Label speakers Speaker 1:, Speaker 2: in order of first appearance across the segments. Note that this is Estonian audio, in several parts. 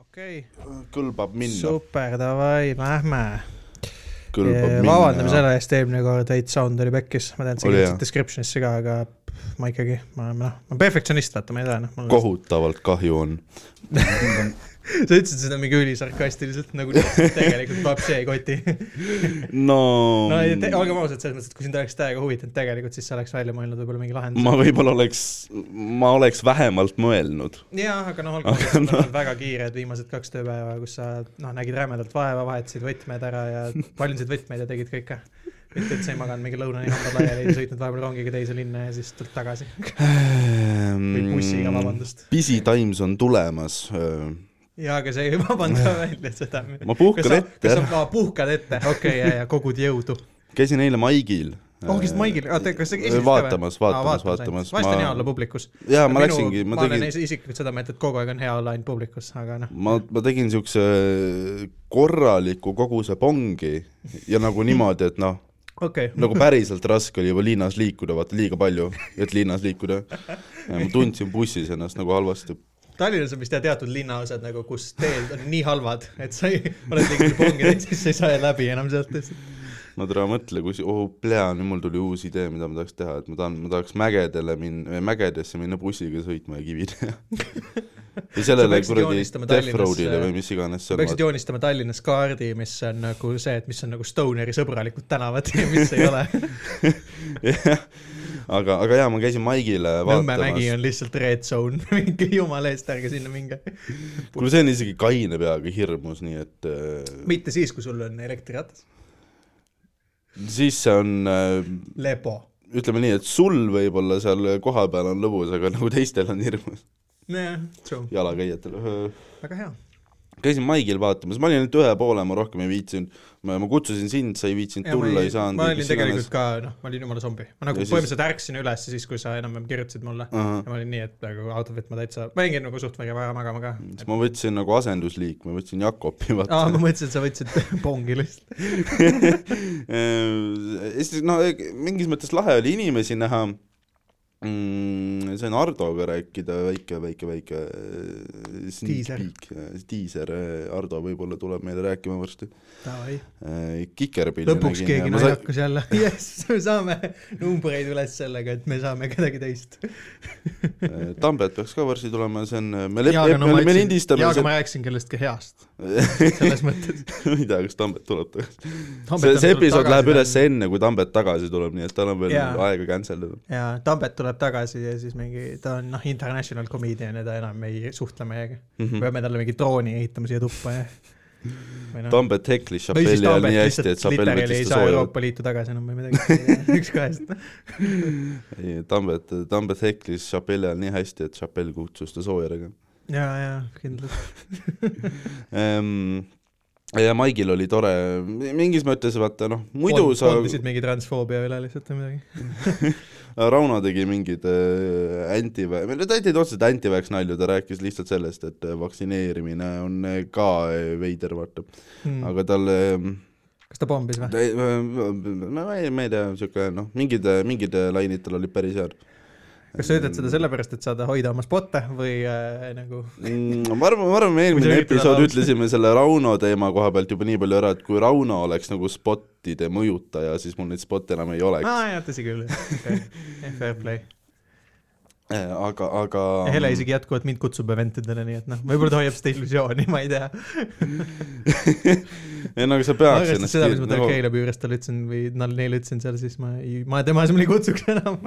Speaker 1: okei
Speaker 2: kõlbab
Speaker 1: okay. ,
Speaker 2: minna ,
Speaker 1: super , davai , lähme .
Speaker 2: kõlbab minna .
Speaker 1: eh, vabandame selle eest , eelmine kord Heit Sound oli pekkis , ma tean , et see
Speaker 2: Oli,
Speaker 1: kirjutati
Speaker 2: jah.
Speaker 1: description'isse ka , aga pff, ma ikkagi , ma olen noh , ma olen perfektsionist , vaata , ma ei tea , noh .
Speaker 2: kohutavalt kahju on .
Speaker 1: sa ütlesid seda mingi ülisarkastiliselt , nagu tegelikult tuleb see ei koti .
Speaker 2: no,
Speaker 1: no ei, te- olgem ausad , selles mõttes , et kui sind oleks täiega huvitanud tegelikult , siis sa oleks välja mõelnud võib-olla mingi lahenduse
Speaker 2: ma . võib-olla oleks , ma oleks vähemalt mõelnud .
Speaker 1: jaa , aga noh , olgu , sa oled olnud väga kiired viimased kaks tööpäeva , kus sa noh , nägid rämedalt vaeva , vahetasid võtmed ära ja valmisid võtmeid ja tegid kõike . mitte , et sa ei maganud mingi lõunani hambad laiali ja sõitnud vahepeal rongiga teise linna ja siis tulnud tagasi . või bussiga ,
Speaker 2: Mm.
Speaker 1: vabandust .
Speaker 2: Ehm, Busy times on tulemas .
Speaker 1: jaa , aga see ei vabanda välja seda .
Speaker 2: ma puhkan ette
Speaker 1: kas sa
Speaker 2: ära ,
Speaker 1: aa, puhkad ette , okei , ja , ja kogud jõudu .
Speaker 2: käisin eile Maigil .
Speaker 1: oh , kes Maigil , oota , kas sa
Speaker 2: Vaatamas, vaatamas, vaatamas.
Speaker 1: Ah, vahest on
Speaker 2: Ma-
Speaker 1: hea olla publikus .
Speaker 2: jaa , ma läksingi , ma
Speaker 1: ma
Speaker 2: tegin
Speaker 1: olen , isiklikult seda meelt , et kogu aeg on hea olla ainult publikus , aga noh ,
Speaker 2: ma , ma tegin siukse korraliku koguse pongi ja nagu niimoodi , et noh ,
Speaker 1: okei okay. .
Speaker 2: nagu päriselt raske oli juba linnas liikuda , vaata liiga palju , et linnas liikuda . ma tundsin bussis ennast nagu halvasti .
Speaker 1: Tallinnas on vist jah teatud linnaosad nagu , kus teed on nii halvad , et sa ei , oled liikunud pongi täis , siis sa ei saa läbi enam sealt lihtsalt .
Speaker 2: no tere , mõtle , kui si- , oh plea , nüüd mul tuli uus idee , mida ma tahaks teha , et ma tahan , ma tahaks mägedele minna , mägedesse minna bussiga sõitma ja kivi teha . ja sellele
Speaker 1: peaksid
Speaker 2: kuradi
Speaker 1: joonistama
Speaker 2: Death
Speaker 1: Tallinnas,
Speaker 2: Roadile
Speaker 1: äh,
Speaker 2: või mis iganes see
Speaker 1: peaksid
Speaker 2: on .
Speaker 1: joonistama Tallinnas kaardi , mis on nagu see , et mis on nagu Stoneri sõbralikud tänavad ja mis ei ole .
Speaker 2: aga , aga jaa , ma käisin Maigile
Speaker 1: Nõmme mägi
Speaker 2: vaatamas .
Speaker 1: on lihtsalt red zone , minge jumala eest , ärge sinna minge .
Speaker 2: kuule , see on isegi kaine peaga hirmus , nii et äh,
Speaker 1: mitte siis , kui sul on elektriratas ,
Speaker 2: siis see on äh,
Speaker 1: lepo .
Speaker 2: ütleme nii , et sul võib-olla seal kohapeal on lõbus , aga nagu teistel on hirmus
Speaker 1: nojah , true ,
Speaker 2: jalakäijatel .
Speaker 1: väga hea .
Speaker 2: käisin Maigil vaatamas , ma olin ainult ühe poole , ma rohkem ei viitsinud , ma ma kutsusin sind , sa ei viitsinud tulla , ei saanud .
Speaker 1: ma olin tegelikult ka , noh , ma olin jumala zombi , ma nagu
Speaker 2: Ja siis- Mm.
Speaker 1: põhimõtteliselt ärkasin üles siis , kui sa enam-vähem kirjutasid mulle . ja
Speaker 2: ahah ,
Speaker 1: ma olin nii , et nagu out of it ma täitsa , ma jäingi nagu suht väga vaja magama ka .
Speaker 2: siis ma võtsin nagu asendusliikme , võtsin Jakobi , vaata
Speaker 1: aa , ma mõtlesin , et sa võtsid pongi lihtsalt .
Speaker 2: Ehm, ja siis no e- mingis mõttes lahe oli inimesi näha mm, , sain Hardoga rääkida väike , väike , väike eh, sneak
Speaker 1: Diiser.
Speaker 2: peek , äh, diiser , Hardo võib-olla tuleb meile rääkima varsti .
Speaker 1: Davai ,
Speaker 2: Äh, Kikerpilli
Speaker 1: lõpuks keegi naljakas jälle . jess , me saame numbreid üles sellega , et me saame kedagi teist .
Speaker 2: Eh, Tambet peaks ka varsti tulema , see on , me
Speaker 1: jaa ,
Speaker 2: lepime
Speaker 1: aga , no ma
Speaker 2: me
Speaker 1: rääkisin ,
Speaker 2: lindistame
Speaker 1: jaa , aga ma rääkisin kellestki heast , selles
Speaker 2: seda ,
Speaker 1: mõttes .
Speaker 2: ma ei tea , kas Tambet tuleb tagasi . see , see episood läheb üles . enne , kui Tambet tagasi tuleb , nii et tal on veel
Speaker 1: Jaa.
Speaker 2: aega cancel ida .
Speaker 1: jaa , Tambet tuleb tagasi ja siis mingi , ta on noh , international comedian ja ta enam ei suhtle meiega .
Speaker 2: Hmm.
Speaker 1: me peame talle mingi drooni ehitama siia tuppa ja .
Speaker 2: Tambet heklis
Speaker 1: või siis
Speaker 2: Chapelli ajal
Speaker 1: Tambet
Speaker 2: nii hästi , et
Speaker 1: lihtsalt
Speaker 2: Chapell
Speaker 1: literaali ei
Speaker 2: võttis
Speaker 1: saa
Speaker 2: ta soojalt .
Speaker 1: Euroopa Liitu tagasi enam või midagi , üks kahest .
Speaker 2: Tambet , Tambet heklis Chapelli ajal nii hästi , et Chapell kutsus ta soojale ka .
Speaker 1: ja , ja kindlasti .
Speaker 2: Ehm, ja Maigil oli tore , mingis mõttes vaata noh , muidu sa ,
Speaker 1: kondisid mingi transfoobia üle lihtsalt või midagi .
Speaker 2: Rauno tegi mingeid äh, anti- , või no ta ei teinud otseselt anti-vax nalju , ta rääkis lihtsalt sellest , et äh, vaktsineerimine on äh, ka äh, veider , vaata .
Speaker 1: Hmm. Ah.
Speaker 2: aga tal äh, ,
Speaker 1: kas ta pommis või ?
Speaker 2: ta ei , ma ei , ma ei tea , niisugune noh , mingid , mingid äh, lainid tal olid päris head .
Speaker 1: kas sa ütled seda sellepärast , et saada hoida oma spotte või äh, nagu
Speaker 2: Mm, ma arvan , ma arvan , me
Speaker 1: Kui sa
Speaker 2: eelmine
Speaker 1: üritad
Speaker 2: episood
Speaker 1: ära-
Speaker 2: ütlesime selle Rauno teema koha pealt juba nii palju ära , et kui Rauno oleks nagu spottide mõjutaja , siis mul neid spotte enam ei oleks .
Speaker 1: aa jaa , tõsi küll , fair play .
Speaker 2: Äh, aga , aga
Speaker 1: Hele isegi jätkuvalt mind kutsub eventidele , nii et noh , võib-olla ta hoiab seda illusiooni , ma ei tea .
Speaker 2: ei no aga sa peaks
Speaker 1: arvestades seda , mis ma
Speaker 2: nagu-
Speaker 1: talle Keilabi juures talle ütlesin või no, neile ütlesin seal , siis ma ei , ma tema asemel ei kutsuks enam .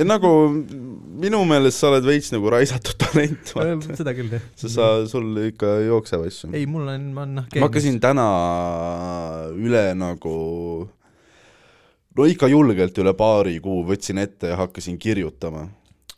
Speaker 2: Ja nagu minu meelest sa oled veits nagu raisatud talent , vaata .
Speaker 1: Äh, seda küll jah .
Speaker 2: sa , sa , sul ikka jookseb asju .
Speaker 1: ei , mul on , ma olen noh .
Speaker 2: ma hakkasin täna üle nagu , no ikka julgelt üle paari kuu võtsin ette ja hakkasin kirjutama .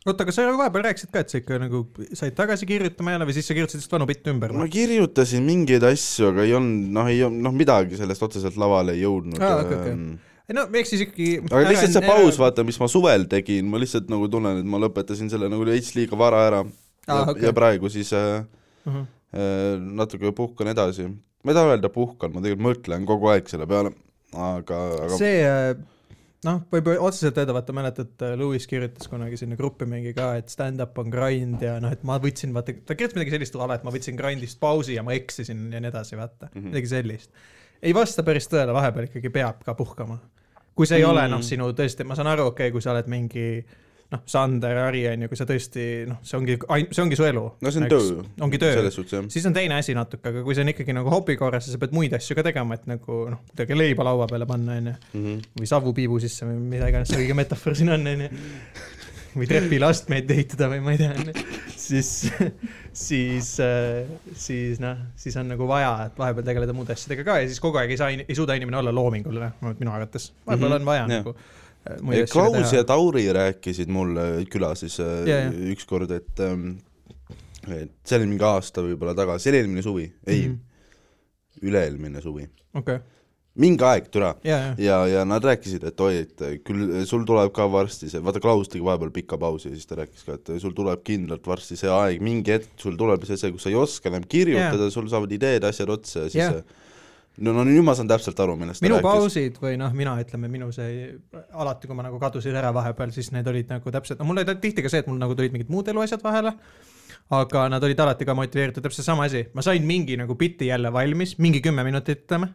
Speaker 1: oota , aga sa vahepeal rääkisid ka , et sa ikka nagu said tagasi kirjutama jälle või siis sa kirjutasid lihtsalt vanu bitte ümber
Speaker 2: ma
Speaker 1: või ?
Speaker 2: kirjutasin mingeid asju , aga ei olnud , noh , ei olnud , noh , midagi sellest otseselt lavale ei jõudnud .
Speaker 1: Aa, okei, okei. ei no eks siis ikkagi .
Speaker 2: aga lihtsalt see paus , vaata , mis ma suvel tegin , ma lihtsalt nagu tunnen , et ma lõpetasin selle nagu veits liiga vara ära .
Speaker 1: Aa,
Speaker 2: ja,
Speaker 1: okei.
Speaker 2: ja praegu siis äh,
Speaker 1: vaata .
Speaker 2: Äh, natuke puhkan edasi , ma ei taha öelda puhkan , ma tegelikult mõtlen kogu aeg selle peale , aga , aga see...
Speaker 1: see äh, noh , võib otseselt öelda , vaata mäletad , Lewis kirjutas kunagi sinna gruppi mingi ka , et stand-up on grind ja noh , et ma võtsin , vaata , ta kirjutas midagi sellist ala , et ma võtsin grind'ist pausi ja ma eksisin ja nii edasi , vaata mm ,
Speaker 2: Mhm.
Speaker 1: -hmm. midagi sellist . ei vasta päris tõele , vahepeal ikkagi peab ka puhkama . kui see ei mm -hmm. ole
Speaker 2: Mm.
Speaker 1: noh , sinu tõesti , ma saan aru , okei okay, , kui sa oled mingi noh , Sander , Harri on ju , kui sa tõesti noh , see ongi , see ongi su elu .
Speaker 2: no see on töö ju .
Speaker 1: ongi töö
Speaker 2: selles suhtes jah .
Speaker 1: siis on teine asi natuke , aga kui see on ikkagi nagu hobi korras ja sa pead muid asju ka tegema , et nagu noh , kuidagi leiba laua peale panna , onju .
Speaker 2: Mhm.
Speaker 1: või savu piibu sisse või mida iganes see õige metafoor siin on , onju . või trepile astmeid ehitada või ma ei tea , onju . siis , siis , siis noh , siis on nagu vaja , et vahepeal tegeleda muude asjadega ka ja siis kogu aeg ei saa , ei suuda inimene olla loominguline , minu arvates . vahepeal
Speaker 2: Mhm,
Speaker 1: on vaja
Speaker 2: jah.
Speaker 1: nagu äh, muid asju
Speaker 2: Klaus ja
Speaker 1: teha .
Speaker 2: Tauri rääkisid mulle külas siis
Speaker 1: Ja,
Speaker 2: yeah,
Speaker 1: ja.
Speaker 2: yeah. ükskord , et ähm, et see oli mingi aasta võib-olla tagasi , see oli eelmine suvi , ei mm ,
Speaker 1: Mhm.
Speaker 2: -hmm. üle-eelmine suvi ,
Speaker 1: okei ,
Speaker 2: mingi aeg , türa .
Speaker 1: ja , ja ,
Speaker 2: ja , ja nad rääkisid , et oi , et küll sul tuleb ka varsti see , vaata Klaus tegi vahepeal pika pausi ja siis ta rääkis ka , et sul tuleb kindlalt varsti see aeg , mingi hetk sul tuleb see , see , kus sa ei oska enam kirjutada yeah. , sul saavad ideed , asjad otsa ja siis
Speaker 1: Jah.
Speaker 2: yeah. no , no nüüd ma saan täpselt aru , millest
Speaker 1: minu
Speaker 2: ta rääkis .
Speaker 1: pausid või noh , mina ütleme , minu see , alati kui ma nagu kadusin ära vahepeal , siis need olid nagu täpselt , no mul oli tihti ka see , et mul nagu tulid mingid muud eluasjad vahele , aga nad olid alati ka motiveeritud , täpselt sama asi , ma sain mingi nagu biti jälle valmis , mingi kümme minutit ütleme ,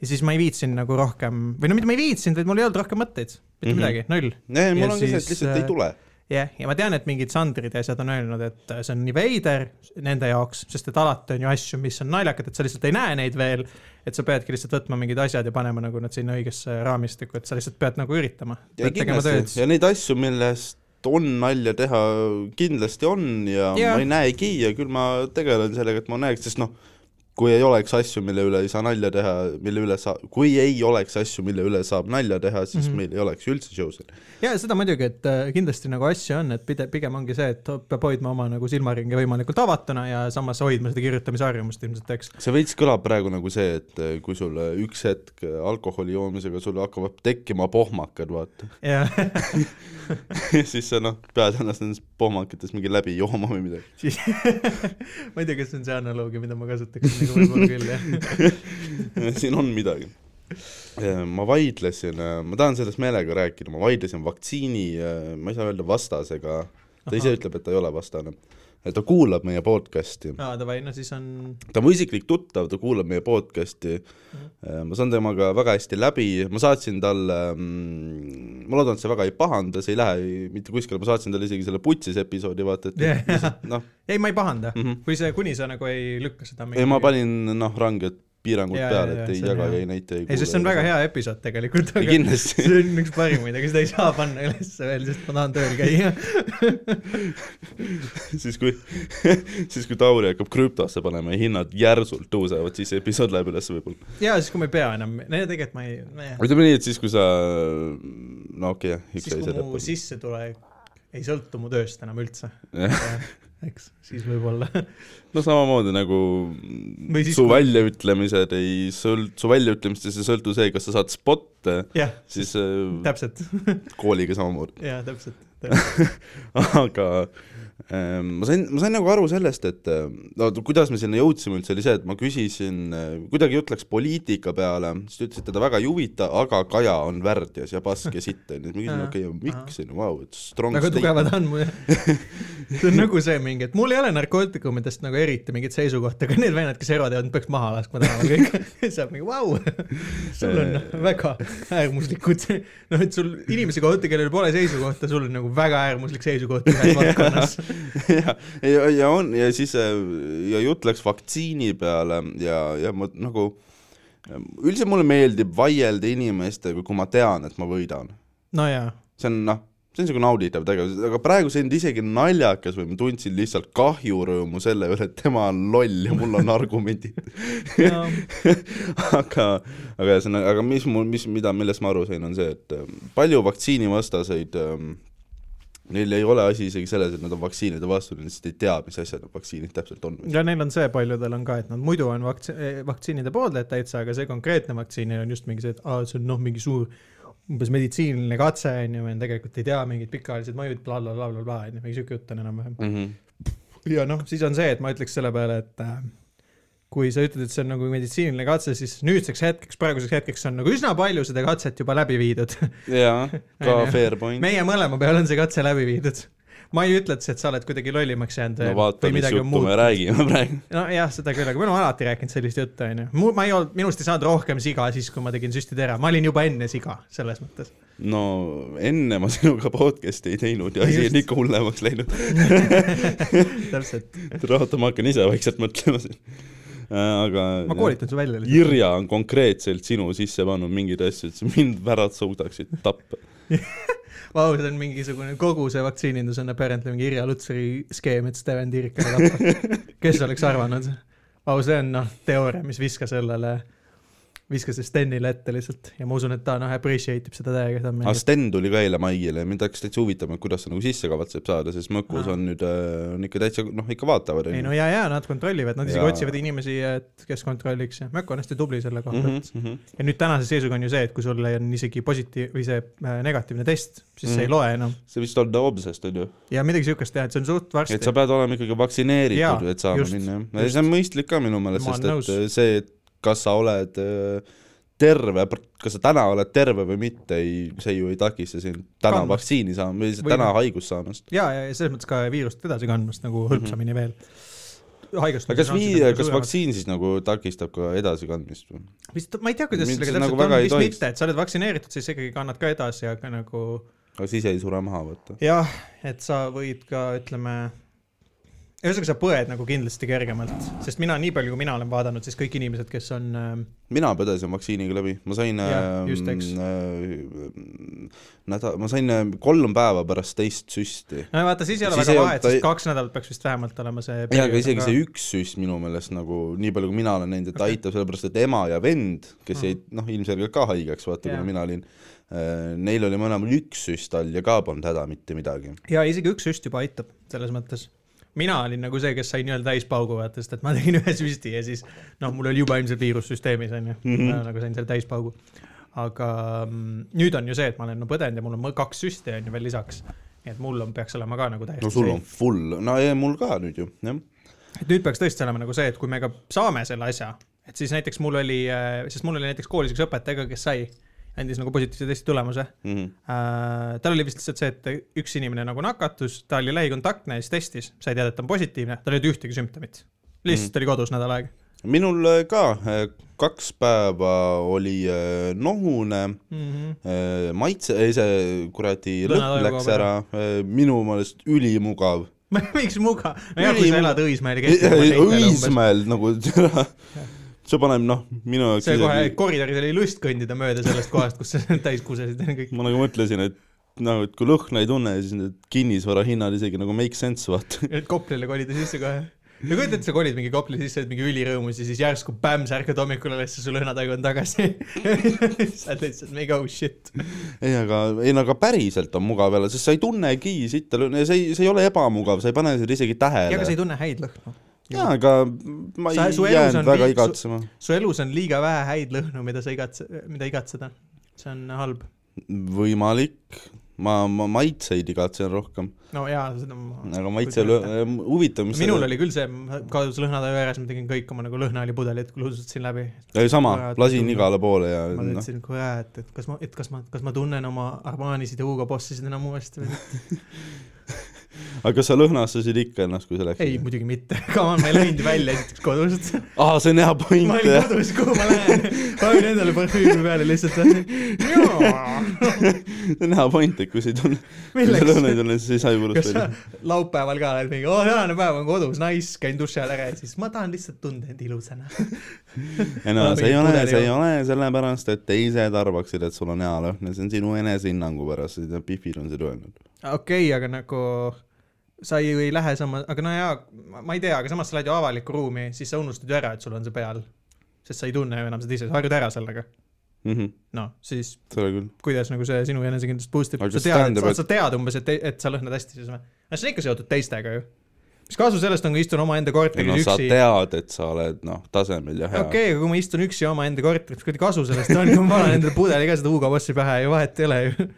Speaker 1: ja siis ma ei viitsinud nagu rohkem , või no mitte ma ei viitsinud , vaid mul ei olnud rohkem mõtteid , mitte
Speaker 2: Mhm.
Speaker 1: mm -hmm. midagi , null .
Speaker 2: ei ,
Speaker 1: Ja
Speaker 2: mul on ka see , et
Speaker 1: siis,
Speaker 2: lihtsalt ei
Speaker 1: äh,
Speaker 2: tule .
Speaker 1: jah yeah. , ja ma tean , et mingid Sandrid ja asjad on öelnud , et see on nii veider nende jaoks , sest et alati on ju asju , mis on naljakad , et sa lihtsalt ei näe neid veel . et sa peadki lihtsalt võtma mingid asjad ja panema nagu nad sinna õigesse raamistikku , et sa lihtsalt pead nagu üritama .
Speaker 2: ja
Speaker 1: pead tegema tööd .
Speaker 2: kindlasti , ja neid asju , millest on nalja teha , kindlasti on ja yeah.
Speaker 1: Jaa.
Speaker 2: ma ei näegi ja küll ma tegelen sellega , et ma näeks , sest noh , kui ei oleks asju , mille üle ei saa nalja teha , mille üle saab , kui ei oleks asju , mille üle saab nalja teha , siis mm
Speaker 1: Mhm.
Speaker 2: -hmm. meil ei oleks ju üldse show'sid .
Speaker 1: ja seda muidugi , et äh, kindlasti nagu asju on , et pide- , pigem ongi see , et peab hoidma oma nagu silmaringi võimalikult avatuna ja samas hoidma seda kirjutamisharjumust ilmselt , eks .
Speaker 2: see veits kõlab praegu nagu see , et eh, kui sul eh, üks hetk eh, alkoholi joomisega sul hakkavad tekkima pohmakad , vaata ,
Speaker 1: ja
Speaker 2: siis sa noh , pead ennast nendest pohmakates mingi läbi jooma või midagi .
Speaker 1: siis ma ei tea , kas see on see analoogia , mida ma kasutaks , nagu võib-olla küll , jah .
Speaker 2: siin on midagi . ma vaidlesin , ma tahan sellest meelega rääkida , ma vaidlesin vaktsiini , ma ei saa öelda vastasega , ta ise
Speaker 1: Ahah.
Speaker 2: ütleb , et ta ei ole vastane . ta kuulab meie podcast'i ,
Speaker 1: aa , davai , no siis on
Speaker 2: ta on mu isiklik tuttav , ta kuulab meie podcast'i , ma saan temaga väga hästi läbi , ma saatsin talle , ma loodan , et see väga ei pahanda , see ei lähe mitte kuskile , ma saatsin talle isegi selle putsis episoodi , vaata , et
Speaker 1: Jah.
Speaker 2: lihtsalt, noh ,
Speaker 1: ei , ma ei pahanda mm ,
Speaker 2: Mhm.
Speaker 1: -hmm. kui see , kuni sa nagu ei lükka seda mingi...
Speaker 2: ei ma panin noh , ranged piirangud
Speaker 1: Jaa,
Speaker 2: peale ,
Speaker 1: jaa,
Speaker 2: et
Speaker 1: jaa,
Speaker 2: ei
Speaker 1: see on
Speaker 2: jaga
Speaker 1: hea. ,
Speaker 2: ei näita , ei kuule .
Speaker 1: ei , sest see on väga hea episood tegelikult , aga
Speaker 2: kindlasti .
Speaker 1: see on üks parimaid , aga seda ei saa panna ülesse veel , sest ma tahan tööl käia .
Speaker 2: siis kui , siis kui Tauri hakkab krüptosse panema ja hinnad järsult tõusevad , siis episood läheb üles võib-olla .
Speaker 1: ja siis , kui ma ei pea enam , no tegelikult ma ei ,
Speaker 2: ütleme nii , et siis , kui sa , no okei okay, ,
Speaker 1: siis
Speaker 2: ikka ei
Speaker 1: kui mu
Speaker 2: sõida .
Speaker 1: sissetulek ei sõltu mu tööst enam üldse , eks , siis võib-olla .
Speaker 2: no samamoodi nagu
Speaker 1: Või siis,
Speaker 2: su
Speaker 1: kui-
Speaker 2: väljaütlemised ei sõlt- , su väljaütlemistest ei sõltu see , kas sa saad spotte ,
Speaker 1: jah ,
Speaker 2: siis äh,
Speaker 1: täpselt ,
Speaker 2: kooliga samamoodi .
Speaker 1: jah , täpselt, täpselt. .
Speaker 2: aga ähm, ma sain , ma sain nagu aru sellest , et äh, no t- kuidas me sinna jõudsime üldse , oli see , et ma küsisin , kuidagi jutt läks poliitika peale , siis te ütlesite , ta väga ei huvita , aga Kaja on värdjas ja pask ja sitt onju , siis ma küsisin ,
Speaker 1: Ahah,
Speaker 2: okei okay, ,
Speaker 1: ahah.
Speaker 2: miks onju , vau , et strong
Speaker 1: väga Nagu tugevad on mul , see on nagu see mingi , et mul ei ole narkootikumidest nagu eriti mingit seisukohta , aga need vennad , kes erod jäävad , peaks maha laskma tänaval kõik . siis saab mingi vau , sul on väga äärmuslikud , noh , et sul inimese kohta , kellel pole seisukohta , sul on nagu väga äärmuslik seisukoht ühes valdkonnas .
Speaker 2: ja , ja , ja on ja siis äh, ja jutt läks vaktsiini peale ja , ja ma nagu ähm, üldiselt mulle meeldib vaielda inimestega , kui ma tean , et ma võidan .
Speaker 1: no jaa ,
Speaker 2: see on noh , see on niisugune nauditav tegevus , aga praegu see on isegi naljakas või ma tundsin lihtsalt kahjurõõmu selle üle , et tema on loll ja mul on argumendid .
Speaker 1: no
Speaker 2: aga , aga ühesõnaga , aga mis mul , mis , mida , millest ma aru sain , on see , et ähm, palju vaktsiinivastaseid ähm, Neil ei ole asi isegi selles , et nad on vaktsiinide vastu , nad lihtsalt ei tea , mis asjad need vaktsiinid täpselt on .
Speaker 1: ja neil on see , paljudel on ka , et nad muidu on vakts- , vaktsiinide pooldajad täitsa , aga see konkreetne vaktsiinil on just mingi see , et aa , see on noh , mingi suur umbes meditsiiniline katse on ju , me tegelikult ei tea mingeid pikaajalised mõjud bla, , blablabla , on Mhm. ju , mingi sihuke jutt on enam-vähem .
Speaker 2: Mm -hmm.
Speaker 1: ja noh , siis on see , et ma ütleks selle peale , et äh, kui sa ütled , et see on nagu meditsiiniline katse , siis nüüdseks hetkeks , praeguseks hetkeks on nagu üsna palju seda katset juba läbi viidud .
Speaker 2: jaa , ka
Speaker 1: On ju.
Speaker 2: fair point .
Speaker 1: meie mõlema peal on see katse läbi viidud . ma ei ütle , et sa- et sa oled kuidagi lollimaks jäänud
Speaker 2: no vaata , mis juttu me . räägime praegu .
Speaker 1: nojah , seda küll , aga ma olen alati rääkinud sellist juttu , onju . ma ei olnud , minust ei saanud rohkem siga siis , kui ma tegin süstid ära , ma olin juba enne siga , selles mõttes .
Speaker 2: no enne ma sinuga podcast'i ei teinud ja asi
Speaker 1: Just.
Speaker 2: on ikka hullemaks läinud .
Speaker 1: täpselt ,
Speaker 2: oota , ma hakkan ise vaikselt mõtlema siin . aga .
Speaker 1: ma koolitan su välja lihtsalt .
Speaker 2: Irja on konkreetselt sinu sisse pannud mingeid asju , et sa mind värad suudaksid tappa .
Speaker 1: Vau , see on mingisugune , kogu see vaktsiinindus on apparently mingi Irja Lutsari skeem , et Steven Tiirikale tappa . kes oleks arvanud ? Vau , see on noh , teooria , mis viskas sellele , viskas see Stenile ette lihtsalt ja ma usun , et ta noh , appreciate ib seda täiega , ta on
Speaker 2: aga
Speaker 1: mingi ,
Speaker 2: Ah, Sten tuli ka eile maigile ja mind hakkas täitsa huvitama , et kuidas ta nagu sisse kavatseb saada , sest Mõkus
Speaker 1: Aa.
Speaker 2: on nüüd , on ikka täitsa , noh , ikka vaatavad .
Speaker 1: ei no ja , ja nad kontrollivad , nad isegi
Speaker 2: Jaa.
Speaker 1: otsivad inimesi , et kes kontrolliks ja Mökk on hästi tubli selle kohta mm . -hmm.
Speaker 2: -hmm.
Speaker 1: ja nüüd tänase seisuga on ju see , et kui sul on isegi positiiv või see äh, negatiivne test , siis mm -hmm.
Speaker 2: Mhm.
Speaker 1: see ei loe enam
Speaker 2: see vist on homsest , on ju ?
Speaker 1: ja midagi siukest teha , et see on suht
Speaker 2: et
Speaker 1: varsti
Speaker 2: sa . pead olema ikkagi vaktsineeritud ,
Speaker 1: Jaa,
Speaker 2: et saama
Speaker 1: just,
Speaker 2: minna , jah .
Speaker 1: just.
Speaker 2: see on mõistlik ka minu meelest ,
Speaker 1: Ma
Speaker 2: sest
Speaker 1: olen
Speaker 2: et see , et kas sa oled öö, terve , kas sa täna oled terve või mitte , ei , see ju ei takista sind täna
Speaker 1: Kandmast.
Speaker 2: vaktsiini saama või
Speaker 1: Või
Speaker 2: täna
Speaker 1: noh.
Speaker 2: haigust saamast .
Speaker 1: ja , ja ja selles mõttes ka viirust edasi kandmast nagu hõlpsamini veel .
Speaker 2: Mhm. aga kas vii- , kas ? vaktsiin siis nagu takistab ka edasikandmist või ?
Speaker 1: vist , ma ei tea , kuidas
Speaker 2: Mind
Speaker 1: sellega
Speaker 2: see
Speaker 1: täpselt
Speaker 2: nagu
Speaker 1: nagu on ,
Speaker 2: väga ei
Speaker 1: vist
Speaker 2: tohiks.
Speaker 1: mitte , et sa oled vaktsineeritud , siis ikkagi kannad ka edasi , aga nagu
Speaker 2: aga siis ei sure maha , vaata .
Speaker 1: jah , et sa võid ka ütleme , ühesõnaga sa põed nagu kindlasti kergemalt , sest mina nii palju , kui mina olen vaadanud , siis kõik inimesed , kes on ähm,
Speaker 2: mina põdesin vaktsiiniga läbi , ma sain
Speaker 1: Jah, just, eks.
Speaker 2: nädal , ma sain äh, kolm päeva pärast teist süsti .
Speaker 1: no vaata , siis ei ole
Speaker 2: Siis
Speaker 1: väga
Speaker 2: ei
Speaker 1: vahet ,
Speaker 2: olnud- ta
Speaker 1: sest
Speaker 2: ei-
Speaker 1: kaks nädalat peaks vist vähemalt olema see
Speaker 2: jaa , aga isegi see üks süst minu meelest nagu , nii palju kui mina olen näinud , et ta
Speaker 1: Okei.
Speaker 2: aitab , sellepärast et ema ja vend , kes
Speaker 1: Mhm.
Speaker 2: jäid noh , ilmselgelt ka haigeks , vaata
Speaker 1: Jaa.
Speaker 2: kuna mina olin , neil oli mõlemal üks süst all ja ka polnud häda mitte midagi .
Speaker 1: ja isegi üks süst juba aitab , selles mõttes . mina olin nagu see , kes sai nii-öelda täispaugu , vaata , sest et ma tegin ühe süsti ja siis noh , mul oli juba ilmselt viirus süsteemis onju mm ,
Speaker 2: Mhm.
Speaker 1: -hmm. nagu sain selle täispaugu . aga mm, nüüd on ju see , et ma olen no põdenud ja mul on mõ- kaks süsti onju veel lisaks . nii et mul on , peaks olema ka nagu täiesti
Speaker 2: no sul on . full , no ja mul ka nüüd ju , jah .
Speaker 1: et nüüd peaks tõesti olema nagu see , et kui me ka saame selle asja , et siis näiteks mul oli , sest mul oli näiteks koolis üks õpetaja ka , kes sai , andis nagu positiivse testi tulemuse
Speaker 2: Mhm.
Speaker 1: Äh, tal oli vist lihtsalt see , et üks inimene nagu nakatus , ta oli lähikontaktne ja siis testis , sai teada , et ta on positiivne , tal ei olnud ühtegi sümptomit . lihtsalt mm. oli kodus nädal aega
Speaker 2: minul äh, ka äh, kaks päeva oli äh, nohune
Speaker 1: mm . -hmm.
Speaker 2: Äh, maitse , ei see kuradi
Speaker 1: Lõna
Speaker 2: lõpp
Speaker 1: tajuga
Speaker 2: läks
Speaker 1: kaob
Speaker 2: ära , minu meelest ülimugav .
Speaker 1: miks muga , nojah , kui sa
Speaker 2: Ülim-
Speaker 1: elad Õismäel ja keskel .
Speaker 2: Õismäel nagu see paneb noh , minu jaoks
Speaker 1: see kohe
Speaker 2: isegi-
Speaker 1: koridoris oli lust kõndida mööda sellest kohast , kus sa täis kusesid ja kõik .
Speaker 2: ma nagu mõtlesin , et nagu , et kui lõhna ei tunne , siis need kinnisvara hinnad isegi nagu make sense , vaata .
Speaker 1: et Koplile kolida sisse kohe . no kujuta ette , sa kolid mingi Kopli sisse , oled mingi ülirõõmus ja siis järsku bämm , sa ärkad hommikul üles ja su lõhnataju on tagasi . sa oled lihtsalt mingi oh shit .
Speaker 2: ei , aga , ei no aga päriselt on mugav jälle , sest sa ei tunnegi sitta lõhna ja see ei , see ei ole ebamugav , sa ei pane seda isegi
Speaker 1: ja , aga sa
Speaker 2: tähele .
Speaker 1: ei tunne häid lõhnu .
Speaker 2: jaa , aga ma
Speaker 1: Sa-
Speaker 2: ei
Speaker 1: su elus on
Speaker 2: jäänud
Speaker 1: vi-
Speaker 2: väga
Speaker 1: su-
Speaker 2: igatsema .
Speaker 1: su elus on liiga vähe häid lõhnu , mida sa igatse , mida igatseda . see on halb .
Speaker 2: võimalik , ma , ma maitseid igatsen rohkem ,
Speaker 1: no jaa , seda ma .
Speaker 2: aga maitse , huvitav , mis
Speaker 1: minul oli küll see , kadus lõhnataju ääres , ma tegin kõik oma nagu lõhnaõlipudelid , luusutasin läbi .
Speaker 2: ei sama
Speaker 1: Kurat, ,
Speaker 2: lasin
Speaker 1: tundub.
Speaker 2: igale poole ja
Speaker 1: ma
Speaker 2: noh ,
Speaker 1: mõtlesin , et kurat , et kas ma , et kas ma , kas ma tunnen oma Armanisid ja Hugo Bossisid enam uuesti või mitte .
Speaker 2: aga kas sa lõhnastasid ikka ennast , kui sa
Speaker 1: ei ,
Speaker 2: läksid ?
Speaker 1: muidugi mitte . Come on , ma ei läinud välja esiteks kodust .
Speaker 2: aa , see on hea
Speaker 1: ma
Speaker 2: point ,
Speaker 1: olin
Speaker 2: jah .
Speaker 1: kodus , kuhu ma lähen . panin endale parfüümi peale lihtsalt .
Speaker 2: see on hea point , et kui sa ei tunne , kui sa
Speaker 1: milleks ?
Speaker 2: lõhna ei tunne , siis ei saa ju
Speaker 1: kas
Speaker 2: hullust
Speaker 1: sa
Speaker 2: välja .
Speaker 1: laupäeval ka oled mingi , oo tänane päev on kodus , nice , käin duši all ära ja siis ma tahan lihtsalt tunda end ilusana .
Speaker 2: ei no
Speaker 1: oled
Speaker 2: see ei
Speaker 1: mingi
Speaker 2: ole ,
Speaker 1: pudeli
Speaker 2: see ei
Speaker 1: jook.
Speaker 2: ole sellepärast , et teised arvaksid , et sul on hea lõhn ja see on sinu enesehinnangu pärast , seda Pihvil on seda öelnud .
Speaker 1: okei , aga nagu sa ju ei lähe sama , aga no jaa , ma ei tea , aga samas sa lähed ju avalikku ruumi , siis sa unustad ju ära , et sul on see peal . sest sa ei tunne ju enam seda ise , sa harjud ära sellega . noh , siis
Speaker 2: seda küll .
Speaker 1: kuidas nagu see sinu enesekindlust boost ib ,
Speaker 2: Aga
Speaker 1: sa
Speaker 2: kas
Speaker 1: tead ,
Speaker 2: tähendab,
Speaker 1: et sa tead umbes , et , et sa lõhnad hästi siis või ? no see on ikka seotud teistega ju . mis kasu sellest on , kui istun omaenda
Speaker 2: ei no
Speaker 1: korteris
Speaker 2: sa
Speaker 1: üksi
Speaker 2: tead , et sa oled noh , tasemel ja
Speaker 1: okei
Speaker 2: hea okay. .
Speaker 1: okay, , aga kui ma istun üksi omaenda korteris , kui kasu sellest on , kui ma panen endale pudeli ka seda Hugo Bossi pähe ja vahet ei ole ju .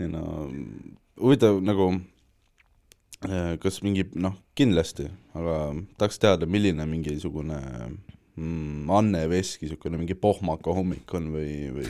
Speaker 2: ei no huvitav nagu kas mingi, noh , kindlasti , aga tahaks teada , milline mingisugune mm, Anne Veski niisugune mingi pohmaka hommik on või , või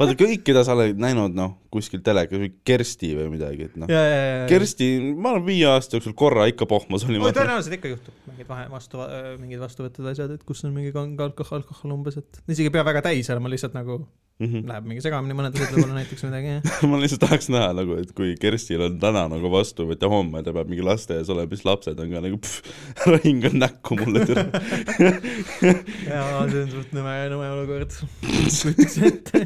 Speaker 2: vaata kõik , keda sa oled näinud , noh , kuskil telekas või Kersti või midagi , et noh ,
Speaker 1: ja , ja , ja , ja .
Speaker 2: Kersti , ma arvan , viie aasta jooksul korra ikka pohmas oli .
Speaker 1: oi , tõenäoliselt ikka juhtub mingid vahe , vastu , mingid vastuvõtted , asjad , et kus on mingi kange alkohol , alkohol umbes , et isegi ei pea väga täis olema , lihtsalt nagu
Speaker 2: tõenäoliselt .
Speaker 1: läheb mingi segamini mõned asjad võib-olla näiteks midagi , jah .
Speaker 2: Mhm. ma lihtsalt tahaks näha nagu , et kui Kerstil on täna nagu vastuvõtt ja homme ta peab mingi lasteaias olema , siis lapsed on ka nagu pff, ära hinga näkku mulle türa .
Speaker 1: jaa , see on suht nõme , nõme olukord . kujutaks ette .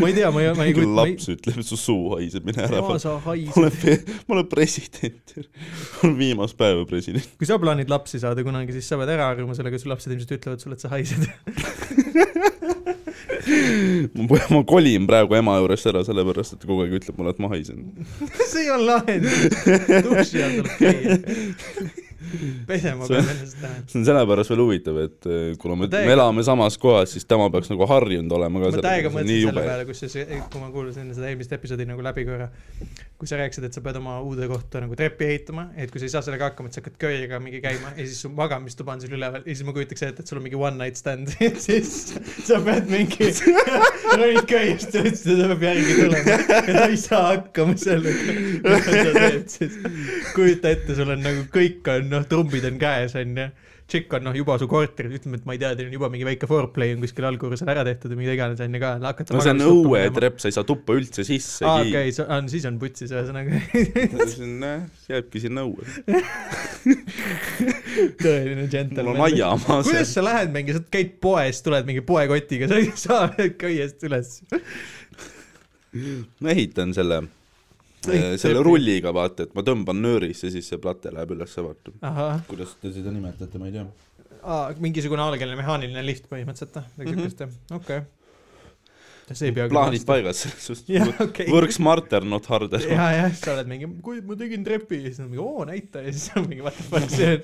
Speaker 1: ma ei tea , ma ei , ma ei kujuta , ma ei ,
Speaker 2: laps ütleb , su suu haiseb , mine ära . ma
Speaker 1: kaasa haiseb .
Speaker 2: olen , ma olen president , ma olen viimast päeva president .
Speaker 1: kui sa plaanid lapsi saada kunagi , siis sa pead ära harjuma sellega , su lapsed ilmselt ütlevad sulle , et sa haised .
Speaker 2: ma , ma kolin praegu ema juurest ära , sellepärast et ta kogu aeg ütleb mulle , et ma haisen .
Speaker 1: see ei ole lahendus . duši all tuleb käia . pesema
Speaker 2: See-
Speaker 1: peab ennast täna .
Speaker 2: see on sellepärast veel huvitav , et eh, kuna me,
Speaker 1: Ma täiega-
Speaker 2: me elame samas kohas , siis tema peaks nagu harjunud olema ka
Speaker 1: ma täiega
Speaker 2: see on nii
Speaker 1: mõtlesin selle
Speaker 2: jube.
Speaker 1: peale , kus sa , kui ma kuulasin seda eelmist episoodi nagu läbi korra , kui sa rääkisid , et sa pead oma uude kohta nagu trepi ehitama , et kui sa ei saa sellega hakkama , et sa hakkad köiega mingi käima ja siis su magamistuba on sul üleval ja siis ma kujutaks ette , et sul on mingi one night stand , et siis sa pead mingi , ronid köiest ja siis ta peab järgi tulema ja ta ei saa hakkama sellega , mida sa teed siis . kujuta ette , sul on nagu kõik on , noh , trumbid on käes , onju tšikk on noh juba su korteris , ütleme , et ma ei tea , teil on juba mingi väike foreplay on kuskil alguses ära tehtud või mida iganes onju ka , hakkad sa
Speaker 2: no see on
Speaker 1: magamistuppa
Speaker 2: õue
Speaker 1: minema.
Speaker 2: trepp , sa ei saa tuppa üldse sisse
Speaker 1: aa okei okay, , see on , siis on putsis ühesõnaga
Speaker 2: see jääbki sinna õue .
Speaker 1: tõeline
Speaker 2: mul
Speaker 1: džentelmen
Speaker 2: on . aiamaa
Speaker 1: kuidas
Speaker 2: sees .
Speaker 1: sa lähed mingi , sa käid poes , tuled mingi poekotiga , sa ei saa köiest üles .
Speaker 2: ma ehitan selle ,
Speaker 1: Ehitad
Speaker 2: selle
Speaker 1: trepi.
Speaker 2: rulliga , vaata , et ma tõmban nöörisse , siis see plate läheb ülesse , vaata .
Speaker 1: ahah ,
Speaker 2: kuidas te seda nimetate , ma ei tea .
Speaker 1: mingisugune algeline mehaaniline lift põhimõtteliselt noh, või , midagi
Speaker 2: Mhm.
Speaker 1: siukest jah , okei okay. . see ei pea .
Speaker 2: plaanid . paigas , selles
Speaker 1: jah ,
Speaker 2: suhtes .
Speaker 1: okei okay. .
Speaker 2: Works smarter , not harder .
Speaker 1: ja , jah , sa oled mingi , kui ma tegin trepi , siis on mingi oo näita ja siis on mingi what the fuck see on .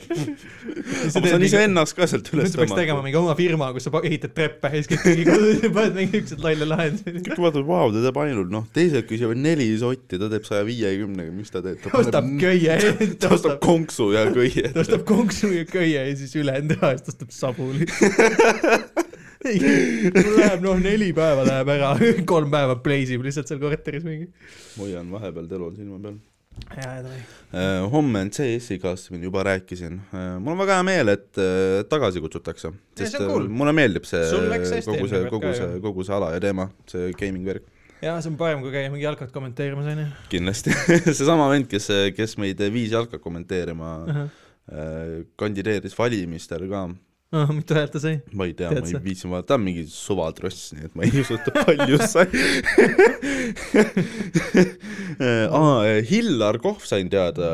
Speaker 2: ma saan iseennast ka sealt
Speaker 1: nüüd
Speaker 2: üles
Speaker 1: sa peaks tegema
Speaker 2: tõmmata .
Speaker 1: mingi oma firma , kus sa pa- ehitad treppe ja siis kõik mingi kodus ja paned mingi siukseid lolle lahendusi .
Speaker 2: kõik vaatavad , vau , ta teeb ainult , noh , teised küsivad neli sotti , ta teeb saja viiekümnega , mis ta teeb ?
Speaker 1: ostab köie ,
Speaker 2: ta ostab
Speaker 1: ostab ,
Speaker 2: konksu ja köie .
Speaker 1: ta ostab konksu ja köie ja siis ülejäänud raha eest ostab sabuli . mul läheb noh , neli päeva läheb ära , kolm päeva pleisib lihtsalt seal korteris mingi .
Speaker 2: hoian vahepeal telon silma peal .
Speaker 1: ja , ja ,
Speaker 2: Eh, homme on CS-i kaasmine , juba rääkisin . mul on väga hea meel , et eh, tagasi kutsutakse .
Speaker 1: see on
Speaker 2: sest eh,
Speaker 1: cool.
Speaker 2: mulle meeldib see
Speaker 1: Sul läks hästi
Speaker 2: kogu see
Speaker 1: eelmine , kord
Speaker 2: kogu
Speaker 1: ka
Speaker 2: see ,
Speaker 1: ju.
Speaker 2: kogu see ala ja teema , see gaming värk
Speaker 1: ja see on parem , kui käia mingi jalkat kommenteerimas onju .
Speaker 2: kindlasti . seesama vend , kes , kes meid viis jalka kommenteerima eh, kandideeris valimistel ka ,
Speaker 1: mitu häält ta sai ?
Speaker 2: ma ei tea ,
Speaker 1: Tead
Speaker 2: ma
Speaker 1: sa?
Speaker 2: ei viitsi vaadata , ta on mingi suvatross , nii et ma ei usu , et ta palju sai . Äh, aa , Hillar Kohv sain teada ,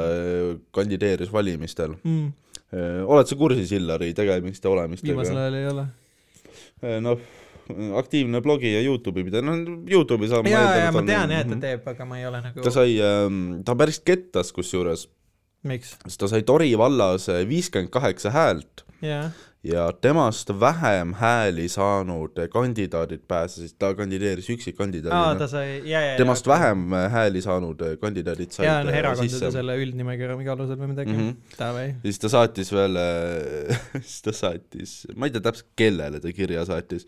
Speaker 2: kandideeris valimistel .
Speaker 1: mm, .
Speaker 2: Eh, oled sa kursis Hillari tegemiste
Speaker 1: viimasel
Speaker 2: olemistega ?
Speaker 1: ajal ei ole .
Speaker 2: noh , aktiivne blogija Youtube'i pidaja , no Youtube'i saab
Speaker 1: ja , ja ma tean jah , et
Speaker 2: Mhm.
Speaker 1: ta . teeb , aga ma ei ole nagu
Speaker 2: ta . sai , ta päris kettas kusjuures ,
Speaker 1: miks ?
Speaker 2: sest ta sai Tori vallas viiskümmend kaheksa häält
Speaker 1: jaa .
Speaker 2: ja temast vähem hääli saanud kandidaadid pääsesid , ta
Speaker 1: aa ,
Speaker 2: kandideeris
Speaker 1: ta
Speaker 2: üksikkandidaadina .
Speaker 1: sai , ja , ja , ja .
Speaker 2: temast . vähem äh, hääli saanud kandidaadid said
Speaker 1: jaa , no
Speaker 2: eh,
Speaker 1: erakondade
Speaker 2: sisse
Speaker 1: selle üldnimekirja mingi alusel või midagi mm .
Speaker 2: Mhm.
Speaker 1: -hmm. Davai .
Speaker 2: ja siis ta saatis veel , siis ta saatis , ma ei tea täpselt , kellele ta kirja saatis ,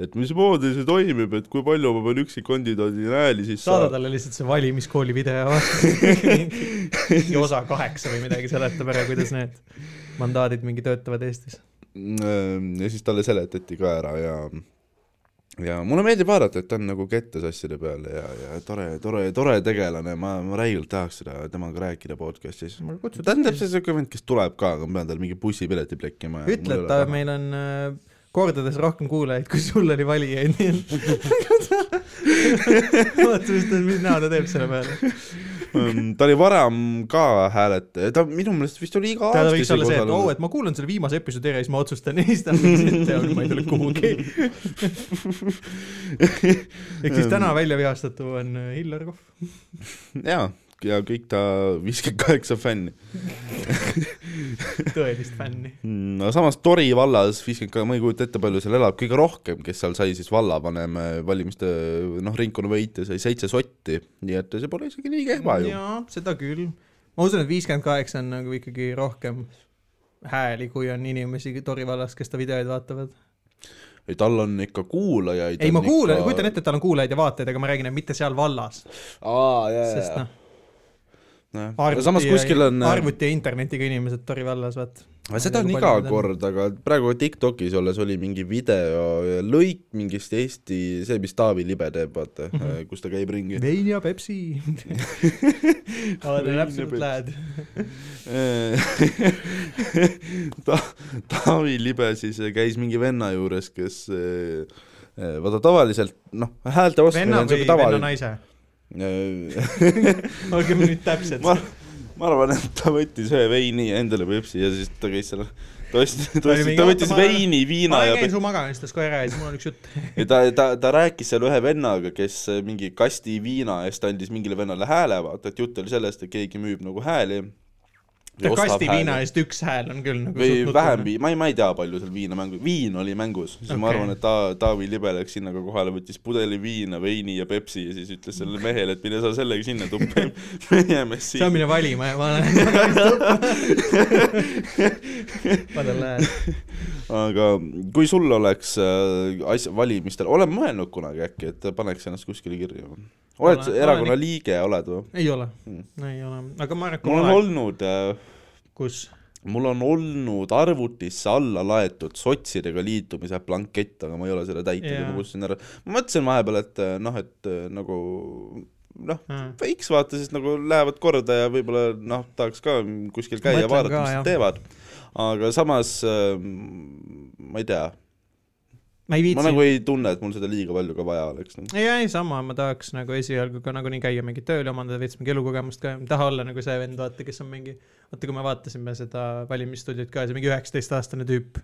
Speaker 2: et mismoodi see toimib , et kui palju ma pean üksikkandidaadina hääli siis
Speaker 1: saada
Speaker 2: saama .
Speaker 1: talle lihtsalt see valimiskooli video . mingi osa kaheksa või midagi seletab ära , kuidas need mandaadid mingi töötavad Eestis .
Speaker 2: Mm, ja siis talle seletati ka ära ja , ja mulle meeldib vaadata , et ta on nagu kettas asjade peale ja , ja tore , tore , tore tegelane , ma , ma räigelt tahaks seda temaga rääkida podcast'is . ta on täpselt siuke vend , kes tuleb ka , aga ma pean tal mingi bussipileti plekkima .
Speaker 1: ütle , et ta , meil on äh, kordades rohkem kuulajaid , kui sul oli valijaid , nii et vaata , mis ta , mis näo ta teeb selle peale .
Speaker 2: Mm, ta oli varem ka hääletaja , ta minu meelest vist oli iga
Speaker 1: tal
Speaker 2: aasta
Speaker 1: võiks olla see , et oo ,
Speaker 2: osalenud.
Speaker 1: et ma kuulan selle viimase episoodi ära ja siis ma otsustan ja siis ta on mingi , et tead, ma ei tule kuhugi . ehk siis täna välja vihastatu on äh, Hillar Kohv .
Speaker 2: jaa , ja kõik ta viiskümmend kaheksa fänni .
Speaker 1: tõelist fänni .
Speaker 2: no samas Tori vallas viiskümmend kaheksa , ma ei kujuta ette , palju seal elab , kõige rohkem , kes seal sai siis vallavanema valimiste noh , ringkonnavõitja sai seitse sotti , nii et see pole isegi nii kehva ju .
Speaker 1: jaa , seda küll . ma usun , et viiskümmend kaheksa on nagu ikkagi rohkem hääli , kui on inimesi Tori vallas , kes ta videoid vaatavad .
Speaker 2: ei , tal on ikka kuulajaid .
Speaker 1: ei , ma kuulan , kujutan . ette , et tal on kuulajaid ja vaatajaid , aga ma räägin , et mitte seal vallas ,
Speaker 2: aa , jaa ,
Speaker 1: sest
Speaker 2: jaa ,
Speaker 1: noh ,
Speaker 2: jaa . samas
Speaker 1: arvuti
Speaker 2: kuskil
Speaker 1: ja ,
Speaker 2: on . äh,
Speaker 1: arvuti ja internetiga inimesed Tori vallas , vaat .
Speaker 2: aga seda on
Speaker 1: Nagu
Speaker 2: iga
Speaker 1: paljud on.
Speaker 2: kord , aga praegu TikTokis olles oli mingi video lõik mingist Eesti , see , mis Taavi Libe teeb , vaata mm ,
Speaker 1: Mhm.
Speaker 2: -hmm. kus ta käib ringi .
Speaker 1: vein ja Pepsi . Oled
Speaker 2: Vein ja
Speaker 1: absoluut
Speaker 2: Pepsi.
Speaker 1: lähed .
Speaker 2: Äh, ta- , Taavi Libe siis äh, käis mingi venna juures , kes eh, eh, vaata tavaliselt noh , häälte ostmine
Speaker 1: venna
Speaker 2: on
Speaker 1: või
Speaker 2: siuke
Speaker 1: venna
Speaker 2: tavaline .
Speaker 1: naise ?
Speaker 2: ma
Speaker 1: olgem nüüd täpsed .
Speaker 2: ma arvan , et ta võttis ühe veini ja endale Pepsi ja siis ta käis seal , ta ostis , ta
Speaker 1: oli
Speaker 2: ostis ,
Speaker 1: mingi
Speaker 2: ta võttis
Speaker 1: automaat-
Speaker 2: veini , viina
Speaker 1: ma
Speaker 2: ja
Speaker 1: käin su magamistes kohe ära ja siis mul on üks jutt .
Speaker 2: ja ta , ta , ta rääkis seal ühe vennaga , kes äh, mingi kasti viina eest andis mingile vennale hääle , vaata , et jutt oli sellest , et keegi müüb nagu hääli .
Speaker 1: kasti viina eest üks hääl on küll nagu
Speaker 2: või
Speaker 1: suht
Speaker 2: vähem
Speaker 1: nutune.
Speaker 2: vii- , ma ei , ma ei tea , palju seal viina mängu , viin oli mängus , siis okay. ma
Speaker 1: Okei.
Speaker 2: arvan , et ta , Taavi Libe läks sinna ka kohale , võttis pudeli viina , veini ja Pepsi ja siis ütles
Speaker 1: Mm.
Speaker 2: sellele mehele , et mine sa sellega sinna tuppa , me jääme
Speaker 1: see on
Speaker 2: siin .
Speaker 1: minu valima ja ma olen . ma tahan lähedale .
Speaker 2: aga kui sul oleks äh, asja , valimistel , olen mõelnud kunagi äkki , et paneks ennast kuskile kirja või ? oled
Speaker 1: Olen-
Speaker 2: sa erakonna
Speaker 1: olen
Speaker 2: liige , oled või ?
Speaker 1: ei ole
Speaker 2: Hmm. ,
Speaker 1: ei ole , aga ma arvan , et kui
Speaker 2: mul
Speaker 1: ma
Speaker 2: on
Speaker 1: olen ,
Speaker 2: olnud äh,
Speaker 1: kus
Speaker 2: mul on olnud arvutisse alla laetud sotsidega liitumise blankett , aga ma ei ole seda täitnud ja
Speaker 1: Jaa.
Speaker 2: ma kustusin ära . ma mõtlesin vahepeal , et äh, noh , et äh, nagu noh ,
Speaker 1: äh,
Speaker 2: võiks vaata , sest nagu lähevad korda ja võib-olla noh , tahaks ka kuskil käia ,
Speaker 1: Mõtlen
Speaker 2: vaadata ,
Speaker 1: ka,
Speaker 2: mis
Speaker 1: jah.
Speaker 2: nad teevad . aga samas äh, ma ei tea ,
Speaker 1: ma ei
Speaker 2: ma
Speaker 1: viitsi ,
Speaker 2: nagu ei tunne , et mul seda liiga palju ka vaja oleks . noh.
Speaker 1: ei , ei sama , ma tahaks nagu esialgu ka nagunii käia mingi tööl ja omandada veits mingi elukogemust ka , ei taha olla nagu see vend , vaata , kes on mingi , vaata , kui me vaatasime seda valimisstuudiot ka , see mingi üheksateistaastane tüüp ,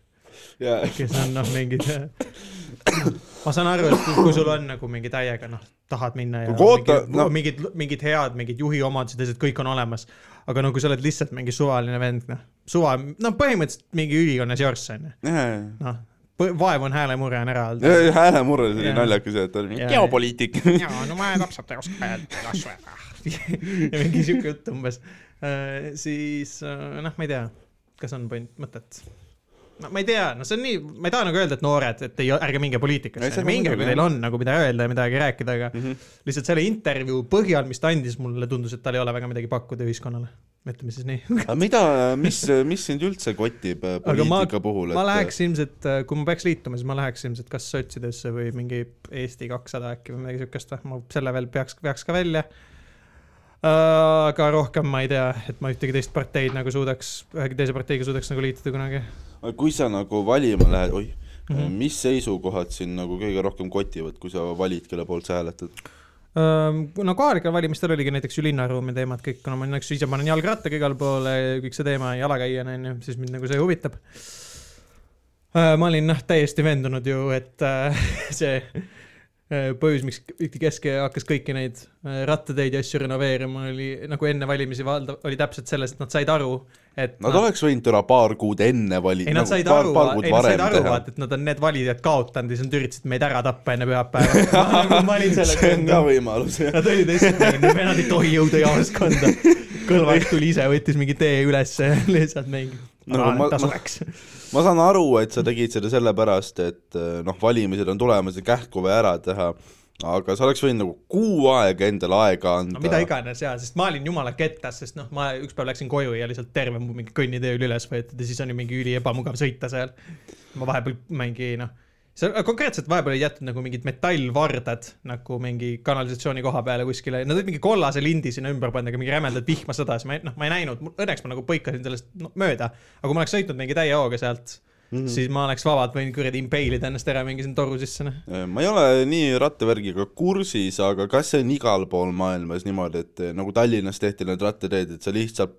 Speaker 2: jaa ,
Speaker 1: kes on noh , mingid ma saan aru , et kui- kui sul on nagu mingi täiega noh , tahad minna ja
Speaker 2: Kui koota-
Speaker 1: mingid,
Speaker 2: no-
Speaker 1: mingid , mingid head , mingid juhi omadused ja asjad , kõik on olemas . aga no kui sa oled lihtsalt mingi suvaline vend , noh , suva , no põhimõtteliselt mingi ülikonnas jorss on ju ,
Speaker 2: jaa ,
Speaker 1: noh , vaev on häälemure on ära olnud .
Speaker 2: jaa , häälemurre , see oli
Speaker 1: Jaa.
Speaker 2: naljakas jah , et ta oli mingi
Speaker 1: Jaa.
Speaker 2: geopoliitik .
Speaker 3: jaa , no ma täpselt ei oska öelda , las väga .
Speaker 1: ja mingi siuke jutt umbes . siis äh, noh , ma ei tea , kas on point , mõtet . no ma ei tea , no see on nii , ma ei taha nagu öelda , et noored , et ei , ärge minge
Speaker 2: Ei,
Speaker 1: poliitikasse
Speaker 2: seda ,
Speaker 1: minge ,
Speaker 2: muidugi, Mhm.
Speaker 1: kui teil on nagu mida öelda ja midagi rääkida , aga mm -hmm. lihtsalt selle intervjuu põhjal , mis ta andis , mulle tundus , et tal ei ole väga midagi pakkuda ühiskonnale . ütleme siis nii .
Speaker 2: aga mida , mis , mis sind üldse kotib äh,
Speaker 1: Aga ma-
Speaker 2: poliitika puhul ,
Speaker 1: ma läheks ilmselt , kui ma peaks liituma , siis ma läheks ilmselt kas sotsidesse või mingi Eesti kakssada äkki või midagi siukest , ma selle veel peaks , peaks ka välja . aga rohkem ma ei tea , et ma ühtegi teist parteid nagu suudaks , ühegi teise parteiga suudaks nagu liituda kunagi .
Speaker 2: Aga kui sa nagu valima lähed , oih mm ,
Speaker 1: Mhm.
Speaker 2: -hmm. mis seisukohad sind nagu kõige rohkem kotivad , kui sa valid , kelle poolt sa hääletad ?
Speaker 1: no kohalikel valimistel oligi näiteks ju linnaruumi teemad kõik , kuna ma näiteks ise panen jalgrattaga igale poole ja kõik see teema jalakäijana onju , siis mind nagu see huvitab . ma olin noh , täiesti veendunud ju , et äh, see äh, põhjus , miks Kesk hakkas kõiki neid äh, rattateid ja asju renoveerima , oli nagu enne valimisi valdav , oli täpselt selles , et nad said aru , et noh,
Speaker 2: Nad no. oleks võinud täna paar kuud enne valida .
Speaker 1: Ah. ei ,
Speaker 2: nagu
Speaker 1: nad said aru , ei nad said aru , vaata , et nad on need valijad kaotanud ja siis nad üritasid meid ära tappa enne pühapäeva . Nagu ma olin
Speaker 2: see on ka
Speaker 1: sellega ,
Speaker 2: võimalus , jah .
Speaker 1: Nad olid esimene , nüüd vennad ei tohi jõuda jaoskonda . Kõlvart tuli ise , võttis mingi tee ülesse ja lihtsalt mingi
Speaker 2: No,
Speaker 1: no,
Speaker 2: aga . Nagu ma-
Speaker 1: ta
Speaker 2: ma-
Speaker 1: sureks .
Speaker 2: ma saan aru , et sa tegid seda sellepärast , et eh, noh , valimised on tulemas ja kähku vaja ära teha , aga sa oleks võinud nagu kuu aega endale aega anda
Speaker 1: no mida . iganes jaa , sest ma olin jumala kettas , sest noh , ma ükspäev läksin koju ja lihtsalt terve mu mingi kõnnitee oli üles võetud ja siis oli mingi üli ebamugav sõita seal . ma vahepeal mingi noh , seal konkreetselt vahepeal olid jätnud nagu mingid metallvardad nagu mingi kanalisatsiooni koha peale kuskile , nad olid mingi kollase lindi sinna ümber pannud , aga mingi rämedalt vihma sadas , ma ei- noh , ma ei näinud , õnneks ma nagu põikasin sellest no, mööda , aga kui ma oleks sõitnud mingi täie hooga sealt mm , -hmm. siis ma oleks vabalt võinud kuradi impailida ennast ära mingi sinna toru sisse , noh .
Speaker 2: Äh, ma ei ole nii rattavärgiga kursis , aga kas see on igal pool maailmas niimoodi , et eh, nagu Tallinnas tehti need rattateed , et sa lihtsalt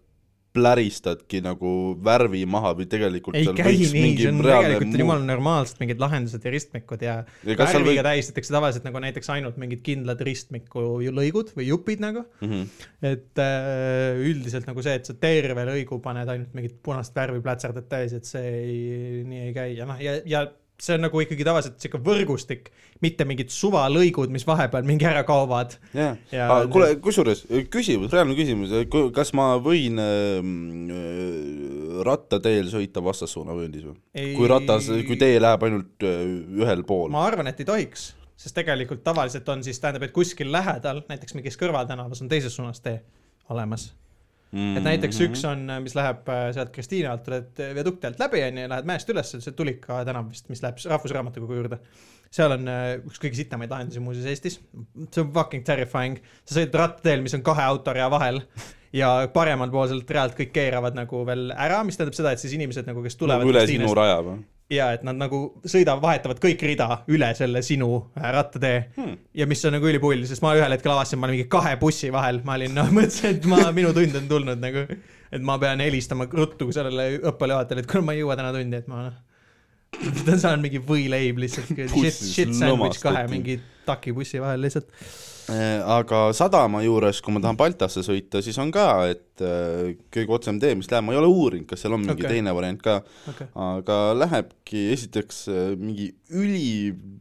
Speaker 2: pläristadki nagu värvi maha või tegelikult
Speaker 1: ei
Speaker 2: seal
Speaker 1: käi
Speaker 2: võiks
Speaker 1: nii ,
Speaker 2: mingi
Speaker 1: see on
Speaker 2: reaalne
Speaker 1: tegelikult on
Speaker 2: muu-
Speaker 1: jumala normaalselt mingid lahendused ja ristmikud ja
Speaker 2: Ja kas seal
Speaker 1: värviga
Speaker 2: võib-
Speaker 1: tähistatakse tavaliselt nagu näiteks ainult mingid kindlad ristmiku ju- lõigud või jupid nagu .
Speaker 2: Mhm.
Speaker 1: et äh, üldiselt nagu see , et sa terve lõigu paned ainult mingit punast värvi plätserdad täis , et see ei , nii ei käi ja noh , ja , ja see on nagu ikkagi tavaliselt sihuke võrgustik , mitte mingid suvalõigud , mis vahepeal mingi ära kaovad .
Speaker 2: jah
Speaker 1: Ja
Speaker 2: yeah. ,
Speaker 1: need-
Speaker 2: kuule , kusjuures eh, küsimus , reaalne küsimus , kas ma võin äh, rattateel sõita vastassuunavööndis või ?
Speaker 1: Ei-
Speaker 2: kui ratas , kui tee läheb ainult äh, ühel pool .
Speaker 1: ma arvan , et ei tohiks , sest tegelikult tavaliselt on siis , tähendab , et kuskil lähedal , näiteks mingis kõrvaltänavas on teises suunas tee olemas . et
Speaker 2: Mhm.
Speaker 1: näiteks üks on , mis läheb äh, sealt Kristiine alt , tuled viadukti alt läbi , onju , lähed mäest üles , see on Tulika tänav vist , mis läheb Rahvusraamatukogu juurde . seal on äh, üks kõige sitamaid lahendusi muuseas Eestis . see on fucking terrifying , sa sõidad rattateel , mis on kahe autorea vahel ja paremal pool sealt realt kõik keeravad nagu veel ära , mis tähendab seda , et siis inimesed nagu , kes tulevad
Speaker 2: nagu üle
Speaker 1: Kristiinest-
Speaker 2: sinu raja või ?
Speaker 1: ja et nad nagu sõidavad , vahetavad kõik rida üle selle sinu äh, rattatee hmm. ja mis on nagu ülipull , sest ma ühel hetkel avastasin , ma olin mingi kahe bussi vahel , ma olin , noh , mõtlesin , et ma , minu tund on tulnud nagu , et ma pean helistama ruttu sellele õppealajuhatajale , et kuule , ma ei jõua täna tundi , et ma noh , saan mingi võileib lihtsalt , shit ,
Speaker 2: Bussis
Speaker 1: shit sandwich kahe
Speaker 2: lõmastati.
Speaker 1: mingi takibussi vahel lihtsalt .
Speaker 2: Äh, aga sadama juures , kui ma tahan Baltasse sõita , siis on ka , et äh, kõige otsem tee , mis läheb , ma ei ole uurinud , kas seal on mingi
Speaker 1: Okei.
Speaker 2: okay. teine variant ka ,
Speaker 1: okei ,
Speaker 2: aga lähebki esiteks äh, mingi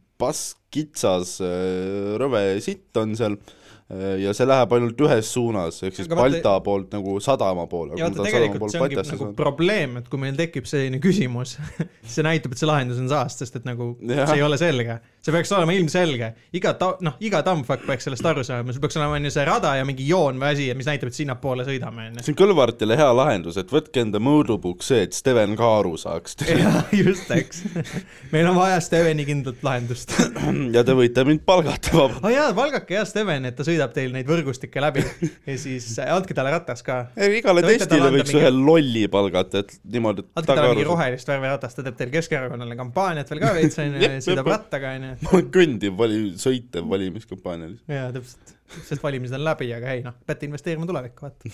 Speaker 2: ülipaskitsas äh, rõve sitt on seal äh, ja see läheb ainult ühes suunas , ehk siis
Speaker 1: Aga vaata-
Speaker 2: Balta poolt nagu sadama poole .
Speaker 1: ja vaata , tegelikult see ongi nagu probleem , et kui meil tekib selline küsimus , see näitab , et see lahendus on saast , sest et nagu ja.
Speaker 2: Jah.
Speaker 1: see ei ole selge . see peaks olema ilmselge , iga ta- , noh , iga tammfakk peaks sellest aru saama , sul peaks olema onju see rada ja mingi joon või asi , mis näitab , et sinnapoole sõidame onju .
Speaker 2: see on Kõlvartile hea lahendus , et võtke enda mõõdupuuk see , et Steven ka aru saaks .
Speaker 1: jah , just , eks . meil on vaja Steveni kindlat lahendust .
Speaker 2: ja te võite mind palgata vabalt .
Speaker 1: aa jaa , valgake hea Steven , et ta sõidab teil neid võrgustikke läbi ja siis äh, andke talle ratas ka .
Speaker 2: igale
Speaker 1: Te võite talle
Speaker 2: testile
Speaker 1: anda
Speaker 2: võiks
Speaker 1: mingi-
Speaker 2: ühe lolli palgata , et niimoodi et
Speaker 1: andke talle mingi
Speaker 2: saaks.
Speaker 1: rohelist värviratast , ta teeb teil Keskerakonnale kampaaniat veel ka veits onju
Speaker 2: Jep, , jep,
Speaker 1: sõidab
Speaker 2: jep.
Speaker 1: rattaga onju .
Speaker 2: ma olen kõndiv vali- , sõitev valimiskampaanial ,
Speaker 1: jaa , täpselt , sest valimised on läbi , aga ei noh , peate investeerima tulevikku , vaata .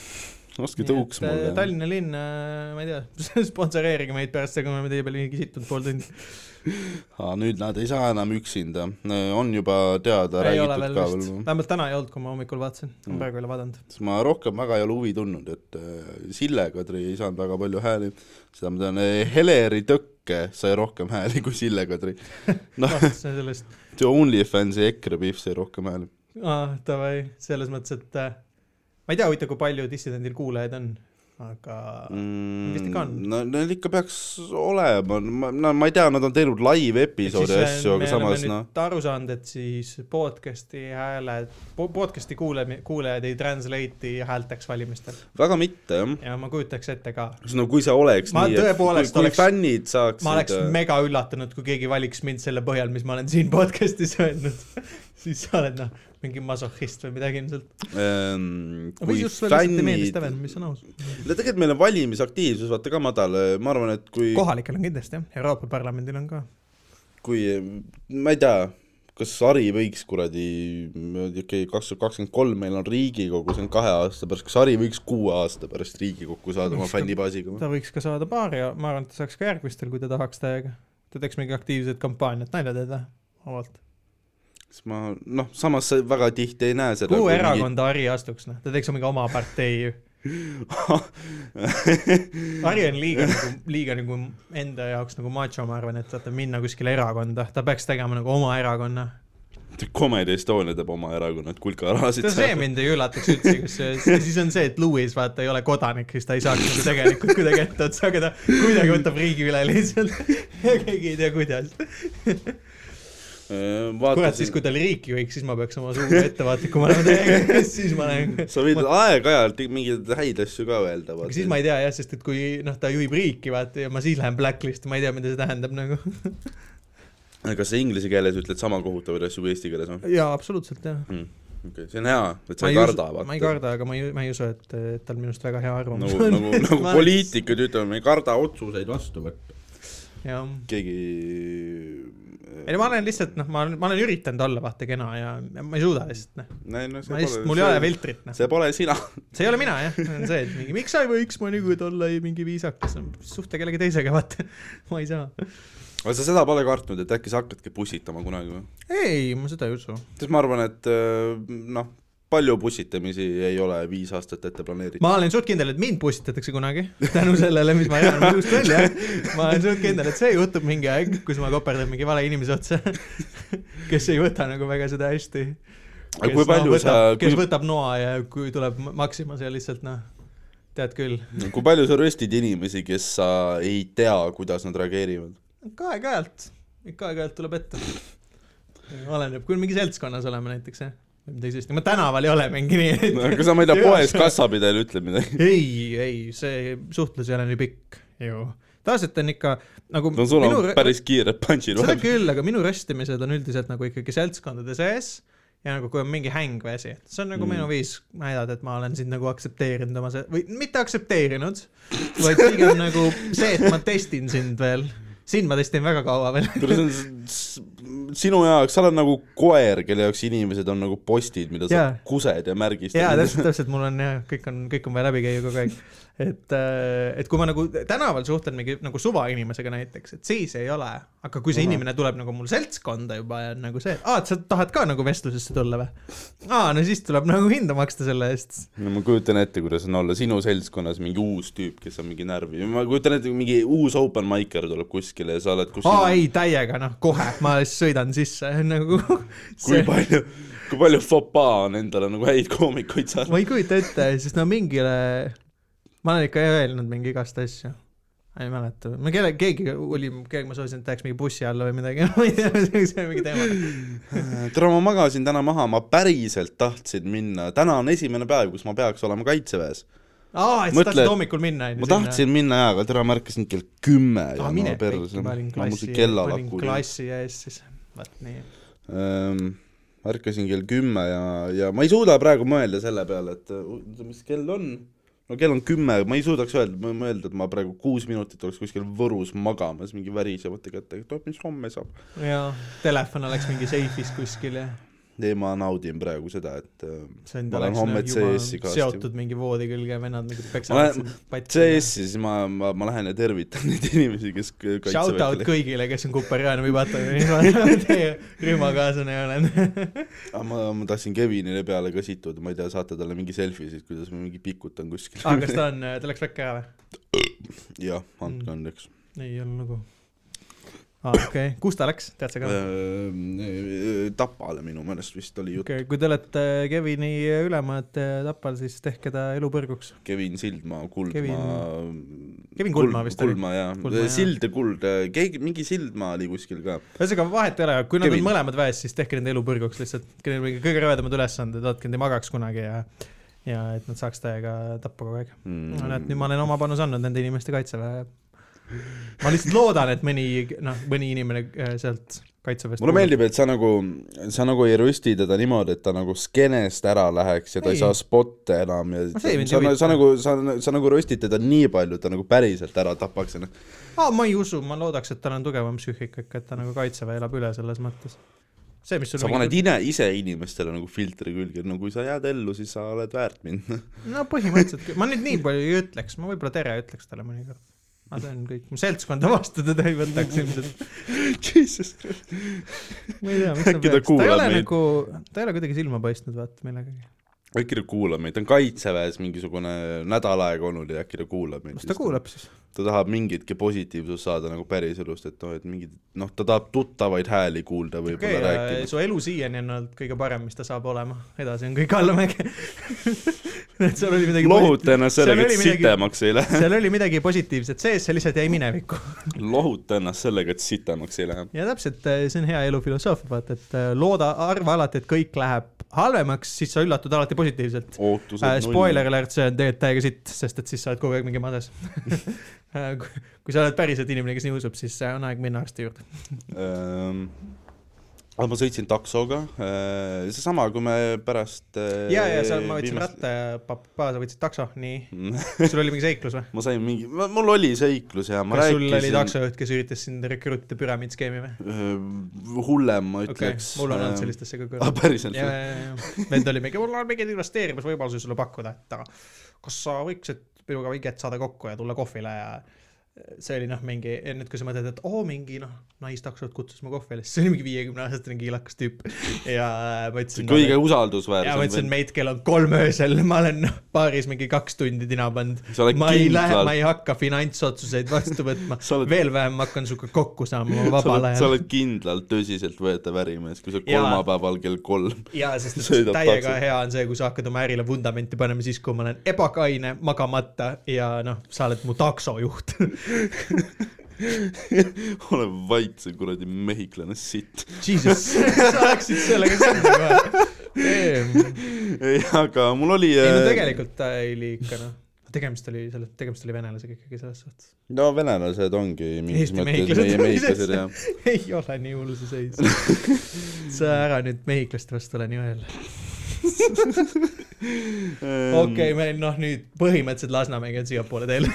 Speaker 2: oska tõuks mulle .
Speaker 1: äh, Tallinna linn , ma ei tea , sponsoreerige meid pärast seda , kui me teie peale mingi situnud pool tundi .
Speaker 2: aa , nüüd nad ei saa enam üksinda , on juba teada
Speaker 1: ei ole
Speaker 2: räägitud
Speaker 1: veel
Speaker 2: ka
Speaker 1: vist ,
Speaker 2: veel , Mm.
Speaker 1: vähemalt täna ei olnud , kui ma hommikul vaatasin , ma praegu ei ole vaadanud .
Speaker 2: ma rohkem väga ei ole huvi tundnud , et äh, Sille Kadri ei saanud väga palju hääli , seda ma tean , Heleri Tõkke sai rohkem hääli kui Sille Kadri . noh ,
Speaker 1: vaatasin sellest ,
Speaker 2: see OnlyFansi EKRE Pihv sai rohkem hääli .
Speaker 1: Ah, davai , selles mõttes , et äh, ma ei tea , huvitav , kui palju dissidendil kuulajaid on , aga
Speaker 2: Mm,
Speaker 1: Vist ikka on.
Speaker 2: no neil ikka peaks olema , ma , no ma ei tea , nad on teinud live episoode ja
Speaker 1: Ehk siis,
Speaker 2: asju ,
Speaker 1: äh, me oleme
Speaker 2: aga samas
Speaker 1: nüüd
Speaker 2: noh ,
Speaker 1: aru saanud , et siis podcast'i hääled , podcast'i kuule- , kuulajaid ei translate'i häälteks valimistel
Speaker 2: väga mitte jah .
Speaker 1: ja ma kujutaks ette ka
Speaker 2: sest no kui see oleks
Speaker 1: Ma
Speaker 2: nii , et kui,
Speaker 1: tõepoolest
Speaker 2: kui
Speaker 1: oleks-
Speaker 2: oleks, fännid saaksid
Speaker 1: ma oleks
Speaker 2: äh,
Speaker 1: mega üllatunud , kui keegi valiks mind selle põhjal , mis ma olen siin podcast'is öelnud . siis sa oled noh , mingi masohhist või midagi ilmselt .
Speaker 2: ähm,
Speaker 1: või
Speaker 2: kui
Speaker 1: just sulle lihtsalt ei meeldi
Speaker 2: fännid ,
Speaker 1: Steven , mis on aus .
Speaker 2: no tegelikult meil on valimisaktiivsus vaata ka madal , ma arvan , et kui ,
Speaker 1: kohalikel on kindlasti jah , Euroopa Parlamendil on ka .
Speaker 2: kui ma ei tea , kas Ari võiks kuradi , okei okay, , kaks tuhat kakskümmend kolm meil on Riigikogu , see on kahe aasta pärast , kas Ari võiks kuue aasta pärast Riigikokku saada oma
Speaker 1: Võiks ka-
Speaker 2: fännibaasiga või ?
Speaker 1: ta võiks ka saada paari ja ma arvan , et ta saaks ka järgmistel , kui ta tahaks täiega . ta teeks mingi aktiivset kampaaniat , nalja teed või ? vabalt .
Speaker 2: siis ma noh , samas sa väga tihti ei näe seda .
Speaker 1: kuhu erakonda Ari astuks , noh , ta teeks mingi oma partei ju . Harri on liiga nagu , liiga nagu enda jaoks nagu macho , ma arvan , et vaata minna kuskile erakonda , ta peaks tegema nagu oma erakonna .
Speaker 2: Comedy Estonia teeb oma erakonna , et kulkarahasid
Speaker 1: see mind ei üllataks üldse , kusjuures ja siis on see , et Lewis vaata ei ole kodanik , siis ta ei saaks nagu tegelikult kuidagi etteotsa , aga ta kuidagi võtab riigi üle lihtsalt ja keegi ei tea , kuidas .
Speaker 2: Äh,
Speaker 1: kurat , siis
Speaker 2: vaatasin ,
Speaker 1: kui tal riiki võiks , siis ma peaks oma suu ettevaatlikum olema täiega , siis ma olen .
Speaker 2: sa võid aeg-ajalt mingeid häid asju ka öelda ,
Speaker 1: aga siis ma ei
Speaker 2: vaata .
Speaker 1: tea jah , sest et kui noh , ta juhib riiki vaata ja ma siis lähen blacklist'i , ma ei tea , mida see tähendab nagu .
Speaker 2: kas sa inglise keeles ütled sama kohutavaid asju kui eesti keeles on ?
Speaker 1: jaa , absoluutselt jah .
Speaker 2: okei , see on hea , et sa
Speaker 1: ma
Speaker 2: ei karda ,
Speaker 1: usu ,
Speaker 2: vaata .
Speaker 1: ma ei karda , aga ma ei , ma ei usu , et et tal minust väga hea arvamus
Speaker 2: nagu , nagu ,
Speaker 1: et
Speaker 2: nagu
Speaker 1: ma-
Speaker 2: poliitikud ütlevad , me ei karda otsuseid vastu võtta .
Speaker 1: jah .
Speaker 2: keegi .
Speaker 1: ei no ma olen lihtsalt noh , ma olen , ma olen üritanud olla vaata kena ja ja ma ei suuda lihtsalt noh ,
Speaker 2: ei no see
Speaker 1: ma lihtsalt , mul ei ole
Speaker 2: pole ,
Speaker 1: veltrit noh ,
Speaker 2: see pole sina .
Speaker 1: see ei ole mina jah , see on see , et mingi miks sa ei võiks mõnikord olla ei, mingi viisakas , suhtle kellegi teisega vaata , ma ei saa .
Speaker 2: aga sa seda pole kartnud , et äkki sa hakkadki pussitama kunagi või ?
Speaker 1: ei , ma seda ei usu .
Speaker 2: sest ma arvan , et äh, noh , palju pussitamisi ei ole viis aastat ette planeeritud .
Speaker 1: ma olen suht kindel , et mind pussitatakse kunagi tänu sellele , mis ma jagan oma suust välja . ma olen suht kindel , et see juhtub mingi aeg , kus ma koperdan mingi vale inimese otsa , kes ei võta nagu väga seda hästi .
Speaker 2: aga kui palju sa ,
Speaker 1: kes
Speaker 2: kui ,
Speaker 1: võtab noa ja kui tuleb maksima see lihtsalt noh , tead küll ,
Speaker 2: kui palju sa röstid inimesi , kes sa ei tea , kuidas nad reageerivad ?
Speaker 1: ikka aeg-ajalt , ikka aeg-ajalt tuleb ette . oleneb , kui mingi seltskonnas oleme näiteks jah , teisest , ma tänaval ei ole mingi nii , et
Speaker 2: aga sa , ma ei tea ,
Speaker 1: Jaa,
Speaker 2: poes
Speaker 1: see-
Speaker 2: kassapidajal ütleb midagi .
Speaker 1: ei , ei , see suhtlus ei ole nii pikk ju . tavaliselt on ikka nagu
Speaker 2: no sul on
Speaker 1: rö-
Speaker 2: päris kiired punch'id
Speaker 1: seda
Speaker 2: vahel .
Speaker 1: küll , aga minu röstimised on üldiselt nagu ikkagi seltskondade sees ja nagu kui on mingi häng või asi , et see on nagu
Speaker 2: Mm.
Speaker 1: mm. minu viis näidata , et ma olen sind nagu aktsepteerinud oma se- , või mitte aktsepteerinud , vaid pigem nagu see , et ma testin sind veel . sind ma testin väga kaua veel .
Speaker 2: kuule , see on s- s- sinu jaoks , sa oled nagu koer , kelle jaoks inimesed on nagu postid , mida sa
Speaker 1: Jaa.
Speaker 2: kused ja märgistad .
Speaker 1: jaa , täpselt , täpselt , mul on jah , kõik on , kõik on vaja läbi käia kogu aeg . et , et kui ma nagu tänaval suhtlen mingi nagu suvainimesega näiteks , et siis ei ole , aga kui see
Speaker 2: Ahah.
Speaker 1: inimene tuleb nagu mul seltskonda juba ja on nagu see , et aa , et sa tahad ka nagu vestlusesse tulla või ? aa , no siis tuleb nagu hinda maksta selle eest .
Speaker 2: no ma kujutan ette , kuidas on olla sinu seltskonnas mingi uus tüüp , kes on mingi närvi , ma kujutan ette , mingi uus open micer tuleb kuskile ja sa oled
Speaker 1: aa
Speaker 2: kuskil
Speaker 1: ei , täiega noh , kohe ma lihtsalt sõidan sisse nagu .
Speaker 2: kui palju , kui palju fopa on endale nagu häid koomikuid saanud .
Speaker 1: ma ei kujuta ette , sest no mingile , ma olen ikka öelnud mingi igast asju . ma ei mäleta , ma kelle , keegi oli , keegi ma soovisin , et läheks mingi bussi alla või midagi , ma ei tea , see oli mingi teema .
Speaker 2: tere , ma magasin täna maha , ma päriselt tahtsin minna , täna on esimene päev , kus ma peaks olema kaitseväes .
Speaker 1: aa , et sa
Speaker 2: Mõtle,
Speaker 1: tahtsid hommikul minna , onju .
Speaker 2: ma tahtsin minna jaa , aga tere , ma ärkasin kell kümme
Speaker 1: sinna .
Speaker 2: ja
Speaker 1: aa , Ah, mine pekki , ma olin
Speaker 2: ma
Speaker 1: klassi
Speaker 2: muidugi ,
Speaker 1: ma
Speaker 2: kella
Speaker 1: olin
Speaker 2: lakku .
Speaker 1: klassi ees siis , vot nii .
Speaker 2: Ehm, ärkasin kell kümme ja , ja ma ei suuda praegu mõelda selle peale , et uh, oota, mis kell on . no kell on kümme , ma ei suudaks öelda , mõelda , et ma praegu kuus minutit oleks kuskil Võrus magamas mingi värisevate kätega , et oot , mis homme saab .
Speaker 1: jaa , telefon oleks mingi seifis kuskil ja
Speaker 2: ei , ma naudin praegu seda , et uh,
Speaker 1: see on nagu
Speaker 2: Ma olen homme CS-i kaasti.
Speaker 1: seotud mingi voodi külge ja vennad mingi
Speaker 2: Ma
Speaker 1: peksavad
Speaker 2: lähen-
Speaker 1: sind patsi .
Speaker 2: CS-i siis ma, ma , ma lähen ja tervitan neid inimesi , kes k-
Speaker 1: Shout out
Speaker 2: kaitseväel .
Speaker 1: kõigile , kes on Kuperjaani või Batoni teie rühmakaaslane olen .
Speaker 2: Ah, ma , ma tahtsin Kevinile peale ka situda , ma ei tea , saata talle mingi selfie siis , kuidas ma mingi pikutan kuskil .
Speaker 1: aa , kas ta on , ta läks väkke ära või ?
Speaker 2: jah , andke
Speaker 1: Mm.
Speaker 2: andeks .
Speaker 1: ei olnud nagu . aa , okei okay. , kus ta läks , tead sa ka ?
Speaker 2: Äh, Tapale minu meelest vist oli jutt ,
Speaker 1: okei , kui te olete Kevini ülemad eh, Tapal , siis tehke ta elupõrguks .
Speaker 2: Kevin Sildmaa , Kuldmaa
Speaker 1: Kevin- . Kevin Kuldmaa vist oli.
Speaker 2: Kuldmaa
Speaker 1: Kuldmaa,
Speaker 2: jaa ,
Speaker 1: jah.
Speaker 2: Sild ja Kuld , keegi , mingi Sildmaa oli kuskil ka .
Speaker 1: ühesõnaga vahet ei ole , kui nad
Speaker 2: Kevin.
Speaker 1: on mõlemad väes , siis tehke nende elupõrguks lihtsalt , kellel on mingi kõige rõvedamad ülesanded , vaadake , et ei magaks kunagi ja ja et nad saaks täiega tappa kogu aeg .
Speaker 2: Mm.
Speaker 1: no näed , nüüd ma olen oma panuse andnud nende inimeste kaitseväe . ma lihtsalt loodan , et mõni , noh , mõni inimene eh, sealt kaitseväest
Speaker 2: mulle meeldib , et sa nagu , sa nagu ei rösti teda niimoodi , et ta nagu skeenest ära läheks ja ta ei,
Speaker 1: Ei.
Speaker 2: ei saa spotte enam ja
Speaker 1: No see mind ei
Speaker 2: sa,
Speaker 1: huvita.
Speaker 2: sa nagu , sa , sa nagu röstid teda nii palju , et ta nagu päriselt ära tapaks noh, ennast .
Speaker 1: aa , ma ei usu , ma loodaks , et tal on tugevam psüühika ikka , et ta nagu kaitseväe elab üle selles mõttes . see , mis sul
Speaker 2: sa paned ine, ise inimestele nagu filtri külge , no kui sa jääd ellu , siis sa oled väärt mind .
Speaker 1: no põhimõtteliselt küll , ma nüüd nii palju ei ütleks , ma võib-olla tere ütleks talle mõnikord . ma teen kõik , mu seltskonda vastu teda ei võtaks ilmselt .
Speaker 2: Jesus .
Speaker 1: ma ei tea , miks ta
Speaker 2: Äkki ta
Speaker 1: peaks , ta ei
Speaker 2: kuulab
Speaker 1: ole
Speaker 2: meid.
Speaker 1: nagu , ta ei ole kuidagi silma paistnud vaata millegagi .
Speaker 2: äkki ta kuulab meid , ta on kaitseväes mingisugune nädal aega olnud ja äkki ta kuulab meid .
Speaker 1: kas ta kuulab siis ?
Speaker 2: ta tahab mingitki positiivsust saada nagu päriselust , et noh , et mingid , noh , ta tahab tuttavaid hääli kuulda
Speaker 1: okei
Speaker 2: võib-olla okay, , rääkimas .
Speaker 1: su elu siiani on olnud kõige parem , mis ta saab olema , edasi on kõik allamäge . et seal oli midagi posi-
Speaker 2: lohuta ennast sellega ,
Speaker 1: seal
Speaker 2: et
Speaker 1: oli midagi-
Speaker 2: sitemaks ei lähe .
Speaker 1: seal oli midagi positiivset sees , see lihtsalt jäi minevikku .
Speaker 2: lohuta ennast sellega , et sitemaks ei lähe .
Speaker 1: ja täpselt , see on hea elufilosoofia , vaata , et äh, looda , arva alati , et kõik läheb halvemaks , siis sa üllatud alati positiivselt .
Speaker 2: ootused
Speaker 1: Äh, spoiler . alert , see on tegelikult täiega sitt , sest et siis sa oled kogu aeg mingi mades . äh, kui sa oled päriselt inimene , kes nii usub , siis äh, on aeg minna arsti juurde .
Speaker 2: Ähm, aga ma sõitsin taksoga , seesama , kui me pärast äh,
Speaker 1: ja , ja seal ma võtsin ratta ja papaa , sa võtsid takso , nii .
Speaker 2: ratta .
Speaker 1: sul oli mingi seiklus või ?
Speaker 2: ma sain mingi , mul oli seiklus ja ma
Speaker 1: kas sul oli
Speaker 2: rääkisin
Speaker 1: taksojuht , kes üritas sind rekruutida püramiidskeemi või ?
Speaker 2: öö, äh, hullem , ma
Speaker 1: okei
Speaker 2: ütleks ,
Speaker 1: mul on olnud . sellist asja ka
Speaker 2: ah ,
Speaker 1: kõrval .
Speaker 2: päriselt
Speaker 1: ja ,? ja , ja , vend oli mingi , mul on mingeid investeerimisvõimalusi sulle pakkuda , et aga kas sa võiksid minuga mingi hetk saada kokku ja tulla kohvile ja see oli noh , mingi , nüüd kui sa mõtled , et oo , mingi noh , naistaksojuht kutsus mu kohvile , siis see oli mingi viiekümne aastane kiilakas tüüp ja ma ütlesin .
Speaker 2: kõige
Speaker 1: ja ma ütlesin ,
Speaker 2: usaldusväärsem .
Speaker 1: meit , kell on kolm öösel , ma olen noh, baaris mingi kaks tundi tina pannud
Speaker 2: Sa oled .
Speaker 1: ma ei lähe ,
Speaker 2: kindlalt-
Speaker 1: ma ei hakka finantsotsuseid vastu võtma
Speaker 2: Sa oled- ,
Speaker 1: veel vähem ma hakkan sinuga kokku saama oma
Speaker 2: sa
Speaker 1: vabal
Speaker 2: oled , sa
Speaker 1: ajal .
Speaker 2: oled kindlalt tõsiseltvõetav ärimees , kui sa
Speaker 1: Jaa.
Speaker 2: kolmapäeval kell kolm
Speaker 1: ja sest et
Speaker 2: sõidad
Speaker 1: täiega
Speaker 2: taksot.
Speaker 1: hea on see , kui sa hakkad oma ärile vundamenti panema siis , kui ma olen ebakaine , magamata ja noh , sa oled mu taksojuht .
Speaker 2: ole vait , see kuradi mehhiklane sitt .
Speaker 1: Jesus , sa läksid sellega sinna kohe . ei
Speaker 2: ei , aga mul oli . äh,
Speaker 1: no tegelikult ta oli ikka noh , tegemist oli selle , tegemist oli venelasega ikkagi selles suhtes .
Speaker 2: no venelased ongi mingis
Speaker 1: Eesti mehhiklased
Speaker 2: mõttes meie
Speaker 1: on
Speaker 2: mehhiklased
Speaker 1: isegi-
Speaker 2: ja
Speaker 1: ei ole nii hull see seis . sa ära nüüd mehhiklaste vastu ole nii õel .
Speaker 2: Ehm,
Speaker 1: okei okay, , meil noh , nüüd põhimõtteliselt Lasnamägi on siiapoole teel .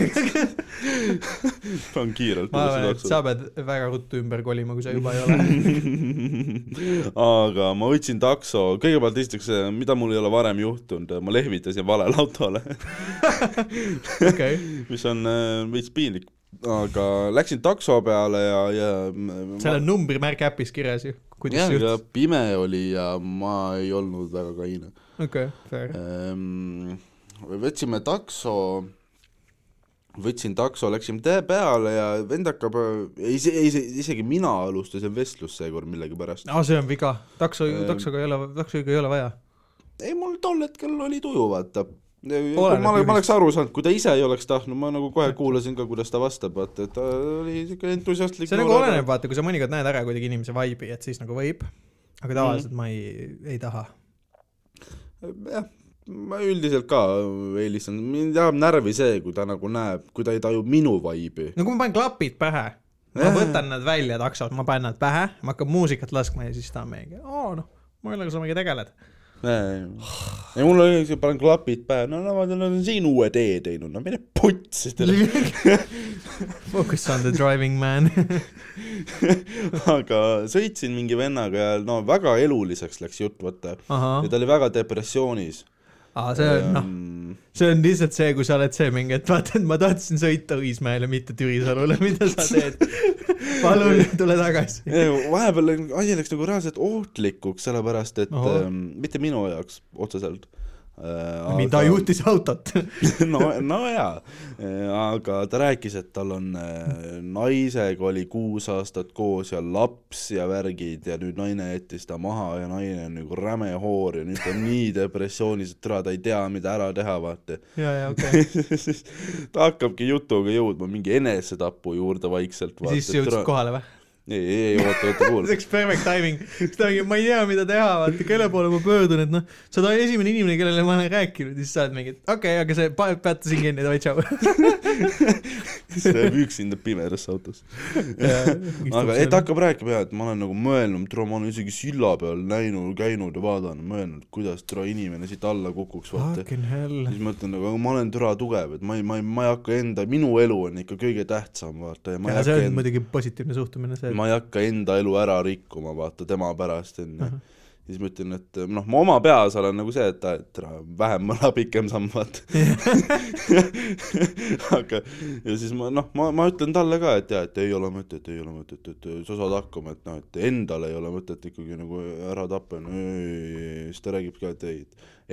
Speaker 2: ta on kiirelt
Speaker 1: ma arvan , et sa pead väga ruttu ümber kolima , kui sa juba ei ole .
Speaker 2: aga ma võtsin takso , kõigepealt esiteks , mida mul ei ole varem juhtunud , ma lehvitasin valele autole ,
Speaker 1: okei ,
Speaker 2: mis on äh, veits piinlik , aga läksin takso peale ja , ja ma-
Speaker 1: seal on numbrimärk äpis kirjas ju , kuidas
Speaker 2: jah,
Speaker 1: see
Speaker 2: ja
Speaker 1: juhtus .
Speaker 2: pime oli ja ma ei olnud väga kaine .
Speaker 1: okei , fair .
Speaker 2: Ehm, võtsime takso , võtsin takso , läksime tee peale ja vend hakkab , ei see , ei see , isegi mina alustasin vestlust seekord millegipärast .
Speaker 1: aa , Ah, see on viga , takso
Speaker 2: Ähm. ,
Speaker 1: taksoga ei ole , taksoga ei ole vaja .
Speaker 2: ei , mul tol hetkel oli tuju , vaata . ma
Speaker 1: Oleneb
Speaker 2: ole-
Speaker 1: juhist.
Speaker 2: ma oleks aru saanud , kui ta ise ei oleks tahtnud , ma nagu kohe kuulasin ka , kuidas ta vastab , vaata , et ta oli siuke entusiastlik .
Speaker 1: see nagu oleneb , vaata , kui sa mõnikord näed ära kuidagi inimese vibe'i , et siis nagu võib . aga tavaliselt ma ei , ei taha .
Speaker 2: jah , ma üldiselt ka eelistan , mind ajab närvi see , kui ta nagu näeb , kui ta ei taju minu vaibi .
Speaker 1: no kui ma panen klapid pähe , ma
Speaker 2: Jah.
Speaker 1: võtan nad välja taksot , ma panen nad pähe , ma hakkan muusikat laskma ja siis ta on mingi , aa noh , millega sa mingi tegeled .
Speaker 2: ei , mul oli see , panen klapid pähe , no no ma olen siin uue tee teinud , no mine putsi teile .
Speaker 1: Focus on the driving man .
Speaker 2: aga sõitsin mingi vennaga ja no väga eluliseks läks jutt , vaata .
Speaker 1: ahah
Speaker 2: ja , ta oli väga depressioonis . mm,
Speaker 1: aa see on noh , see on lihtsalt see , kui sa oled see mingi , et vaata , et ma tahtsin sõita Õismäele , mitte Türisalule , mida sa teed . palun tule tagasi .
Speaker 2: vahepeal asi läks nagu reaalselt ohtlikuks , sellepärast et
Speaker 1: Ahah.
Speaker 2: ähm, mitte minu jaoks otseselt . Äh,
Speaker 1: mida ? juhtis autot ?
Speaker 2: no , no jaa , aga ta rääkis , et tal on äh, naisega oli kuus aastat koos ja laps ja värgid ja nüüd naine jättis ta maha ja naine on nagu räme hoor ja nüüd ta on nii depressioonis , et ära ta ei tea , mida ära teha , vaata .
Speaker 1: ja , ja okei okay. .
Speaker 2: siis ta hakkabki jutuga jõudma mingi enesetapu juurde vaikselt .
Speaker 1: siis jõudsid ? kohale või ?
Speaker 2: ei , ei , ei , oota , oota ,
Speaker 1: see
Speaker 2: kuule .
Speaker 1: oleks perfect timing , siis ta mingi , ma ei tea , mida teha , vaata , kelle poole ma pöördun , et noh , sa oled esimene inimene , kellele ma olen rääkinud ja siis sa oled mingi , et okei okay, , aga see , peata siin kinni , davai , tšau .
Speaker 2: siis läheb üksinda pimedasse autosse . aga et hakkab rääkima jah , et ma olen nagu mõelnud , tule ma olen isegi silla peal näinud , käinud ja vaadanud , mõelnud , kuidas tule inimene siit alla kukuks , vaata .
Speaker 1: Fucking hell .
Speaker 2: siis mõtlen , aga ma olen türa tugev , et ma ei , ma ei , ma ei hakka enda , minu elu on ikka kõige tähtsam , vaata , ja ma ei
Speaker 1: ja see
Speaker 2: hakka
Speaker 1: on
Speaker 2: enda ,
Speaker 1: muidugi positiivne suhtumine , see .
Speaker 2: ma ei hakka enda elu ära rikkuma , vaata , tema pärast , onju . siis ma ütlen , et noh , ma oma peas olen nagu see , et äh, türa vähem mõla , pikem samm , vaata . aga , ja siis ma noh , ma , ma ütlen talle ka , et jaa , et ei ole mõtet , ei ole mõtet , et sa saad hakkama , et noh , et endale ei ole mõtet ikkagi nagu ära tappa , no ei, ei , ei , siis ta räägib ka , et ei , et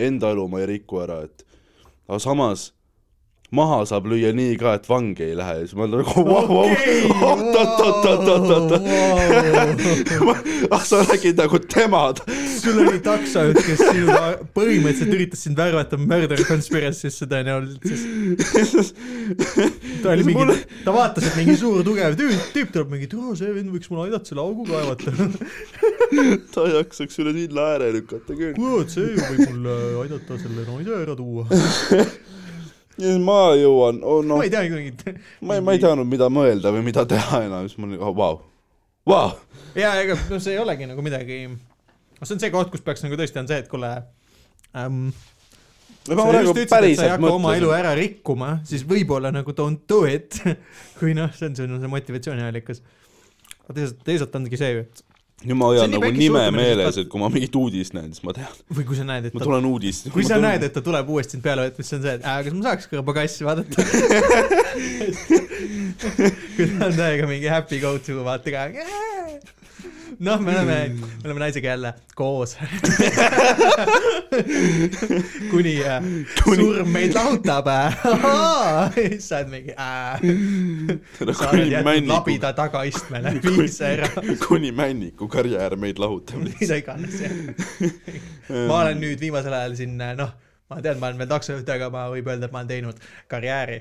Speaker 2: enda elu ma ei riku ära , et aga samas maha saab lüüa nii ka , et vangi ei lähe ja siis ma olen nagu vau , vau , Oh, oot-oot-oot-oot-oot , ah sa räägid nagu tema ,
Speaker 1: sul oli taksojuht , kes sinu põhimõtteliselt üritas sind värvata murder conspiracy'sse tõenäoliselt , sest ta oli mingi , ta vaatas , et mingi suur tugev tüüp , tüüp tuleb mingi , et oo, see vend võiks mulle aidata selle augu kaevata .
Speaker 2: ta ei jaksaks üle silla ääre lükata küll .
Speaker 1: kurat , see ju võib mulle aidata selle naise ära tuua .
Speaker 2: ja siis ma jõuan , oh noh
Speaker 1: ma ei , tea , mingit .
Speaker 2: ma ei , ma ei teadnud , mida mõelda või mida teha enam , siis ma olin , oh vau , Vau ,
Speaker 1: ja ega noh , see ei olegi nagu midagi , no see on see koht , kus peaks nagu tõesti on see , et kuule ähm, .
Speaker 2: ma
Speaker 1: sa
Speaker 2: praegu
Speaker 1: just ütlesid , et sa ei
Speaker 2: nagu päriselt
Speaker 1: hakka oma elu
Speaker 2: mõtlesin .
Speaker 1: ära rikkuma , siis võib-olla nagu don't do it . kui noh , see on sinu see motivatsiooniallikas . aga teisalt , teisalt ongi see ju , et
Speaker 2: nüüd ma
Speaker 1: See on
Speaker 2: hoian
Speaker 1: nii
Speaker 2: nagu
Speaker 1: väike
Speaker 2: nime
Speaker 1: suhtumine,
Speaker 2: meeles ,
Speaker 1: sest
Speaker 2: et kui ma mingit uudist näen , siis ma tean ,
Speaker 1: või kui sa näed , et
Speaker 2: ma
Speaker 1: ta
Speaker 2: tulen uudist .
Speaker 1: kui sa näed , et ta tuleb uuesti sind peale võtma , siis on see , et äh, kas ma saaks kõrbakassi vaadata . kui ta on täiega mingi happy go to , vaata ka . noh , me oleme , me oleme naisega jälle koos . kuni äh, surm meid lahutab . siis sa oled mingi äh, , sa oled jätnud labida tagaistmele , vii see ära .
Speaker 2: kuni männiku karjäär meid lahutab .
Speaker 1: mida iganes , jah . ma olen nüüd viimasel ajal siin noh , ma tean , ma olen veel taksojuht , aga ma võib öelda , et ma olen teinud karjääri .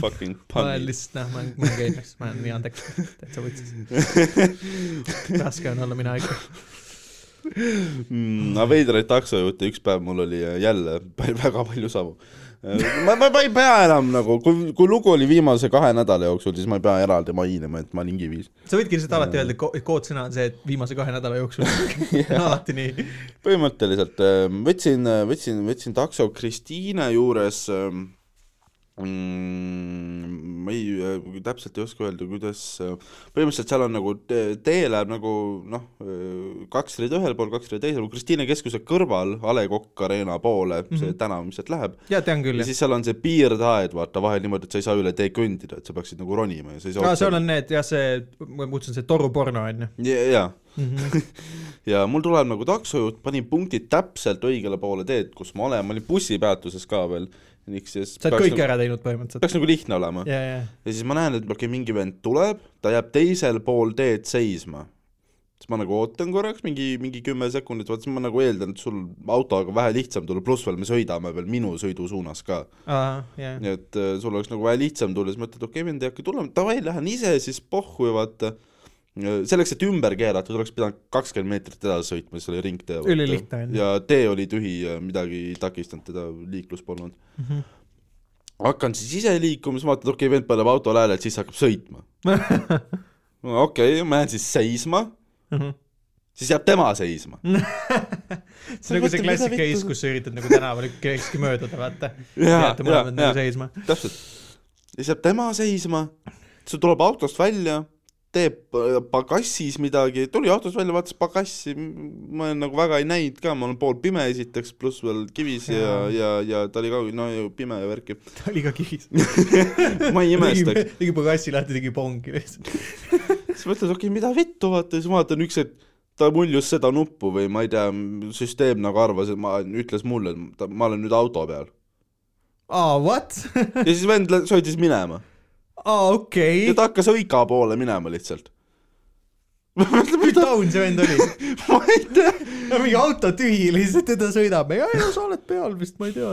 Speaker 2: Fucking
Speaker 1: ma olen
Speaker 2: punny .
Speaker 1: lihtsalt noh , ma olen , ma olen geenius , ma olen nii andekas , täitsa võtsis . raske on olla mina ikka .
Speaker 2: Mm, aga veidraid taksojuhte , üks päev mul oli äh, jälle pa- väga palju samu . ma , ma , ma ei pea enam nagu , kui , kui lugu oli viimase kahe nädala jooksul , siis ma ei pea eraldi mainima , et ma olin kivis .
Speaker 1: sa võidki lihtsalt alati öelda , koodsõna on see , et viimase kahe nädala jooksul . alati nii .
Speaker 2: põhimõtteliselt äh, võtsin , võtsin , võtsin takso Kristiine juures ähm, mm, . ma ei äh, , täpselt ei oska öelda , kuidas äh, , põhimõtteliselt seal on nagu tee tee läheb nagu noh , kaks rida ühel pool , kaks rida teisel pool , Kristiine keskuse kõrval A Le Coq Arena poole mm , -hmm. see tänav , mis sealt läheb .
Speaker 1: ja tean Mhm. küll ,
Speaker 2: ja
Speaker 1: jah .
Speaker 2: siis seal on see piirdeaed , vaata vahel niimoodi , et sa ei saa üle tee kõndida , et sa peaksid nagu ronima ja sa ei saa .
Speaker 1: aa , seal on need jah , see , ma kutsun see toruporno on ju .
Speaker 2: ja , ja
Speaker 1: Mhm.
Speaker 2: ja mul tuleb nagu taksojuht , panin punktid täpselt õigele poole teed , kus ma olen , ma olin bussipeatuses ka veel , ehk siis
Speaker 1: sa oled kõik
Speaker 2: nagu,
Speaker 1: ära teinud põhimõtteliselt .
Speaker 2: peaks nagu lihtne olema yeah.
Speaker 1: ja , ja ,
Speaker 2: ja siis ma näen , et okei okay, , mingi vend tuleb , ta jääb teisel pool teed seisma . siis ma nagu ootan korraks mingi , mingi kümme sekundit , vaata siis ma nagu eeldan , et sul autoga vähe lihtsam tuleb , pluss veel me sõidame veel minu sõidu suunas ka .
Speaker 1: aa , ja ,
Speaker 2: nii et äh, sul oleks nagu vähe lihtsam tulla , siis mõtled , okei okay, , mind ei hakka tulema , davai , lähen ise siis pohhu ja vaata . selleks , et ümber keerata , oleks pidanud kakskümmend meetrit edasi sõitma selle ringtee .
Speaker 1: Ülilihtne on ju.
Speaker 2: ja tee oli tühi ja midagi ei takistanud teda , liiklus polnud mm .
Speaker 1: Mhm.
Speaker 2: -hmm. hakkan siis ise liikuma , siis vaatad , okei okay, , vend paneb autole hääle , et siis hakkab sõitma . okei okay, , ma jään siis seisma ,
Speaker 1: ja .
Speaker 2: siis jääb tema seisma .
Speaker 1: see on nagu see
Speaker 2: Mõtle, mida
Speaker 1: klassika
Speaker 2: vittu
Speaker 1: ees ,
Speaker 2: sa-
Speaker 1: kus sa üritad nagu tänaval kellekski mööduda , vaata .
Speaker 2: Jaa,
Speaker 1: jääte mõlemad
Speaker 2: jaa,
Speaker 1: nagu
Speaker 2: jaa.
Speaker 1: seisma .
Speaker 2: täpselt . ja siis jääb tema seisma , see tuleb autost välja , teeb äh, pagassis midagi , tuli autost välja , vaatas pagassi , ma olen nagu väga ei näinud ka , ma olen poolpime esiteks , pluss veel kivis ja , ja, ja , ja ta oli ka no ju pime ja värki ,
Speaker 1: ta oli ka kihis .
Speaker 2: ma ei imestaks .
Speaker 1: tegi pagassi lahti , tegi pongi lihtsalt .
Speaker 2: siis mõtled , okei okay, , mida vittu , vaata , siis vaatan üks hetk , ta muljus seda nuppu või ma ei tea , süsteem nagu arvas , et ma , ütles mulle , et ta, ma olen nüüd auto peal .
Speaker 1: aa , what ?
Speaker 2: ja siis vend lä- sõitis minema
Speaker 1: aa , okei
Speaker 2: ja . ta hakkas õiga poole minema lihtsalt
Speaker 1: kui taun see vend oli ?
Speaker 2: ma ei tea ,
Speaker 1: mingi auto tühi lihtsalt ja ta sõidab . ja , ja sa oled peal vist , ma ei tea .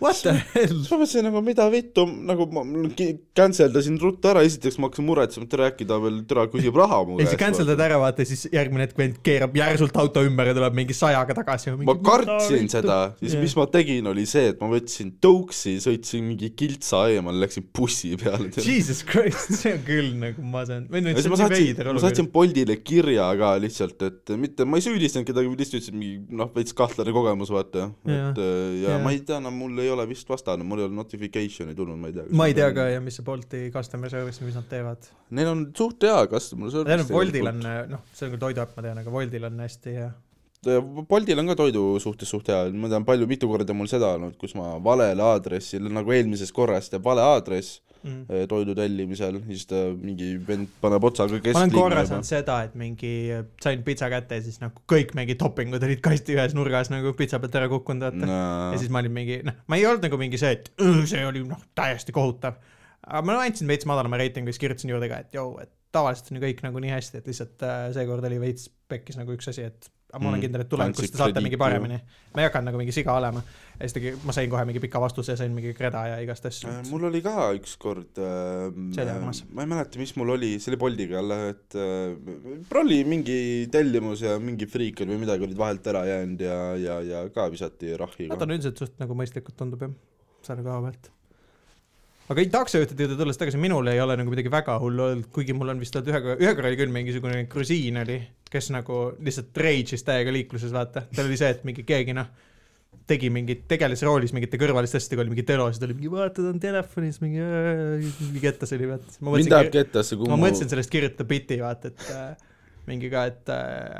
Speaker 1: What the hell ?
Speaker 2: siis ma mõtlesin nagu mida vittu , nagu ma ki- cancel dasin ruttu ära , esiteks ma hakkasin muretsema , et äkki ta veel türa küsib raha mu
Speaker 1: ja siis cancel
Speaker 2: käest .
Speaker 1: dad ära , vaata , siis järgmine hetk vend keerab järsult auto ümber ja tuleb mingi sajaga tagasi .
Speaker 2: ma kartsin seda , siis
Speaker 1: Jah.
Speaker 2: mis ma tegin , oli see , et ma võtsin tõuksi , sõitsin mingi kiltsa eemale , läksin bussi peale . ja
Speaker 1: Jesus Christ , see on küll nagu masendav . või nüüd
Speaker 2: siis
Speaker 1: see
Speaker 2: ma
Speaker 1: on nii
Speaker 2: saatsin ,
Speaker 1: veider
Speaker 2: ma
Speaker 1: olukord .
Speaker 2: saatsin Boldile kirja ka lihtsalt , et mitte , ma ei süüdistanud kedagi , lihtsalt ütlesin mingi noh , veits kahtlane kogemus , vaata .
Speaker 1: Jah.
Speaker 2: et äh, ja
Speaker 1: Jah.
Speaker 2: ma ei tea , no mul ei ole vist vastanud , mul ei ole notification'i tulnud , ma ei tea .
Speaker 1: ma ei tea ka jah , mis see Bolti customer service , mis nad teevad .
Speaker 2: Neil on suht hea customer service .
Speaker 1: tähendab , Woldil on , noh , see on küll toiduäpp , ma tean , aga Woldil on hästi hea .
Speaker 2: Äh, Boltil on ka toidu suhtes suht hea , ma tean palju , mitu korda mul seda olnud , kus ma valele aadressil , nagu eelmises korras , teeb vale aadress
Speaker 1: ma
Speaker 2: eh, toidu tellimisel , siis ta mingi vend paneb otsaga
Speaker 1: olen korra
Speaker 2: kesklinna
Speaker 1: saanud . seda , et mingi sain pitsa kätte ja siis nagu kõik mingi toppingud olid kasti ühes nurgas nagu pitsa pealt ära kukkunud , vaata no. .
Speaker 2: Äh,
Speaker 1: ja siis ma olin mingi , noh , ma ei olnud nagu mingi see , et "Õh, see oli noh , täiesti kohutav . aga ma andsin veits madalama reitingu , siis kirjutasin juurde ka , et joo , et tavaliselt on ju kõik nagu nii hästi , et lihtsalt äh, seekord oli veits pekkis nagu üks asi , et aga ma olen
Speaker 2: Mm,
Speaker 1: kindel , et tulevikus
Speaker 2: andsid
Speaker 1: te saate mingi
Speaker 2: krediiti, jah.
Speaker 1: paremini . ma ei hakanud nagu mingi siga olema . ja siis tegi , ma sain kohe mingi pika vastuse ja sain mingi kreda ja igast asju .
Speaker 2: äh, mul oli ka ükskord äh, ,
Speaker 1: See oli armas.
Speaker 2: ma ei mäleta , mis mul oli , see oli Boltiga jälle , et äh, oli mingi tellimus ja mingi friik oli või midagi olid vahelt ära jäänud ja , ja , ja ka visati
Speaker 1: Nad
Speaker 2: rahiga .
Speaker 1: on üldiselt suht nagu mõistlikud , tundub jah , selle koha pealt . aga ei, taksojuhtide juurde tulles tagasi , minul ei ole nagu midagi väga hullu olnud , kuigi mul on vist olnud ühe korra , ühe korra oli küll mingisugune grusiin oli , kes nagu lihtsalt rage'is täiega liikluses , vaata . tal oli see , et mingi keegi noh , tegi mingit , tegeles roolis mingite kõrvaliste asjadega , oli mingi telo , siis ta oli mingi vaata , ta on telefonis mingi , mingi kettas oli , vaata . ma
Speaker 2: mind
Speaker 1: mõtlesin
Speaker 2: läheb , kettasse , kui
Speaker 1: ma mõtlesin sellest kirjutada biti , vaata , et äh, mingi ka , et ,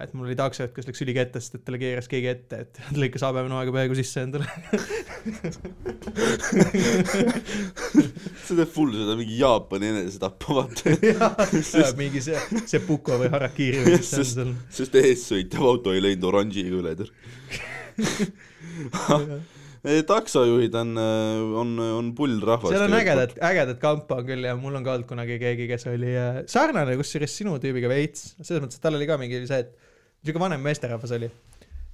Speaker 1: et mul oli taksojuht , kes läks ülikette , sest et talle keeras keegi ette , et ta lõikas habemenoaga peaaegu sisse endale .
Speaker 2: sa teed full seda mingi Jaapani enesetapu , vaata .
Speaker 1: Äh, mingi see , see Puko või Harakiri või mis see on seal .
Speaker 2: sest eessõitev auto ei läinud oranžiga üle , tead . taksojuhid on , on , on pull rahvas .
Speaker 1: seal on ägedad , ägedad kampa on küll ja mul on ka olnud kunagi keegi , kes oli äh, sarnane kusjuures sinu tüübiga veits , selles mõttes , et tal oli ka mingi see , et niisugune vanem meesterahvas oli .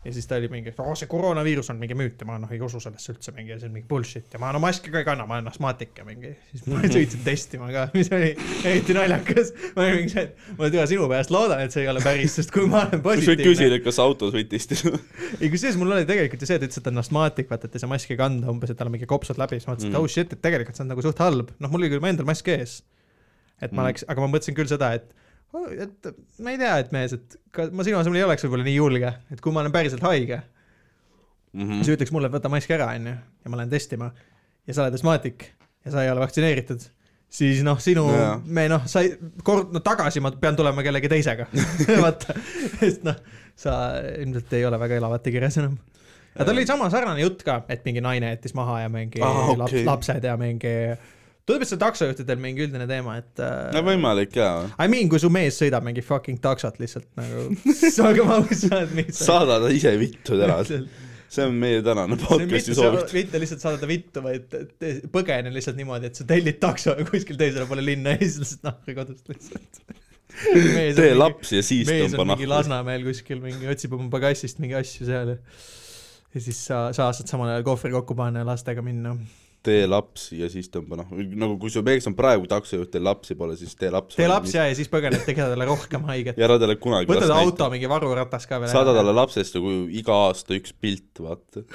Speaker 1: ja siis ta oli mingi , et oo , see koroonaviirus on mingi müüt ja ma noh ei usu sellesse üldse mingi , see on mingi bullshit ja ma no maski ka ei kanna , ma olen astmaatik ja mingi . siis ma sõitsin testima ka , mis oli eriti naljakas . ma olin mingi see , et ma täna sinu pärast loodan , et see ei ole päris , sest kui ma olen
Speaker 2: siis võid
Speaker 1: positiivne .
Speaker 2: küsida , et kas autos võid testida .
Speaker 1: ei , kusjuures mul oli tegelikult ju see , et ütles , et ta on astmaatik , vaata , et ei saa maski kanda umbes , et tal on mingi kopsud läbi , siis ma mõtlesin , et
Speaker 2: Mhm.
Speaker 1: oh shit , et tegelikult see on nagu suht halb . noh , mul oli küll endal mask ees . et ma
Speaker 2: Mhm.
Speaker 1: oleks , aga ma mõtlesin küll seda , et , et ma ei tea , et mees , et ka ma sinu asemel ei oleks võib-olla nii julge , et kui ma olen päriselt haige ,
Speaker 2: Mhm. Mm.
Speaker 1: siis ütleks mulle , et võta mask ära , onju , ja ma lähen testima ja sa oled astmaatik ja sa ei ole vaktsineeritud siis noh , sinu
Speaker 2: Nojah. ,
Speaker 1: me noh , sa ei , kord , no tagasi ma pean tulema kellegi teisega , vaata , sest noh , sa ilmselt ei ole väga elavate kirjas enam . aga tal oli sama sarnane jutt ka , et mingi naine jättis maha ja mingi
Speaker 2: Ah,
Speaker 1: ah,
Speaker 2: okei.
Speaker 1: laps, lapsed ja mingi , tundub , et see on taksojuhtidel mingi üldine teema , et
Speaker 2: no
Speaker 1: äh,
Speaker 2: võimalik jaa .
Speaker 1: I mean , kui su mees sõidab mingi fucking taksot lihtsalt nagu , aga ma mõtlesin , et mis
Speaker 2: saada ta ise vittu täna ,
Speaker 1: Täpselt.
Speaker 2: see on meie tänane
Speaker 1: see on mitte
Speaker 2: podcast'i
Speaker 1: seal ,
Speaker 2: soovitus .
Speaker 1: mitte lihtsalt saadada vittu , vaid te- põgene lihtsalt niimoodi , et sa tellid takso kuskil teisele poole linna ja siis lihtsalt nahku kodust lihtsalt .
Speaker 2: tee lapsi ja siis
Speaker 1: mees
Speaker 2: tõmba
Speaker 1: on mingi
Speaker 2: nahku .
Speaker 1: Lasnamäel kuskil mingi , otsib oma pagassist mingeid asju seal ja ja siis sa , sa saad samal ajal kohvri kokku panna ja lastega minna .
Speaker 2: tee lapsi ja siis tõmba nahku . nagu kui su mees on praegu taksojuht , teil lapsi pole , siis tee laps .
Speaker 1: tee laps . ja , ja siis põgened , tee talle rohkem haiget .
Speaker 2: ja ära talle kunagi
Speaker 1: võta
Speaker 2: last
Speaker 1: ta
Speaker 2: näita .
Speaker 1: auto mingi varuratas ka veel .
Speaker 2: saada talle lapsest nagu iga aasta üks pilt , vaata .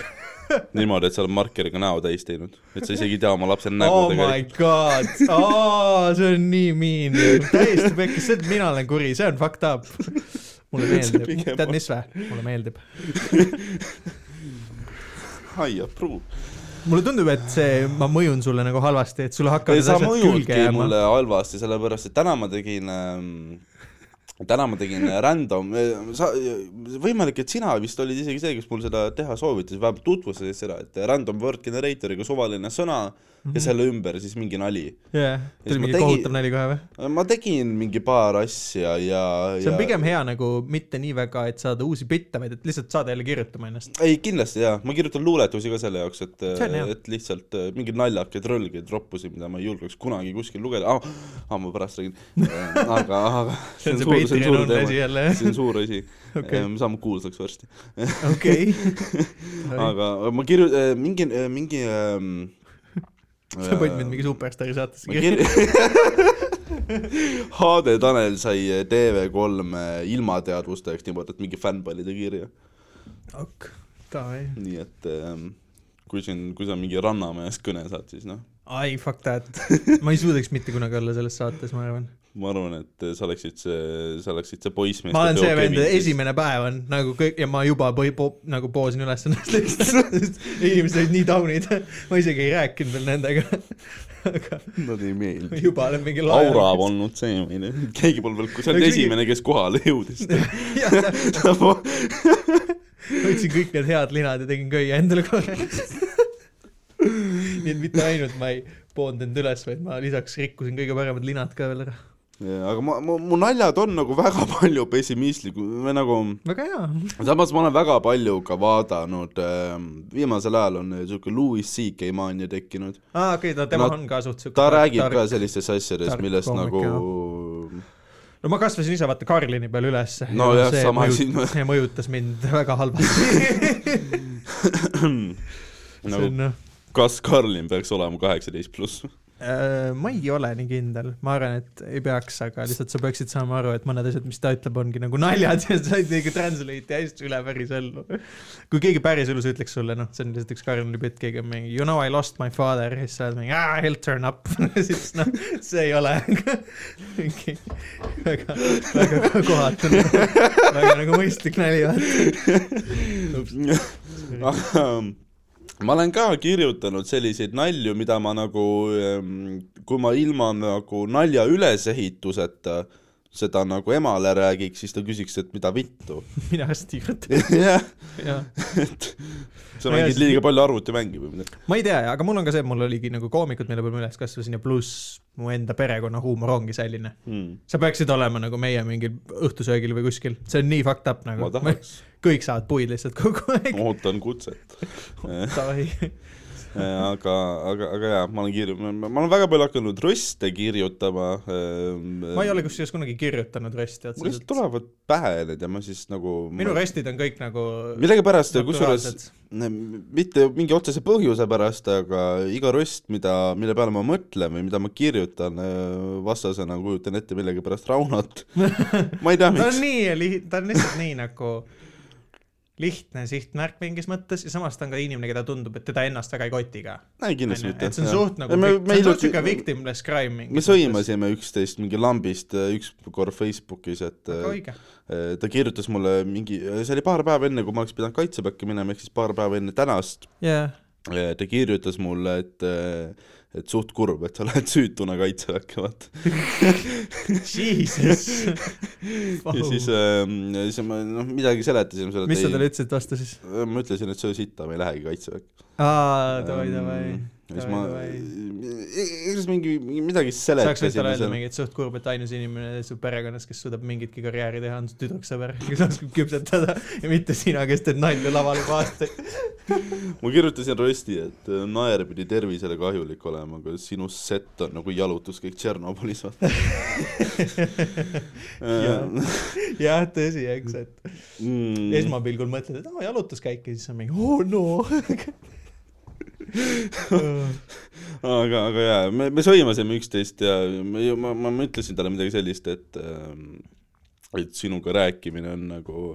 Speaker 2: niimoodi , et sa oled markeriga näo täis teinud . et sa isegi ei tea oma lapse nägu
Speaker 1: oh my
Speaker 2: Nagu tegelikult .
Speaker 1: god , see on nii mean , täiesti pekkis , see , et mina olen kuri , see on fucked up . mulle
Speaker 2: See
Speaker 1: meeldib ,
Speaker 2: pigem
Speaker 1: tead
Speaker 2: on.
Speaker 1: mis vä , mulle meeldib .
Speaker 2: I approve .
Speaker 1: mulle tundub , et see , ma mõjun sulle nagu halvasti , et sulle hakkavad need
Speaker 2: sa
Speaker 1: asjad külge
Speaker 2: mõjudki
Speaker 1: jääma .
Speaker 2: mulle halvasti , sellepärast et täna ma tegin ähm, täna ma tegin äh, random , sa , võimalik , et sina vist olid isegi see , kes mul seda teha soovitas , vähemalt tutvustasid seda , et random word generator'iga suvaline sõna mm
Speaker 1: Mhm.
Speaker 2: -hmm. ja selle ümber siis mingi nali .
Speaker 1: jah ,
Speaker 2: Siis
Speaker 1: tuli
Speaker 2: ma
Speaker 1: mingi
Speaker 2: tegi-
Speaker 1: kohutav nali kohe või ?
Speaker 2: ma tegin mingi paar asja ja
Speaker 1: see on
Speaker 2: ja...
Speaker 1: pigem hea nagu mitte nii väga , et saada uusi bitte , vaid et lihtsalt saada jälle kirjutama ennast .
Speaker 2: ei kindlasti jaa , ma kirjutan luuletusi ka selle jaoks , et
Speaker 1: See on hea. ,
Speaker 2: et lihtsalt äh, mingeid naljakaid rõlgeid , roppusi , mida ma ei julgeks kunagi kuskil lugeda ah, , ah, ma pärast räägin , aga , aga
Speaker 1: see on see Patreon on asi jälle ,
Speaker 2: see on suur asi
Speaker 1: Okei.
Speaker 2: okay. , me saame kuulsaks varsti ,
Speaker 1: okei .
Speaker 2: aga ma kirju- , mingi , mingi ähm,
Speaker 1: sa panid mind mingi superstaari saatesse
Speaker 2: ma
Speaker 1: kirja .
Speaker 2: kir- HD Tanel sai äh, TV3 äh, ilmateadvustajaks niimoodi , et mingi fännpallide kirja ,
Speaker 1: ok , davai .
Speaker 2: nii et ähm, kui siin , kui sa mingi rannamehest kõne saad , siis noh ,
Speaker 1: ai , fuck that . ma ei suudaks mitte kunagi olla selles saates , ma arvan .
Speaker 2: ma arvan , et eh, sa oleksid see , sa oleksid see poissmees .
Speaker 1: ma olen see vend , esimene päev on nagu kõik ja ma juba põi, po, nagu poosin üles ennast lihtsalt . inimesed olid nii taunid , ma isegi ei rääkinud veel nendega . aga
Speaker 2: Nad ei meeldi .
Speaker 1: juba olen mingi
Speaker 2: aura . polnud see , keegi polnud veel , sa olid
Speaker 1: Ega keegi-
Speaker 2: esimene , kes kohale jõudis . Nagu-
Speaker 1: võtsin kõik need head linad ja tegin köie endale korra . nii et mitte ainult ma ei poonud end üles , vaid ma lisaks rikkusin kõige paremad linad ka veel ära .
Speaker 2: Ja, aga ma, ma , mu naljad on nagu väga palju pessimistlikud või nagu ,
Speaker 1: väga hea .
Speaker 2: samas ma olen väga palju ka vaadanud ähm, , viimasel ajal on niisugune Louis CK maania tekkinud .
Speaker 1: aa , Ah, okei okay, , no tema
Speaker 2: No
Speaker 1: no, on ka suht siuke .
Speaker 2: ta räägib tark, ka sellistest asjadest ,
Speaker 1: tark
Speaker 2: millest
Speaker 1: koomik,
Speaker 2: nagu
Speaker 1: no ma kasvasin ise vaata Karlini peal ülesse .
Speaker 2: No jah, sama asi.
Speaker 1: see mõjutas mind väga halvasti .
Speaker 2: nagu
Speaker 1: no.
Speaker 2: kas Karlin peaks olema kaheksateist pluss ?
Speaker 1: Äh, ma ei ole nii kindel , ma arvan , et ei peaks , aga lihtsalt sa peaksid saama aru , et mõned asjad , mis ta ütleb , ongi nagu naljad ja sa nagu ei tee translate'i hästi üle pärisellu . kui keegi päriselus ütleks sulle , noh , see on lihtsalt üks Karl Lübit , keegi on mingi you know I lost my father ja siis sa oled mingi ah, he'll turn up , siis noh , see ei ole mingi väga , väga kohatu , väga nagu mõistlik nali vaata .
Speaker 2: ähm, ma olen ka kirjutanud selliseid nalju , mida ma nagu , kui ma ilma nagu nalja ülesehituseta seda nagu emale räägiks , siis ta küsiks , et mida vittu .
Speaker 1: mina Stiirat ,
Speaker 2: jah ,
Speaker 1: jah .
Speaker 2: et sa
Speaker 1: Ma ei
Speaker 2: mängid
Speaker 1: tea,
Speaker 2: liiga palju arvutimänge või midagi .
Speaker 1: ma ei tea , aga mul on ka see , et mul oligi nagu koomikud , mille peal ma üles kasvasin ja pluss mu enda perekonna huumor ongi selline .
Speaker 2: Hmm.
Speaker 1: sa peaksid olema nagu meie mingil õhtusöögil või kuskil , see on nii fucked up nagu
Speaker 2: ma . tahaks ,
Speaker 1: kõik saavad puid lihtsalt kogu aeg .
Speaker 2: ootan kutset .
Speaker 1: Davai ,
Speaker 2: aga , aga , aga jaa , ma olen kirju- , ma olen väga palju hakanud röste kirjutama .
Speaker 1: ma ei ole kusjuures kunagi kirjutanud rösti
Speaker 2: mul lihtsalt
Speaker 1: otseselt .
Speaker 2: tulevad pähe need ja ma siis nagu .
Speaker 1: minu röstid on kõik nagu .
Speaker 2: millegipärast , kusjuures Ne- mitte mingi otsese põhjuse pärast , aga iga röst , mida , mille peale ma mõtlen või mida ma kirjutan öö, vastasena , kujutan ette millegipärast Raunot . ma ei tea ,
Speaker 1: ta on
Speaker 2: miks .
Speaker 1: nii liht- , ta on lihtsalt nii nagu lihtne sihtmärk mingis mõttes ja samas ta on ka inimene , keda tundub , et teda ennast väga ei koti ka .
Speaker 2: ei , kindlasti mitte .
Speaker 1: et see on suht nagu ,
Speaker 2: me,
Speaker 1: see on
Speaker 2: me
Speaker 1: suht siuke
Speaker 2: hiljuti ,
Speaker 1: victimless crime mingis
Speaker 2: me sõimasime üksteist mingi lambist öö, ükskord Facebookis , et
Speaker 1: väga
Speaker 2: öö,
Speaker 1: õige .
Speaker 2: öö, ta kirjutas mulle mingi , see oli paar päeva enne , kui ma oleks pidanud kaitsepäkki minema , ehk siis paar päeva enne tänast ,
Speaker 1: jaa ,
Speaker 2: ta kirjutas mulle , et öö, et suht kurb , et sa lähed süütuna kaitseväkke , vaata .
Speaker 1: jesus .
Speaker 2: ja siis , siis ma noh , midagi seletasin sulle .
Speaker 1: mis sa talle ? ütlesid vastu siis ?
Speaker 2: ma ütlesin , et söö sitta , ma ei lähegi kaitseväkke .
Speaker 1: aa , davai , davai .
Speaker 2: ja siis
Speaker 1: davai,
Speaker 2: Mm, ma , igatahes mingi , midagi
Speaker 1: saaks võib talle öelda
Speaker 2: seletasin .
Speaker 1: mingi , et suht kurb , et ainus inimene su perekonnas , kes suudab mingitki karjääri teha , on su tüdruksõber , kes oskab küpsetada ja mitte sina , kes teed nalja laval juba aastaid .
Speaker 2: ma kirjutasin rösti , et äh, naer pidi tervisele kahjulik olema , aga sinu sett on nagu jalutuskäik Tšernobõlis , vaata . Äh,
Speaker 1: jah , tõsi , eks ,
Speaker 2: Mm.
Speaker 1: et esmapilgul mõtled , et aa , jalutuskäik ja siis on mingi oo oh, no .
Speaker 2: aga , aga jaa , me , me sõimasime üksteist ja ma , ma , ma ma ütlesin talle midagi sellist , et ähm, et sinuga rääkimine on nagu ,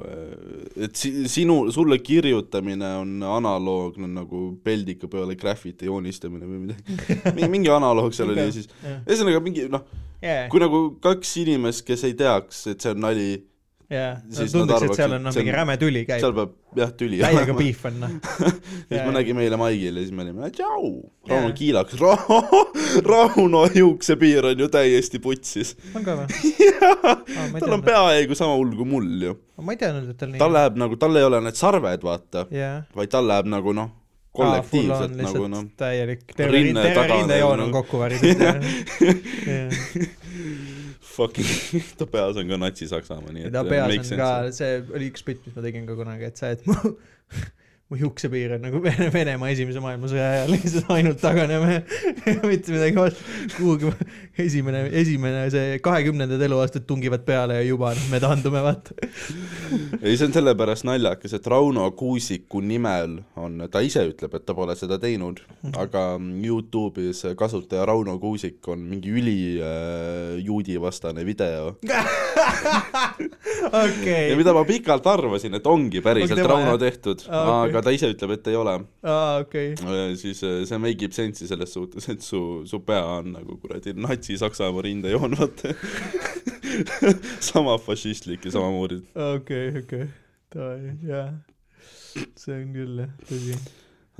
Speaker 2: et si- sinu , sulle kirjutamine on analoogne nagu peldika peale graffiti joonistamine või midagi . mingi analoog seal oli ja siis , ühesõnaga mingi noh ,
Speaker 1: jah ,
Speaker 2: kui nagu kaks inimest , kes ei teaks , et see on nali ,
Speaker 1: jah ,
Speaker 2: siis nad
Speaker 1: tunduks ,
Speaker 2: arvaks,
Speaker 1: et seal on
Speaker 2: et
Speaker 1: noh ,
Speaker 2: see on-
Speaker 1: mingi räme tüli käib
Speaker 2: seal , peab jah , tüli
Speaker 1: täiega . piif on noh .
Speaker 2: ja siis
Speaker 1: Jaa,
Speaker 2: me
Speaker 1: jaa.
Speaker 2: nägime eile Maigil ja siis me olime , tšau ,
Speaker 1: Jaa.
Speaker 2: Rauno kiilakas , Rauno juuksepiir on ju täiesti putsis .
Speaker 1: on ka või ? Ah,
Speaker 2: tal on . peaaegu sama hull kui mul ju .
Speaker 1: ma ei teadnud , et tal nii
Speaker 2: tal . läheb nagu , tal ei ole need sarved , vaata ,
Speaker 1: jah .
Speaker 2: vaid tal läheb nagu noh , kollektiivselt nagu noh .
Speaker 1: täielik , terve
Speaker 2: rinne
Speaker 1: rinde , terve
Speaker 2: taga
Speaker 1: rindejoon
Speaker 2: nagu-
Speaker 1: on kokku varinud .
Speaker 2: Fucking , ta peas on ka Natsi-Saksamaa , nii et äh,
Speaker 1: ta peas
Speaker 2: makes
Speaker 1: on
Speaker 2: sense.
Speaker 1: ka , see oli üks bitt , mis ma tegin ka kunagi , et see , et mu , mu juuksepiir on nagu Vene , Venemaa esimese maailmasõja ajal lihtsalt ainult taganeme . mitte midagi vastu , kuhugi esimene , esimene see kahekümnendad eluaastad tungivad peale ja juba noh, me taandume , vaata .
Speaker 2: ei , see on sellepärast naljakas , et Rauno Kuusiku nimel on , ta ise ütleb , et ta pole seda teinud ,
Speaker 1: Mhm.
Speaker 2: aga Youtube'is kasutaja Rauno Kuusik on mingi ülijuudi vastane video . ja
Speaker 1: okei ,
Speaker 2: mida ma pikalt arvasin , et ongi päriselt
Speaker 1: Ongi tema,
Speaker 2: Rauno
Speaker 1: jah?
Speaker 2: tehtud ,
Speaker 1: Aa, okei.
Speaker 2: aga ta ise ütleb , et ei ole .
Speaker 1: aa okei .
Speaker 2: siis äh, see make ib sense'i selles suhtes , et su , su pea on nagu kuradi Natsi-Saksamaa rindejoon , vaata . sama fašistlik ja samamoodi
Speaker 1: okei , okei , davai , jaa . see on küll jah , tõsi .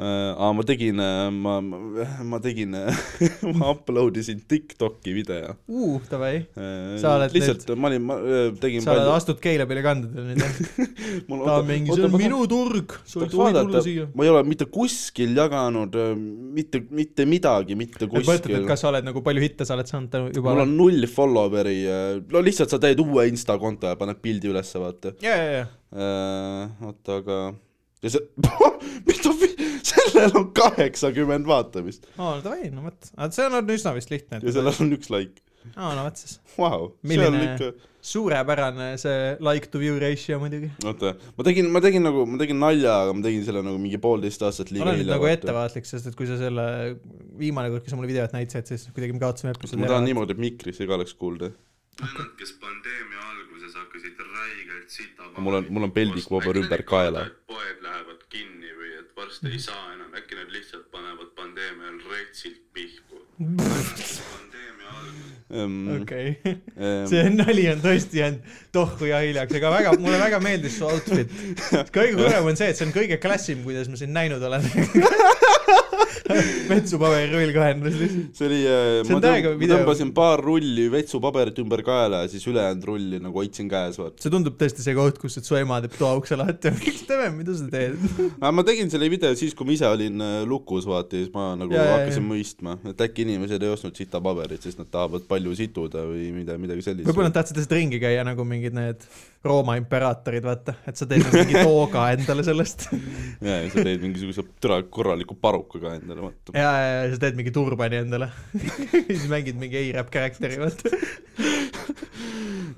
Speaker 2: äh, . aa , ma tegin , ma , ma tegin , ma upload isin Tiktoki video
Speaker 1: Uh, davai ,
Speaker 2: äh, .
Speaker 1: Sa oled
Speaker 2: lihtsalt nüüd... ma olin , ma äh, tegin
Speaker 1: sa oled , astud keilapilli kandudele nüüd jah ?
Speaker 2: mul
Speaker 1: ta on mingi , see on minu turg , sa ei tohi
Speaker 2: tahaks
Speaker 1: tulla
Speaker 2: vaadata.
Speaker 1: siia .
Speaker 2: ma ei ole mitte kuskil jaganud äh, mitte , mitte midagi , mitte
Speaker 1: mõtled ,
Speaker 2: kuskil
Speaker 1: et . kas sa oled nagu palju hitte sa oled saanud tänu juba
Speaker 2: mul
Speaker 1: olen... ?
Speaker 2: on null follower'i , no lihtsalt sa teed uue Insta konto ja paned pildi ülesse , vaata
Speaker 1: ja , ja , ja ,
Speaker 2: äh, . oota , aga ja see , mida , sellel on kaheksakümmend vaatamist
Speaker 1: aa no davai , no vot , aga see on olnud üsna vist lihtne .
Speaker 2: ja sellel on üks like ,
Speaker 1: aa no vot siis ,
Speaker 2: vau .
Speaker 1: Milline- suurepärane see like to view ratio muidugi .
Speaker 2: oota , ma tegin , ma tegin nagu , ma tegin nalja , aga ma tegin selle nagu mingi poolteist aastat liiga
Speaker 1: olen nüüd
Speaker 2: hilja .
Speaker 1: nagu ettevaatlik , sest et kui sa selle viimane kord , kui sa mulle videot näitasid , siis kuidagi me kaotasime episoodi
Speaker 2: ma tahan . niimoodi , et mikris ei oleks kuulda .
Speaker 4: vennad , kes pandeemia alguses hakkasid räigelt sita
Speaker 2: mul on , mul on peldik vabab ümber kaela .
Speaker 4: poed lähevad kinni või et varsti ei saa enam , äkki nad lihtsalt panevad pandeemia ajal retsilt pihku . pandeemia alguses
Speaker 1: okei okay. ,
Speaker 2: Ehm,
Speaker 1: see nali on tõesti jäänud tohku ja hiljaks , aga väga , mulle väga meeldis su outfit . kõige kurvem on see , et see on kõige klassim , kuidas ma sind näinud olen . vetsupaberi rull kahendus lihtsalt .
Speaker 2: see oli , ma
Speaker 1: on täiega
Speaker 2: tõmb- ma
Speaker 1: video.
Speaker 2: tõmbasin paar rulli vetsupaberit ümber kaela ja siis ülejäänud rulli nagu hoidsin käes , vaata .
Speaker 1: see tundub tõesti see koht , kus et su ema teeb toa ukse lahti , miks Teve , mida sa teed ?
Speaker 2: aga ma tegin selle video siis , kui ma ise olin äh, lukus , vaata , ja siis ma nagu
Speaker 1: Jaa,
Speaker 2: ja,
Speaker 1: jaa,
Speaker 2: hakkasin
Speaker 1: jaa.
Speaker 2: mõistma , et äkki inimesed ei ostnud sitapaberit , sest nad tahavad palju situda või mida , midagi sellist .
Speaker 1: võib-olla nad tahtsid lihtsalt ringi käia nagu mingid need Rooma imperaatorid , vaata , et sa teed nagu mingi tooga endale sellest .
Speaker 2: jaa , ja sa teed mingisuguse türa korraliku paruka ka endale , vaata .
Speaker 1: ja , ja , ja sa teed mingi turbani endale . siis mängid mingi A-rap karakteri , vaata .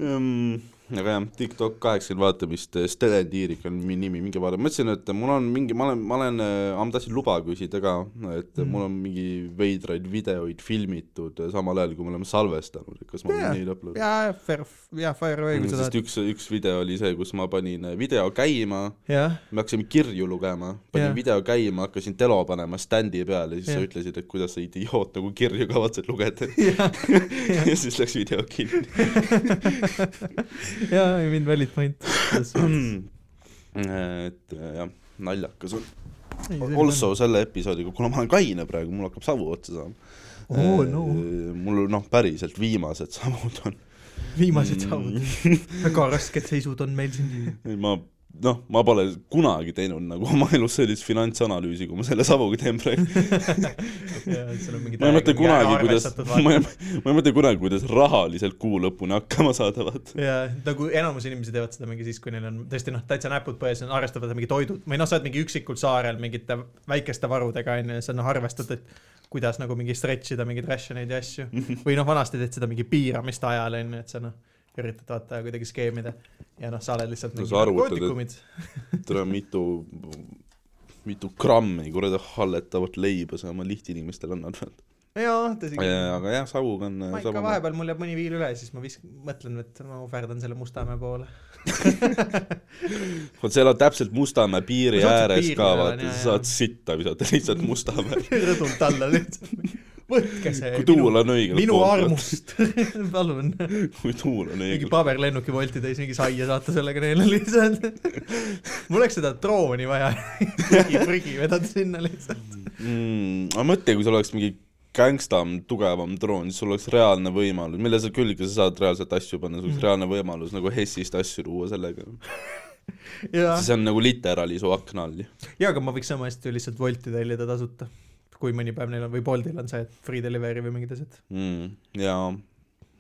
Speaker 2: Ehm, aga jah , TikTok kaheksakümmend vaatamist , eh, Stelen Tiirik on mi nimi , minge vaadake , ma mõtlesin , et mul on mingi , ma olen , ma olen , ma tahtsin luba küsida ka , et mm. mul on mingi veidraid videoid filmitud äh, samal ajal , kui me oleme salvestanud , et kas ma võin neid upload ?
Speaker 1: ja , ja , fair , ja fair way , kui sa
Speaker 2: sest
Speaker 1: tahad .
Speaker 2: üks , üks video oli see , kus ma panin äh, video käima ,
Speaker 1: jah ,
Speaker 2: me hakkasime kirju lugema , panin
Speaker 1: Jah.
Speaker 2: yeah. video käima , hakkasin telo panema standi peale , siis yeah.
Speaker 1: Jah.
Speaker 2: sa ütlesid , et kuidas sa idioot nagu kirju kavatsed lugeda . ja siis läks video kinni .
Speaker 1: ja , I mean valid point .
Speaker 2: et äh, jah , naljakas on . also selle episoodiga , kuna ma olen kaine praegu , mul hakkab savu otsa saama . äh,
Speaker 1: Oh, no.
Speaker 2: mul noh , päriselt viimased savud on .
Speaker 1: viimased sammud .
Speaker 2: mm.
Speaker 1: väga rasked seisud on meil siin .
Speaker 2: ma noh , ma pole kunagi teinud nagu oma elus sellist finantsanalüüsi , kui ma selle savuga teen praegu . ma ei mõtle kunagi , kuidas , ma ei , ma ei mõtle kunagi , kuidas rahaliselt kuu lõpuni hakkama saada , vaata .
Speaker 1: ja nagu enamus inimesi teevad seda mingi siis , kui neil on tõesti noh , täitsa näpud põhjas , arvestavad mingi toidud või noh , sa oled mingi üksikul saarel mingite väikeste varudega onju ja sa noh arvestad , et kuidas nagu mingi stretch ida mingeid rationeid ja asju
Speaker 2: Mhm.
Speaker 1: või noh , vanasti tehti seda mingi piiramiste ajal onju , et sa noh üritad vaata kuidagi skeemida ja noh , sa oled lihtsalt
Speaker 2: No
Speaker 1: mingi
Speaker 2: sa arvutad, et-
Speaker 1: narkootikumid .
Speaker 2: tere , mitu , mitu grammi kuradi halletavat leiba sa oma lihtinimestele annad .
Speaker 1: jaa , tõsi küll .
Speaker 2: Äh, aga jah , savuga on .
Speaker 1: ma ikka vahepeal , mul jääb mõni viil üle , siis ma visk- , mõtlen , et ma ohverdan selle Mustamäe poole .
Speaker 2: vot seal on täpselt Mustamäe piiri
Speaker 1: No see on see
Speaker 2: ääres
Speaker 1: piir,
Speaker 2: ka
Speaker 1: millel on, jaa,
Speaker 2: vaata , sa
Speaker 1: jaa.
Speaker 2: saad sitta visata lihtsalt Mustamäel .
Speaker 1: rõdult alla lihtsalt . võtke see .
Speaker 2: kui tuul on õigel
Speaker 1: minu
Speaker 2: pool ,
Speaker 1: armust , palun .
Speaker 2: kui tuul on
Speaker 1: mingi
Speaker 2: õigel pool .
Speaker 1: paberlennuki Bolti täis mingi saia saata sellega neile lihtsalt . mul oleks seda drooni vaja . mingi prügi vedada sinna lihtsalt .
Speaker 2: aga mõtle , Mm, kui sul oleks mingi gängstam , tugevam droon , siis sul oleks reaalne võimalus , mille sa külge sa saad reaalselt asju panna , sul
Speaker 1: Mm.
Speaker 2: oleks reaalne võimalus nagu Hessist asju luua sellega .
Speaker 1: ja ,
Speaker 2: see on nagu literaali su akna all ju .
Speaker 1: ja aga ma võiks sama hästi ju lihtsalt Bolti tellida tasuta . kui mõni päev neil on või Boltil on see , et free delivery või mingid asjad .
Speaker 2: Mm, jaa .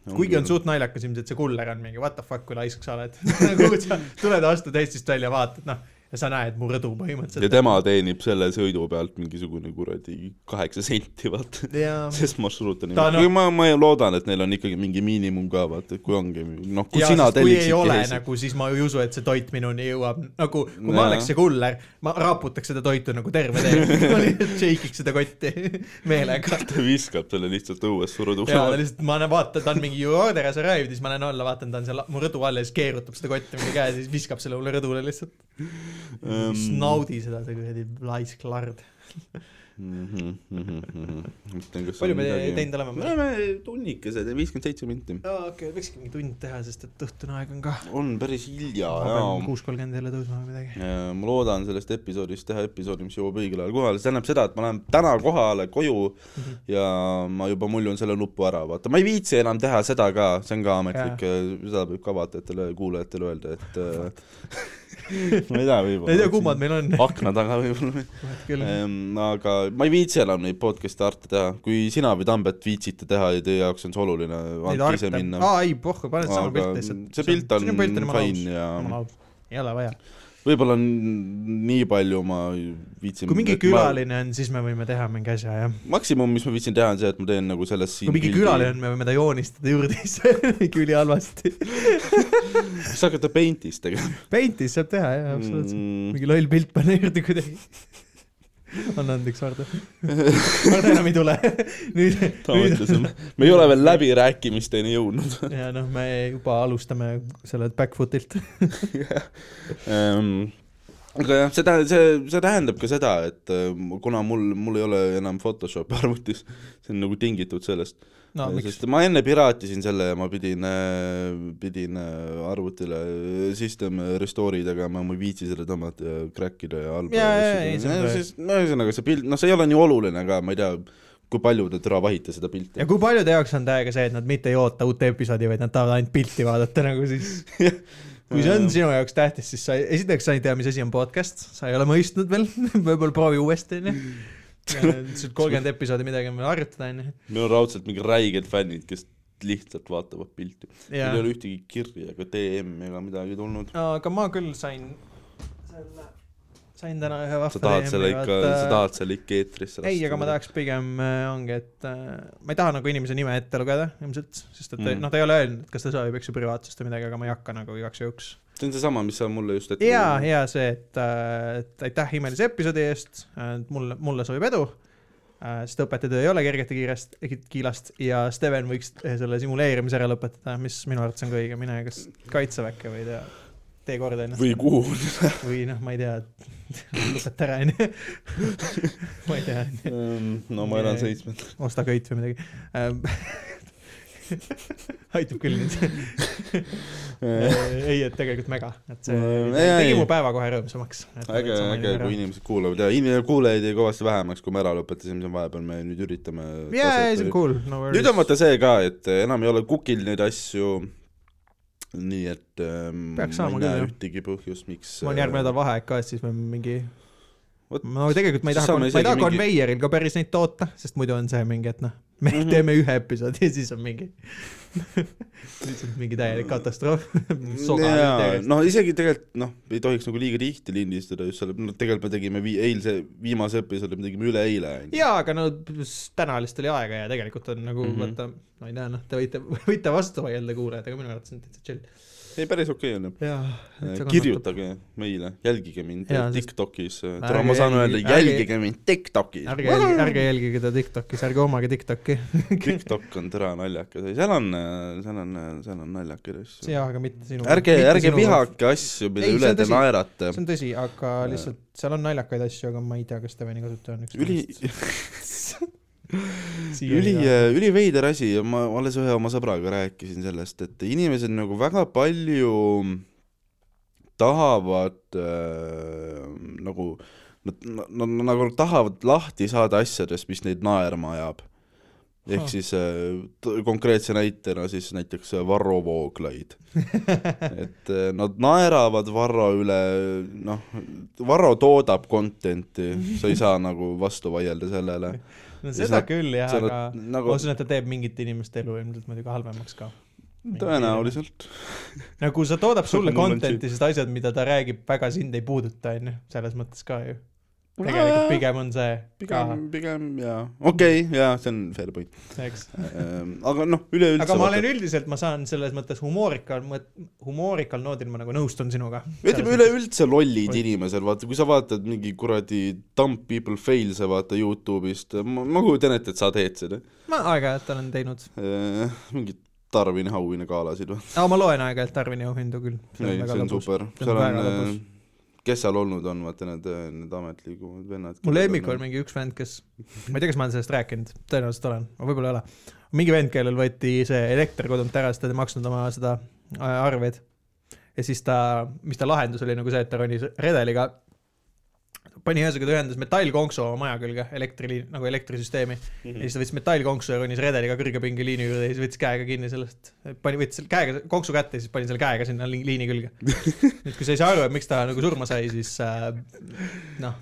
Speaker 1: kuigi on . suht naljakas ilmselt see kuller on mingi what the fuck , kui laisk sa oled . nagu sa tuled , astud Eestist välja , vaatad noh , ja sa näed mu rõdu
Speaker 2: ja
Speaker 1: põhimõtteliselt .
Speaker 2: tema teenib selle sõidu pealt mingisugune kuradi kaheksa senti , vaata .
Speaker 1: ja ,
Speaker 2: sest marsruut on
Speaker 1: Ta
Speaker 2: niimoodi
Speaker 1: noh-
Speaker 2: no... , ma , ma ju loodan , et neil on ikkagi mingi miinimum ka vaata , et kui ongi , noh , kui
Speaker 1: ja
Speaker 2: ja, sina
Speaker 1: sest kui ei
Speaker 2: telliksidki
Speaker 1: ole
Speaker 2: Hessi-
Speaker 1: nagu , siis ma ei usu , et see toit minuni jõuab , nagu kui ma
Speaker 2: Nojah.
Speaker 1: oleks see kuller , ma raputaks seda toitu nagu terve tee , ma lihtsalt shake'iks seda kotti meelega .
Speaker 2: ta viskab selle lihtsalt õues surudu
Speaker 1: ja ta lihtsalt , ma näen , vaatan , ta on mingi you order as arrived , siis ma näen alla , vaatan , ta on seal mu rõdu all ja siis keerutab seda kotti mingi käes ja siis viskab selle mulle rõdule lihtsalt .
Speaker 2: Ehm,
Speaker 1: nagu naudi seda , see kuradi laisk lard . palju me teinud oleme ?
Speaker 2: me oleme tunnikesed ja viiskümmend seitse minti .
Speaker 1: aa , okei okay, , võikski mingi tund teha , sest et õhtune aeg on ka .
Speaker 2: on päris hilja
Speaker 1: ma pean
Speaker 2: ja
Speaker 1: kuus kolmkümmend jälle tõusma või midagi .
Speaker 2: Äh, ma loodan sellest episoodist teha episoodi , mis jõuab õigel ajal kohale , see tähendab seda , et ma lähen täna kohale koju
Speaker 1: Mhm.
Speaker 2: ja ma juba muljun selle nupu ära , vaata , ma ei viitsi enam teha seda ka , see on ka ametlik , seda võib ka vaatajatele , kuulajatele öelda , et äh, ma ei tea , võib-olla
Speaker 1: ei tea , kummad meil on ,
Speaker 2: akna taga võib-olla
Speaker 1: vahet küll .
Speaker 2: Ehm, aga ma ei viitsi enam neid podcast'e arte teha , kui sina või Tambet viitsite teha ja teie jaoks on see oluline ,
Speaker 1: Neid
Speaker 2: andke ise
Speaker 1: arte ,
Speaker 2: minna .
Speaker 1: aa ei , pohhu , pane sama
Speaker 2: Aga
Speaker 1: pilt lihtsalt .
Speaker 2: see pilt on fine ja-
Speaker 1: ei ole vaja .
Speaker 2: võib-olla n- nii palju ma viitsin .
Speaker 1: kui mingi külaline on , siis me võime teha mingi asja , jah .
Speaker 2: ma... . maksimum , mis ma viitsin teha , on see , et ma teen nagu sellest siin .
Speaker 1: kui mingi külaline on , me võime ta joonistada juurde , siis mingi ülihalvasti .
Speaker 2: siis hakata Paint'is tegema .
Speaker 1: Paintis saab teha , jah , absoluutselt .
Speaker 2: Mm.
Speaker 1: mingi loll pilt panna juurde kuidagi . anna andeks , Vardo . Vardo enam ei tule . nüüd ,
Speaker 2: ta mõtles , et me ei ole veel läbirääkimisteni jõudnud .
Speaker 1: ja noh , me juba alustame sellelt backfoot'ilt .
Speaker 2: Ehm, aga jah , see tähendab , see , see tähendab ka seda , et ehm, kuna mul , mul ei ole enam Photoshopi arvutis , see on nagu tingitud sellest
Speaker 1: no miks
Speaker 2: sest ? ma enne piraatisin selle ja ma pidin , pidin äh, arvutile äh, system restore idega , ma ma ei viitsi selle tõmmata ja crack ida ja halba .
Speaker 1: Jaa, jaa, ei, see on tõe.
Speaker 2: no ühesõnaga see pilt , noh , see ei ole nii oluline ka , ma ei tea , kui palju te täna vahite seda pilti
Speaker 1: ja . kui paljude jaoks on täiega see , et nad mitte ei oota uut episoodi , vaid nad tahavad ainult pilti vaadata nagu siis . kui see on sinu jaoks tähtis , siis sa , esiteks sa ei tea , mis asi on podcast , sa ei ole mõistnud veel , võib-olla proovi uuesti onju . lihtsalt kolmkümmend episoodi midagi on veel harjutada onju .
Speaker 2: meil on raudselt mingid räiged fännid , kes lihtsalt vaatavad pilti . meil
Speaker 1: Jaa.
Speaker 2: ei ole ühtegi kirja ega DM ega midagi tulnud .
Speaker 1: aga ma küll sain selle , sain täna ühe vahva
Speaker 2: sa tahad selle ikka , sa tahad selle ikka eetrisse
Speaker 1: äh, ei , aga ma . tahaks pigem äh, ongi , et äh, ma ei taha nagu inimese nime ette lugeda ilmselt , sest et
Speaker 2: Mm.
Speaker 1: mm. noh , ta ei ole öelnud , kas ta soovib , eks ju , privaatsust või midagi , aga ma ei hakka nagu igaks juhuks .
Speaker 2: see on seesama , mis sa mulle just ette
Speaker 1: ja , ja see , et , et aitäh imelise episoodi eest , mulle , mulle soovib edu . sest õpetajatöö ei ole kergete kiirest , kiilast ja Steven võiks äh, selle simuleerimise ära lõpetada , mis minu arvates on ka õige , mine kas kaitseväkke või tea , tee korda ennast
Speaker 2: või kuhu .
Speaker 1: või noh , ma ei tea , lõpeta ära onju . ma ei tea ,
Speaker 2: Ehm, no ma elan seitsmendal .
Speaker 1: osta köit või midagi . aitab küll nüüd , ei , et tegelikult mega , et see
Speaker 2: Mm, ei, ei.
Speaker 1: tegi mu päeva kohe rõõmsamaks .
Speaker 2: äge , äge , kui inimesed kuulavad ja inimene kuulajaid jäi kõvasti vähemaks , kui me ära lõpetasime , siis vahepeal me nüüd üritame .
Speaker 1: jaa , jaa , see on cool , no
Speaker 2: nüüd on . vaata see ka , et eh, enam ei ole kukil neid asju . nii et ähm,
Speaker 1: Peaks
Speaker 2: ma
Speaker 1: saama
Speaker 2: ei näe
Speaker 1: küll, jah.
Speaker 2: ühtegi põhjust , miks . eh,
Speaker 1: mul on järgmine nädal vaheaeg ka , et siis me mingi ,
Speaker 2: Vot,
Speaker 1: no tegelikult ma ei
Speaker 2: siis
Speaker 1: taha ,
Speaker 2: saame
Speaker 1: ma ei taha
Speaker 2: isegi mingi-
Speaker 1: konveieril ka päris neid toota , sest muidu on see mingi , et noh , me
Speaker 2: Mhm.
Speaker 1: teeme ühe episoodi ja siis on mingi lihtsalt mingi täielik katastroof .
Speaker 2: jaa , no isegi tegelikult noh , ei tohiks nagu liiga tihti lindistada just selle , no tegelikult me tegime vii- , eilse , viimase episoodi me tegime üleeile .
Speaker 1: jaa , aga no s- täna lihtsalt oli aega ja tegelikult on nagu mm -hmm.
Speaker 2: Mhm.
Speaker 1: vaata , ma ei tea , noh , te võite , võite vastu vaielda kuulajad , aga minu arvates on täitsa chill .
Speaker 2: ei , päris okei on ju .
Speaker 1: jaa .
Speaker 2: kirjutage meile , jälgige mind
Speaker 1: Jaa,
Speaker 2: eh,
Speaker 1: sest-
Speaker 2: TikTokis ,
Speaker 1: Ärge
Speaker 2: ma saan öelda ,
Speaker 1: jälgi-
Speaker 2: jälgige mind TikTokis .
Speaker 1: ärge jälgi , ärge jälgige teda Tiktokis , ärge omage Tiktoki .
Speaker 2: TikTok on tõra naljakas , ei seal on , seal on , seal on naljakaid asju .
Speaker 1: jaa , aga mitte sinu .
Speaker 2: ärge , ärge . vihake asju , mille
Speaker 1: Ei, see
Speaker 2: üle
Speaker 1: on
Speaker 2: te
Speaker 1: tõsi.
Speaker 2: naerate
Speaker 1: see . on tõsi , aga lihtsalt seal on naljakaid asju , aga ma ei tea , kas Steveni kasutaja on üks .
Speaker 2: üli , üli , üliveider asi ja ma alles ühe oma sõbraga rääkisin sellest , et inimesed nagu väga palju tahavad äh, nagu Nad, nad, nad nagu tahavad lahti saada asjadest , mis neid naerma ajab . ehk
Speaker 1: Huh.
Speaker 2: siis äh, t- konkreetse näitena siis näiteks äh, Varro Vooglaid . et äh, nad naeravad Varro üle , noh , Varro toodab content'i , sa ei saa nagu vastu vaielda sellele .
Speaker 1: no seda
Speaker 2: sa-
Speaker 1: küll jah ,
Speaker 2: sa oled
Speaker 1: aga
Speaker 2: nagu-
Speaker 1: ma usun , et ta teeb mingite inimeste elu ilmselt muidugi halvemaks ka .
Speaker 2: tõenäoliselt .
Speaker 1: nagu sa toodab sulle
Speaker 2: Mul on
Speaker 1: content'i , sest asjad , mida ta räägib , väga sind ei puuduta , onju , selles mõttes ka ju . tegelikult pigem on see ka ,
Speaker 2: pigem , pigem jaa , okei okay, , jaa , see on fair point .
Speaker 1: eks .
Speaker 2: aga noh , üleüldse .
Speaker 1: aga ma olen üldiselt , ma saan selles mõttes humoorikal , humoorikal noodil ma nagu nõustun sinuga .
Speaker 2: ütleme . üleüldse lollid inimesed , vaata , kui sa vaatad mingi kuradi Dumb People Fails'e vaata Youtube'ist , ma ma kujutan ette , et sa teed seda . Ehm,
Speaker 1: ma aeg-ajalt olen teinud ,
Speaker 2: mingit Tarvin Hauvine galasid või ?
Speaker 1: aga ma loen aeg-ajalt Tarvini auhindu küll .
Speaker 2: ei , see on . super ,
Speaker 1: See on
Speaker 2: seal
Speaker 1: väga
Speaker 2: on ehm,
Speaker 1: lõbus. ,
Speaker 2: kes seal olnud on , vaata need , need ametlikumad vennad .
Speaker 1: mul lemmik on . mingi üks vend , kes , ma ei tea , kas ma olen sellest rääkinud , tõenäoliselt olen , aga võib-olla ei ole . mingi vend , kellel võeti see elekter kodunt ära , sest ta ei maksnud oma seda äh, arveid . ja siis ta , mis ta lahendus oli nagu see , et ta ronis redeliga , pani ühesõnaga , ta ühendas metallkonksu oma maja külge , elektriliin , nagu elektrisüsteemi mm . -hmm. ja siis ta võttis metallkonksu ja ronis redeliga kõrgepingeliini juurde ja siis võttis käega kinni sellest , pani , võttis selle käega , konksu kätte ja siis pani selle käega sinna li- liini külge . nüüd , kui sa ei saa aru , et miks ta nagu surma sai , siis äh, noh ,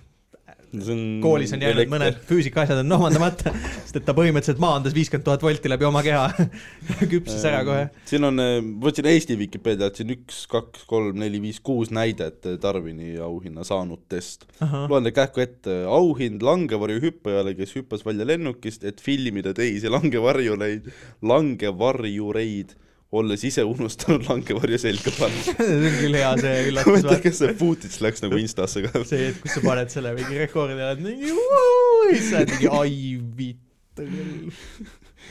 Speaker 1: koolis
Speaker 2: Mm,
Speaker 1: on jäänud mõned . füüsikaasjad on omandamata , sest et ta põhimõtteliselt maandas viiskümmend tuhat volti läbi oma keha , küpses ära kohe .
Speaker 2: siin on , võtsin Eesti Vikipeediat , siin üks , kaks , kolm , neli , viis , kuus näidet Tarvini auhinna saanutest . loen teile kähku ette , auhind langevarjuhüppajale , kes hüppas välja lennukist , et filmida teisi langevarjureid , langevarjureid olles ise unustanud langevarju selga panna .
Speaker 1: see on küll hea see
Speaker 2: ma ei tea ,
Speaker 1: üllatus ,
Speaker 2: kas see footage läks nagu Instasse ka .
Speaker 1: see , et kus sa paned selle mingi rekordi ja oled mingi "Vuu!" ja siis sa oled mingi ai vittu küll .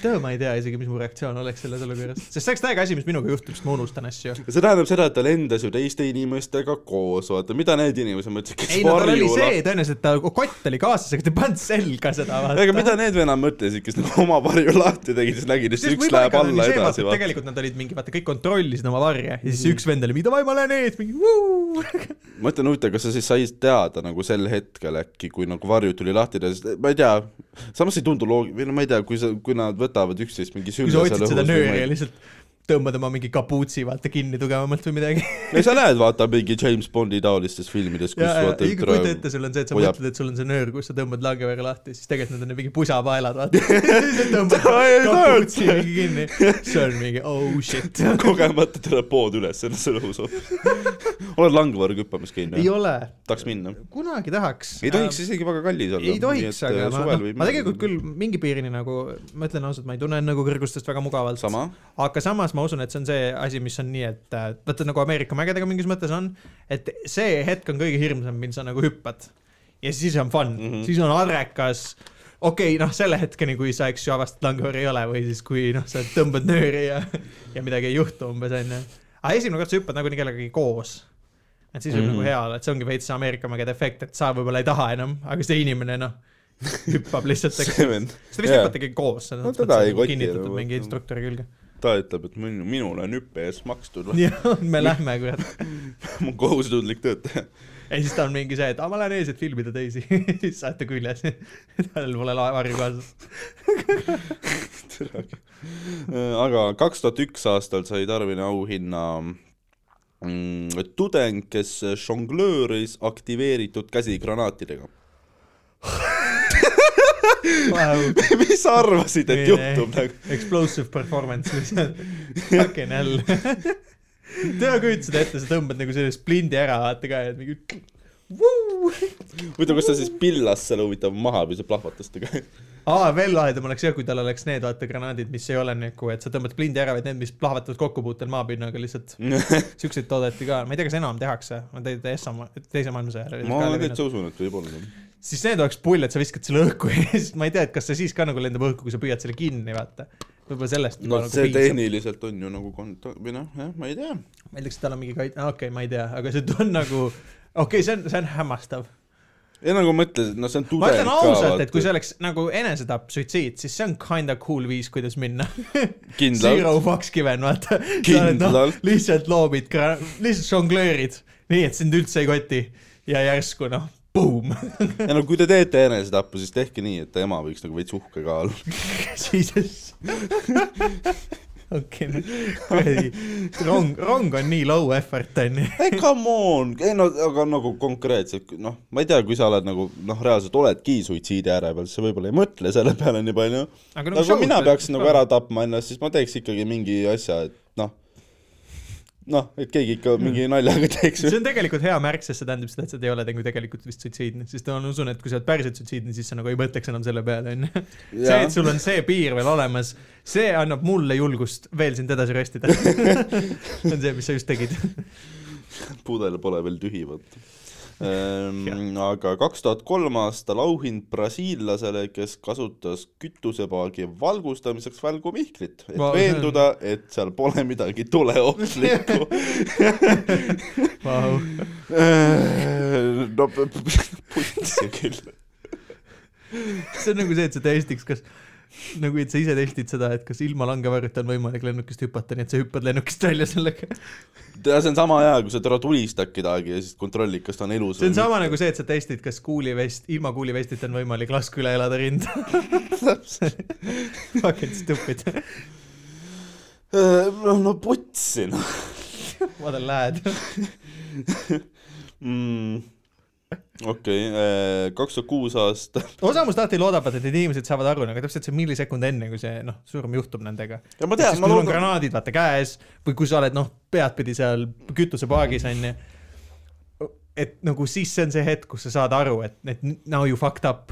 Speaker 1: tead , ma ei tea isegi , mis mu reaktsioon oleks selles olukorras , sest see oleks täiega asi , mis minuga juhtub , sest ma unustan asju .
Speaker 2: see tähendab seda , et ta lendas ju teiste inimestega koos , vaata , mida need inimesed mõtlesid , kes
Speaker 1: ei no tal oli
Speaker 2: varju
Speaker 1: see tõenäoliselt , ta kott oli kaasas , aga ta ei pannud selga seda vaata .
Speaker 2: ega mida need venelad mõtlesid , kes nagu oma varju lahti tegid , siis nägid , et
Speaker 1: Sest
Speaker 2: üks
Speaker 1: võib-olla
Speaker 2: läheb
Speaker 1: ka oli
Speaker 2: alla
Speaker 1: see, vaata, et
Speaker 2: edasi , vaata . Mhm.
Speaker 1: tegelikult nad olid mingi , vaata kõik kontrollisid oma varje ja siis üks vend oli , mida ma lähen ees , mingi vuu .
Speaker 2: ma ütlen huvitav , kas sa siis said teada nagu sel hetkel äkki , kui nagu varjud tuli lahti teha , sest ma ei tea , samas ei tundu loogiline , või no ma ei tea , kui sa , kui nad võtavad üksteist mingi
Speaker 1: kui
Speaker 2: sülje
Speaker 1: sa otsid seda nööri ja lihtsalt tõmbad oma mingi kapuutsi vaata kinni tugevamalt või midagi .
Speaker 2: ei sa näed , vaata mingi James Bondi taolistes filmides , kus
Speaker 1: ja , ja
Speaker 2: vaata
Speaker 1: iga kujuta ette , sul on see , et sa
Speaker 2: hoiab-
Speaker 1: mõtled , et sul on see nöör , kus sa tõmbad langeväega lahti , siis tegelikult need on mingi pusapaelad , vaata . siis sa tõmbad kapuutsi mingi kinni , see on mingi oh shit .
Speaker 2: kogemata tuleb pood üles , enne selle õhus hoopis . oled langvargu hüppamas käinud
Speaker 1: ei
Speaker 2: jah ?
Speaker 1: ole ,
Speaker 2: tahaks minna ?
Speaker 1: kunagi tahaks .
Speaker 2: ei tohiks isegi väga kallis olla . äh,
Speaker 1: ei tohiks , aga ma , noh , ma
Speaker 2: nagu
Speaker 1: tegelikult küll mingi piirini nagu , ma ütlen ausalt , ma ei tunne nagu kõrgustest väga mugavalt .
Speaker 2: sama ,
Speaker 1: aga samas ma usun , et see on see asi , mis on nii , et äh, vaata nagu Ameerika mägedega mingis mõttes on , et see hetk on kõige hirmsam , mil sa nagu hüppad . ja siis on fun mm ,
Speaker 2: Mhm.
Speaker 1: -hmm. siis on adrekas . okei okay, , noh , selle hetkeni , kui sa , eks ju , avastad langevari ei ole või siis , kui noh , sa tõmbad nööri ja , ja midagi ei juhtu umbes onju . aga esimene kord sa hüppad nagunii kellegagi koos . et siis võib
Speaker 2: Mhm.
Speaker 1: mm -hmm. nagu hea olla , et see ongi veits see Ameerika mägede efekt , et sa võib-olla ei taha enam , aga see inimene noh , hüppab lihtsalt , eks .
Speaker 2: see vend ,
Speaker 1: seda vist
Speaker 2: Jaa.
Speaker 1: hüpatagi koos ,
Speaker 2: No teda ei koti
Speaker 1: kinnitatud
Speaker 2: nagu,
Speaker 1: mingi
Speaker 2: et-
Speaker 1: instruktori külge .
Speaker 2: ta ütleb , et minu , minule on hüppe ees makstud ,
Speaker 1: jah , me lähme , kurat .
Speaker 2: ma olen kohusetundlik töötaja .
Speaker 1: ja siis ta on mingi see , et aa , ma lähen ees , et filmida teisi . siis saate küljes . tal pole laevarju kaasas .
Speaker 2: Äh, aga kaks tuhat üks aastal sai Tarvine auhinna mm, tudeng , kes žonglööris aktiveeritud käsigranaatidega . mis sa arvasid , et juhtub nagu ?
Speaker 1: Explosive performance lihtsalt . Fucking hell . tea , kujutad seda ette , sa tõmbad nagu selle splindi ära , vaata ka , et mingi .
Speaker 2: huvitav , kas ta siis pillas selle huvitav maha või see plahvatas ta ka ?
Speaker 1: aa , veel lahedam oleks jah , kui tal oleks need , vaata , granaadid , mis ei ole nagu , et sa tõmbad splindi ära , vaid need , mis plahvatavad kokkupuutel maapinnaga lihtsalt . siukseid toodeti ka , ma ei tea , kas enam tehakse , ma tean , et Essa , teise maailmasõja ajal olid
Speaker 2: ma
Speaker 1: ka
Speaker 2: olen
Speaker 1: levinud.
Speaker 2: täitsa usun , et võib-olla .
Speaker 1: siis need oleks pull , et sa viskad selle õhku ja siis ma ei tea , et kas see siis ka nagu lendab õhku , kui sa püüad selle kinni , vaata . võib-olla sellest
Speaker 2: no
Speaker 1: juba nagu
Speaker 2: see
Speaker 1: piisab.
Speaker 2: tehniliselt on ju nagu kont- , või noh , jah , ma ei tea .
Speaker 1: ma ei tea , kas tal on mingi kait- , okei okay, , ma ei tea , aga see on nagu , okei okay, , see on , see on hämmastav .
Speaker 2: ei nagu ma ütlesin , et noh , see
Speaker 1: ma
Speaker 2: on tudeng
Speaker 1: ütlen ausalt , et kui see
Speaker 2: vaata.
Speaker 1: oleks nagu enesetapp , suitsiid , siis see on kinda cool viis , kuidas minna . Zero
Speaker 2: kindlalt ,
Speaker 1: fucks given , vaata . sa oled noh
Speaker 2: Kindlalt. ,
Speaker 1: lihtsalt loobid , lihtsalt žonglöörid , nii et sind üldse ei koti ja järsku noh , boom ,
Speaker 2: ei no kui te teete enesetappu , siis tehke nii , et ema võiks nagu veits uhke ka olla .
Speaker 1: Jesus . okei , kuradi , rong , rong on nii low effort onju .
Speaker 2: ei , come on , ei no aga nagu konkreetselt , noh , ma ei tea , kui sa oled nagu noh , reaalselt oledki suitsiidi ääre peal , siis sa võib-olla ei mõtle selle peale nii palju .
Speaker 1: Aga nagu
Speaker 2: aga
Speaker 1: show'd
Speaker 2: kui mina
Speaker 1: pead
Speaker 2: peaksin nagu
Speaker 1: ka.
Speaker 2: ära tapma ennast , siis ma teeks ikkagi mingi asja , et noh , noh , et keegi ikka mingi naljaga teeks .
Speaker 1: see on tegelikult hea märk , sest see tähendab seda , et sa ei ole nagu tegelikult vist suitsiidne , sest ma usun , et kui sa oled päriselt suitsiidne , siis sa nagu ei mõtleks enam selle peale onju . see ,
Speaker 2: Jaa.
Speaker 1: et sul on see piir veel olemas , see annab mulle julgust veel sind edasi röstida . see on see , mis sa just tegid .
Speaker 2: pudel pole veel tühi , vaata .
Speaker 1: Jah.
Speaker 2: aga kaks tuhat kolm aastal auhind brasiillasele , kes kasutas kütusepaagi valgustamiseks välgumihklit , et
Speaker 1: Ma-
Speaker 2: veenduda , et seal pole midagi tuleohtlikku
Speaker 1: Vau ,
Speaker 2: Äh, no p- p- putsi küll .
Speaker 1: see on nagu see , et sa testiks , kas nagu , et sa ise testid seda , et kas ilma langevarjuta on võimalik lennukist hüpata , nii et sa hüppad lennukist välja sellega .
Speaker 2: tead , see on sama hea , kui sa täna tulistad kedagi ja siis kontrollid , kas ta on elus
Speaker 1: see on sama nagu see , et sa testid , kas kuulivest , ilma kuulivestita on võimalik lask üle elada rinda . Fucking stupid ,
Speaker 2: Äh, no, no putsi noh
Speaker 1: vaata lähed .
Speaker 2: mm. . okei , kaks tuhat kuus aasta .
Speaker 1: osa must alati loodavad , et need inimesed saavad aru nagu täpselt see millisekund enne , kui see noh , surm juhtub nendega .
Speaker 2: ja ma
Speaker 1: siis
Speaker 2: tean ,
Speaker 1: kui
Speaker 2: ma
Speaker 1: sul on
Speaker 2: loodan ,
Speaker 1: granaadid vaata käes või kui sa oled noh , peadpidi seal kütusepaagis onju . et nagu siis see on see hetk , kus sa saad aru , et , et now you fucked up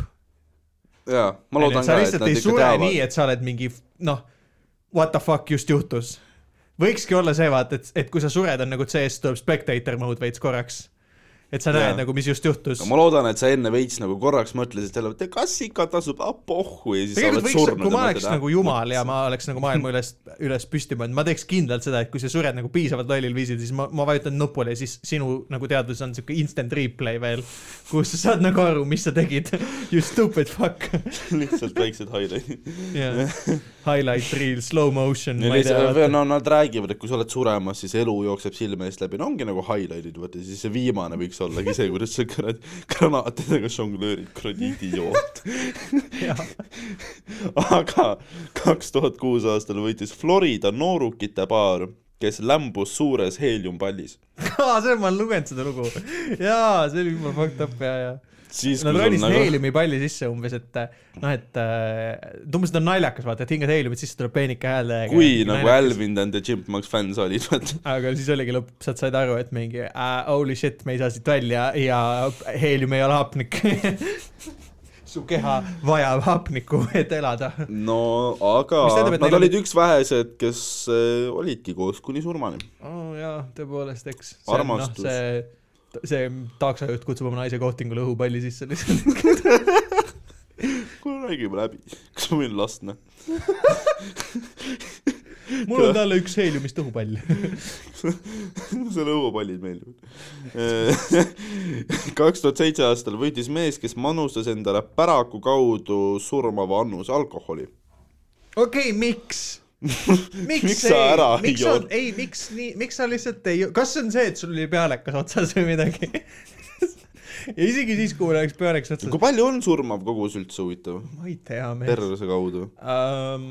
Speaker 2: jaa , ma loodan
Speaker 1: sa
Speaker 2: ka ,
Speaker 1: lihtsalt
Speaker 2: et nad
Speaker 1: ei
Speaker 2: ikka
Speaker 1: sure
Speaker 2: teavad
Speaker 1: nii ,. et sa oled mingi noh , what the fuck just juhtus . võikski olla see vaata , et , et kui sa sured , on nagu CS tuleb spectator mode veits korraks . et sa näed
Speaker 2: Jaa.
Speaker 1: nagu , mis just juhtus .
Speaker 2: ma loodan , et sa enne veits nagu korraks mõtlesid jälle , et kas ikka tasub , ah pohhu ja "Ah, siis sa
Speaker 1: tegelikult
Speaker 2: oled
Speaker 1: võiks ,
Speaker 2: surnud .
Speaker 1: kui ma oleks nagu jumal ja ma oleks nagu maailma üles , üles püsti pannud , ma teeks kindlalt seda , et kui sa sured nagu piisavalt lollil viisil , siis ma , ma vajutan nupule ja siis sinu nagu teadvuses on siuke instant replay veel , kus sa saad nagu aru , mis sa tegid . You stupid fuck .
Speaker 2: lihtsalt väiksed highlight'id .
Speaker 1: Yeah. Highlight reel , slow motion , ma ei
Speaker 2: või
Speaker 1: tea .
Speaker 2: no nad räägivad , et kui sa oled suremas , siis elu jookseb silme eest läbi , no ongi nagu highlight'id , vaata siis see viimane võiks ollagi see , kuidas sa kuradi granaatidega žonglöörid , kuradi idioot . aga kaks tuhat kuus aastal võitis Florida noorukite paar , kes lämbus suures heeliumpallis .
Speaker 1: aa , see ma olen lugenud seda lugu . jaa , see oli jumala fucked up ja , ja .
Speaker 2: siis
Speaker 1: Nad
Speaker 2: kui sul
Speaker 1: ronisid
Speaker 2: nagu ,
Speaker 1: heeliumi palli sisse umbes , et noh , et äh, umbes ta on naljakas , vaata , et hingad heeliumit sisse , tuleb peenike hääl .
Speaker 2: kui nagu . Alvin and the Chipmunks fänn sa olid , vaata .
Speaker 1: aga siis oligi lõpp , sa said aru , et mingi uh, holy shit , me ei saa siit välja ja heelium ei ole hapnik . su keha vajab hapnikku , et elada .
Speaker 2: no aga
Speaker 1: Mis tähendab, et
Speaker 2: nad
Speaker 1: neil
Speaker 2: olid üks vähesed , kes äh, olidki koos kuni surmani .
Speaker 1: Oh, jaa , tõepoolest , eks .
Speaker 2: Armastus.
Speaker 1: see , see taksojuht kutsub oma naise kohtingule õhupalli sisse lihtsalt .
Speaker 2: kuule räägime läbi , kas ma võin lasta ?
Speaker 1: mul on talle üks heeliumist õhupall .
Speaker 2: seal õuepallid meeldivad . Eh, kaks tuhat seitse aastal võitis mees , kes manustas endale päraku kaudu surmava annuse alkoholi .
Speaker 1: okei okay, , miks ? miks,
Speaker 2: Miks sa ära ei
Speaker 1: miks sa
Speaker 2: joo- ,
Speaker 1: ei , miks nii , miks sa lihtsalt ei , kas see on see , et sul oli pealekas otsas või midagi ? ja isegi siis , kui mul oleks pealekas otsas
Speaker 2: kui , palju on surmav kogus üldse huvitav ?
Speaker 1: ma ei tea , mees .
Speaker 2: perse kaudu ?
Speaker 1: Um,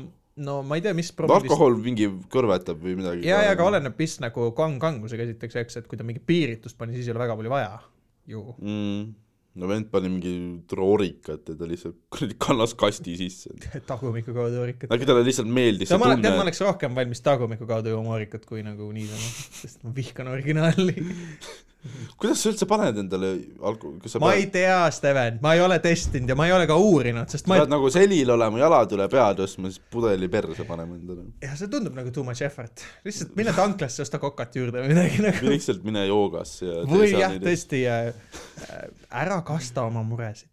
Speaker 1: no ma ei tea , mis probleemist
Speaker 2: alkohol mingi kõrvetab või midagi ?
Speaker 1: ja , ja aga oleneb vist nagu kang kangusega esiteks , eks , et kui ta mingi piiritust pani , siis ei ole väga palju vaja ju .
Speaker 2: mm. . no vend pani mingi roorikat ja ta lihtsalt kuradi kannas kasti sisse .
Speaker 1: tagumiku kaudu oorikat .
Speaker 2: äkki Nagu talle lihtsalt meeldis
Speaker 1: no
Speaker 2: see
Speaker 1: ma olen , tead , ma
Speaker 2: tunne ,
Speaker 1: oleks rohkem valmis tagumiku kaudu jooma oorikat kui nagu niisama , sest ma vihkan originaali .
Speaker 2: kuidas sa üldse paned endale alko- , kas sa
Speaker 1: ma
Speaker 2: paned-
Speaker 1: ei tea , Steven , ma ei ole testinud ja ma ei ole ka uurinud , sest ma
Speaker 2: pead
Speaker 1: ei... ,
Speaker 2: nagu selil olema , jalad üle pea tõstma , siis pudeli perse panema endale .
Speaker 1: jah , see tundub nagu too much effort . lihtsalt mine tanklasse , osta kokat juurde või midagi nagu .
Speaker 2: lihtsalt mine joogasse ja
Speaker 1: või jah , tõesti äh, äh, ära kasta oma muresid .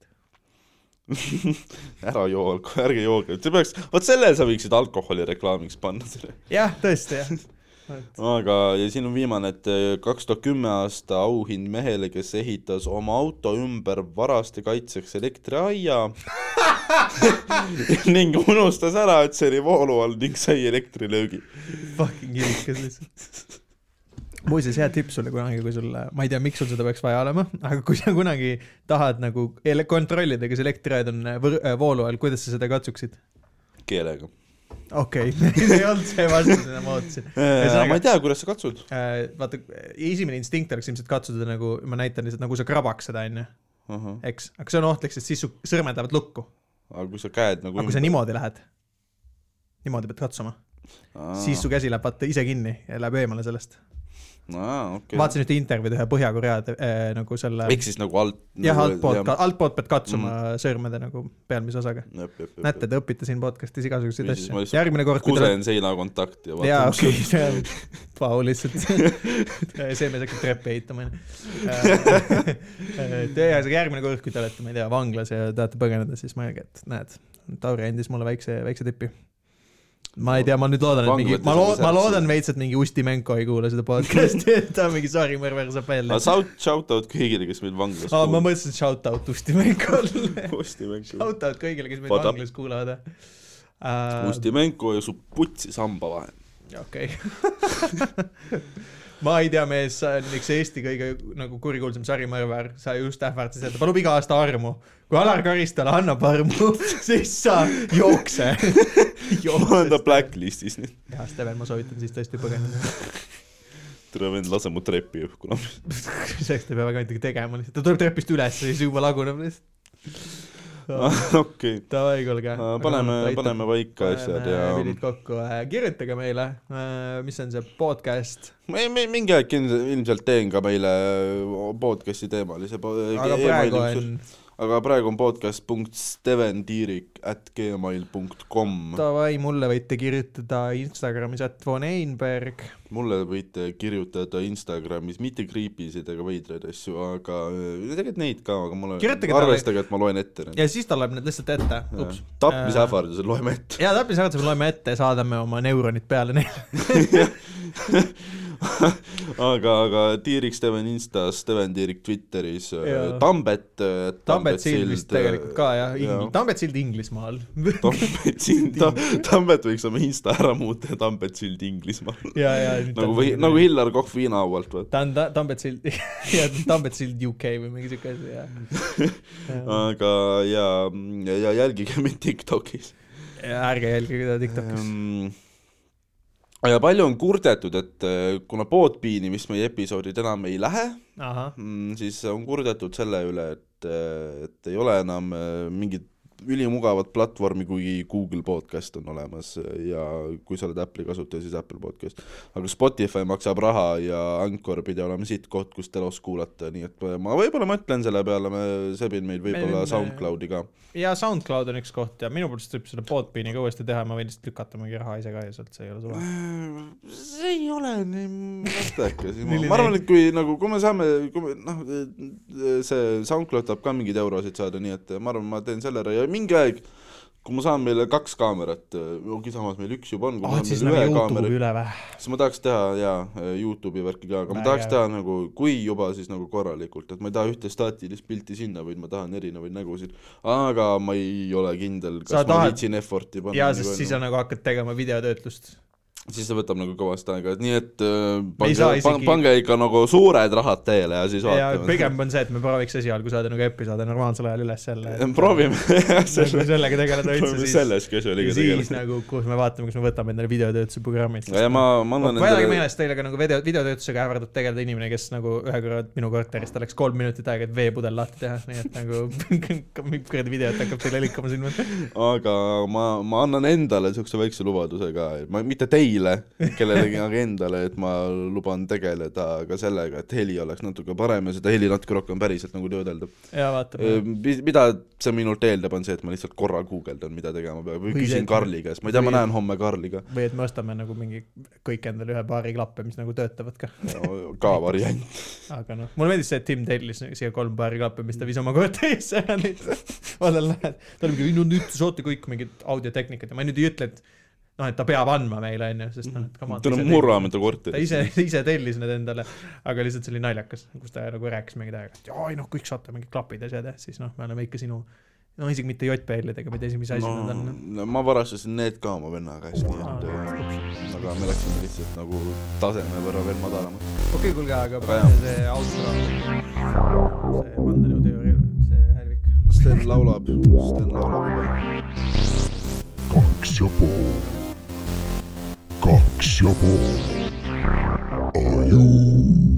Speaker 2: ära joo alko- , ärge jooge , see peaks , vot selle sa võiksid alkoholi reklaamiks panna selle .
Speaker 1: jah , tõesti jah
Speaker 2: aga , ja siin on viimane , et kaks tuhat kümme aasta auhind mehele , kes ehitas oma auto ümber varaste kaitseks elektriaia ning unustas ära , et see oli voolu all ning sai elektrilöögi .
Speaker 1: fucking ilikas lihtsalt . muuseas , hea tipp sulle kunagi , kui sul , ma ei tea , miks sul seda peaks vaja olema , aga kui sa kunagi tahad nagu ele- kontrollida , kas elektriaed on võr- äh, voolu all , kuidas sa seda katsuksid ?
Speaker 2: keelega .
Speaker 1: okei okay. , ei olnud see vastus , mida ma ootasin .
Speaker 2: Äh, ma
Speaker 1: ühesõnaga äh,
Speaker 2: ei , tea , kuidas sa katsud .
Speaker 1: vaata , esimene instinkt oleks ilmselt katsuda nagu , ma näitan lihtsalt nagu sa krabaks seda , onju ,
Speaker 2: aga
Speaker 1: eks , aga see on ohtlik , sest siis su sõrmed lähevad lukku ,
Speaker 2: kui sa käed nagu
Speaker 1: aga kui sa niimoodi lähed , niimoodi pead katsuma ,
Speaker 2: Aa,
Speaker 1: siis su käsi läheb vaata ise kinni ja läheb eemale sellest .
Speaker 2: aa, okei.
Speaker 1: vaatasin ühte intervjuud ühe Põhja-Korea äh, nagu selle
Speaker 2: ehk siis nagu alt .
Speaker 1: jah , altpoolt , altpoolt pead katsuma mm. sõrmede nagu pealmise osaga . näete ,. te õpite siin podcast'is igasuguseid
Speaker 2: Või siis ma
Speaker 1: asju .
Speaker 2: lihtsalt
Speaker 1: järgmine kord , kui te olete
Speaker 2: kusen seina kontakti ja
Speaker 1: jaa ,
Speaker 2: vaatan ,
Speaker 1: okei , see on , vau , lihtsalt see mees hakkab treppe ehitama , Eh, onju . ühesõnaga järgmine kord , kui te olete , ma ei tea , vanglas ja tahate põgeneda , siis mõelge , et näed , Tauri andis mulle väikse , väikse tipi . ma ei tea , ma nüüd loodan , et mingi , ma loo- , ma loodan veits , et mingi Ustimenko ei kuule seda podcast'i , et ta mingi sorry , mõrvar saab välja
Speaker 2: aga . shout , shout out kõigile , kes meil vanglas
Speaker 1: aa , ma mõtlesin shout out Ustimenkole .
Speaker 2: Ustimenko .
Speaker 1: Shout out kõigile , kes meid
Speaker 2: What up?
Speaker 1: vanglas kuulavad uh, .
Speaker 2: Ustimenko ja su putsi samba vahel .
Speaker 1: okei . ma ei tea , mees , sa oled üks Eesti kõige nagu kurikuulsam sarimõrvar , sa just ähvardasid , et ta palub iga aasta armu . kui Alar Karistale annab armu , siis sa jookse .
Speaker 2: ma olen ta blacklist'is nüüd .
Speaker 1: jah , Steven , ma soovitan siis tõesti põgeneda .
Speaker 2: tere vend , lase mu trepi õhku noh .
Speaker 1: selleks ta ei pea väga midagi tegema lihtsalt , ta tuleb trepist üles ja siis juba laguneb lihtsalt .
Speaker 2: okei ,
Speaker 1: Davai , kuulge .
Speaker 2: paneme , paneme paika asjad ja
Speaker 1: pillid kokku , kirjutage meile , mis on see podcast ,
Speaker 2: ma ei- mi- mingi aeg ilmselt- ilmselt teen ka meile podcast'i teemalise . e-,
Speaker 1: aga praegu on .
Speaker 2: aga praegu on podcast punkt steventiirik at gmail punkt com .
Speaker 1: Davai , mulle võite kirjutada Instagramis at von Einberg .
Speaker 2: mulle võite kirjutada Instagramis mitte creepy'sid ega veidraid asju , aga äh, tegelikult neid ka , aga mul on
Speaker 1: Kirjutage , talle-
Speaker 2: arvestage , et ma loen ette neid .
Speaker 1: ja siis ta loeb need lihtsalt ette , ups . Äh.
Speaker 2: tapmisähvardused loeme ette .
Speaker 1: ja täppisähvarduse me loeme ette ja saadame oma neuronid peale neile .
Speaker 2: aga , aga Tiirik Steven Instas , Steven Tiirik Twitteris äh,
Speaker 1: Jaa. ,
Speaker 2: Tambet . äh,
Speaker 1: Tambet Sild vist tegelikult ka jah , Tambet Sild Inglismaal .
Speaker 2: Tambet Sild , Tambet võiks oma Insta ära muuta ja Tambet Sild Inglismaal .
Speaker 1: ja , ja .
Speaker 2: nagu või , nagu . Hillar Kohv Hiina haualt või ?
Speaker 1: ta on ta- Tambet Sild ja Tambet Sild UK või mingi siuke asi jah .
Speaker 2: aga ja , ja jälgige mind Tiktokis .
Speaker 1: ärge jälgige teda Tiktokis .
Speaker 2: Ehm, ja palju on kurdetud , et eh, kuna Podbeani vist meie episoodid enam ei lähe ,
Speaker 1: ahah ,
Speaker 2: mm, siis on kurdetud selle üle , et , et ei ole enam eh, mingit ülimugavat platvormi , kuigi Google podcast on olemas äh, ja kui sa oled Apple'i kasutaja , siis Apple podcast . aga Spotify maksab raha ja Anchor pidi olema siit koht , kus telos kuulata , nii et ma võib-olla mõtlen selle peale , me , sebin meid võib-olla
Speaker 1: võime-
Speaker 2: SoundCloudi ka .
Speaker 1: ja SoundCloud on üks koht ja minu poolest võib seda Podbeani ka uuesti teha , ma võin lihtsalt lükata mingi raha ise ka ja sealt see ei ole sulle .
Speaker 2: see ei ole nii mõttekas , ma
Speaker 1: Milline-
Speaker 2: ma arvan , et kui nagu , kui me saame , kui me noh , see SoundCloud tahab ka mingeid eurosid saada , nii et ma arvan , ma teen selle ära ja mingi aeg , kui ma saan meile kaks kaamerat , kuigi samas meil üks juba on , kui
Speaker 1: aa ,
Speaker 2: ma
Speaker 1: et siis
Speaker 2: saan meile
Speaker 1: läheb
Speaker 2: ühe
Speaker 1: Youtube'i
Speaker 2: kaamera ,
Speaker 1: üle või ?
Speaker 2: siis ma tahaks teha jaa , Youtube'i värki ka , aga ma
Speaker 1: Väga
Speaker 2: tahaks
Speaker 1: hea.
Speaker 2: teha nagu , kui juba , siis nagu korralikult , et ma ei taha ühte staatilist pilti sinna , vaid ma tahan erinevaid nägusid , aga ma ei ole kindel , kas
Speaker 1: Sa
Speaker 2: ma
Speaker 1: tahad-
Speaker 2: viitsin effort'i panna .
Speaker 1: jaa , sest siis sa nagu hakkad tegema videotöötlust .
Speaker 2: siis see võtab nagu kõvasti aega , et nii et äh,
Speaker 1: ei
Speaker 2: pange
Speaker 1: saa ,
Speaker 2: pan,
Speaker 1: isegi-
Speaker 2: pange ikka nagu suured rahad teele ja siis
Speaker 1: ja
Speaker 2: vaatame .
Speaker 1: pigem on see , et me prooviks esialgu saada nagu episoode normaalsel ajal üles jälle .
Speaker 2: proovime
Speaker 1: nagu
Speaker 2: selle ,
Speaker 1: sellega tegeleda
Speaker 2: proovime
Speaker 1: üldse siis .
Speaker 2: selles
Speaker 1: ja
Speaker 2: käsuliga
Speaker 1: siis
Speaker 2: tegeleda .
Speaker 1: nagu , kus me vaatame , kas me võtame endale videotöötluse programmid .
Speaker 2: ja ma , ma annan
Speaker 1: vägagi
Speaker 2: endale ,
Speaker 1: meeles teile ka nagu video , videotöötlusega ähvardab tegeleda inimene , kes nagu ühe korra minu korteris , tal läks kolm minutit aega , et veepudel lahti teha , nii et nagu mingi kuradi videot hakkab teile liikuma silma .
Speaker 2: aga ma , ma annan endale niisuguse väikse lubaduse ka , ma mitte teile kellelegi , aga endale , et ma luban tegeleda ka sellega , et heli oleks natuke parem ja seda heli natuke rohkem päriselt nagu töödelda .
Speaker 1: ja vaatame .
Speaker 2: mida see minult eeldab , on see , et ma lihtsalt korra guugeldan , mida tegema peab või
Speaker 1: Või see,
Speaker 2: küsin
Speaker 1: et-
Speaker 2: Karli käest , ma ei tea , ma
Speaker 1: või-
Speaker 2: näen homme Karli ka .
Speaker 1: või et me ostame nagu mingi kõik endale ühe paari klappe , mis nagu töötavad ka .
Speaker 2: ka variant .
Speaker 1: aga noh , mulle meeldis see , et Tim tellis nagu siia kolm paari klappe , mis ta viis oma korterisse ära lihtsalt . vaatan lähen , ta oli mingi , no nüüd te saate kõik mingit audiotehnikat ja ma nüüd ei ütle , et noh , et ta peab andma meile , onju , sest noh , et come on .
Speaker 2: tal on murrame ta
Speaker 1: ta
Speaker 2: korteris .
Speaker 1: ise , ise tellis need endale , aga lihtsalt see oli naljakas , kus ta nagu rääkis mingid aega , et jaa , ei noh , kõik saate mingid klapid ja asjad ja siis noh , me oleme ikka sinu , no isegi mitte JPL-idega , ma ei tea isegi , mis asi no. need on . noh,
Speaker 2: no ma varastasin need ka oma vennaga hästi , et äh, aga me läksime lihtsalt nagu taseme võrra veel madalamaks .
Speaker 1: okei , kuulge , aga
Speaker 2: Väga hea.
Speaker 1: pange see auto , see vandenõuteooria , see hälvik .
Speaker 2: Sten laulab , Sten laulab .
Speaker 5: kaks ja pool . kaks ja pool . Are you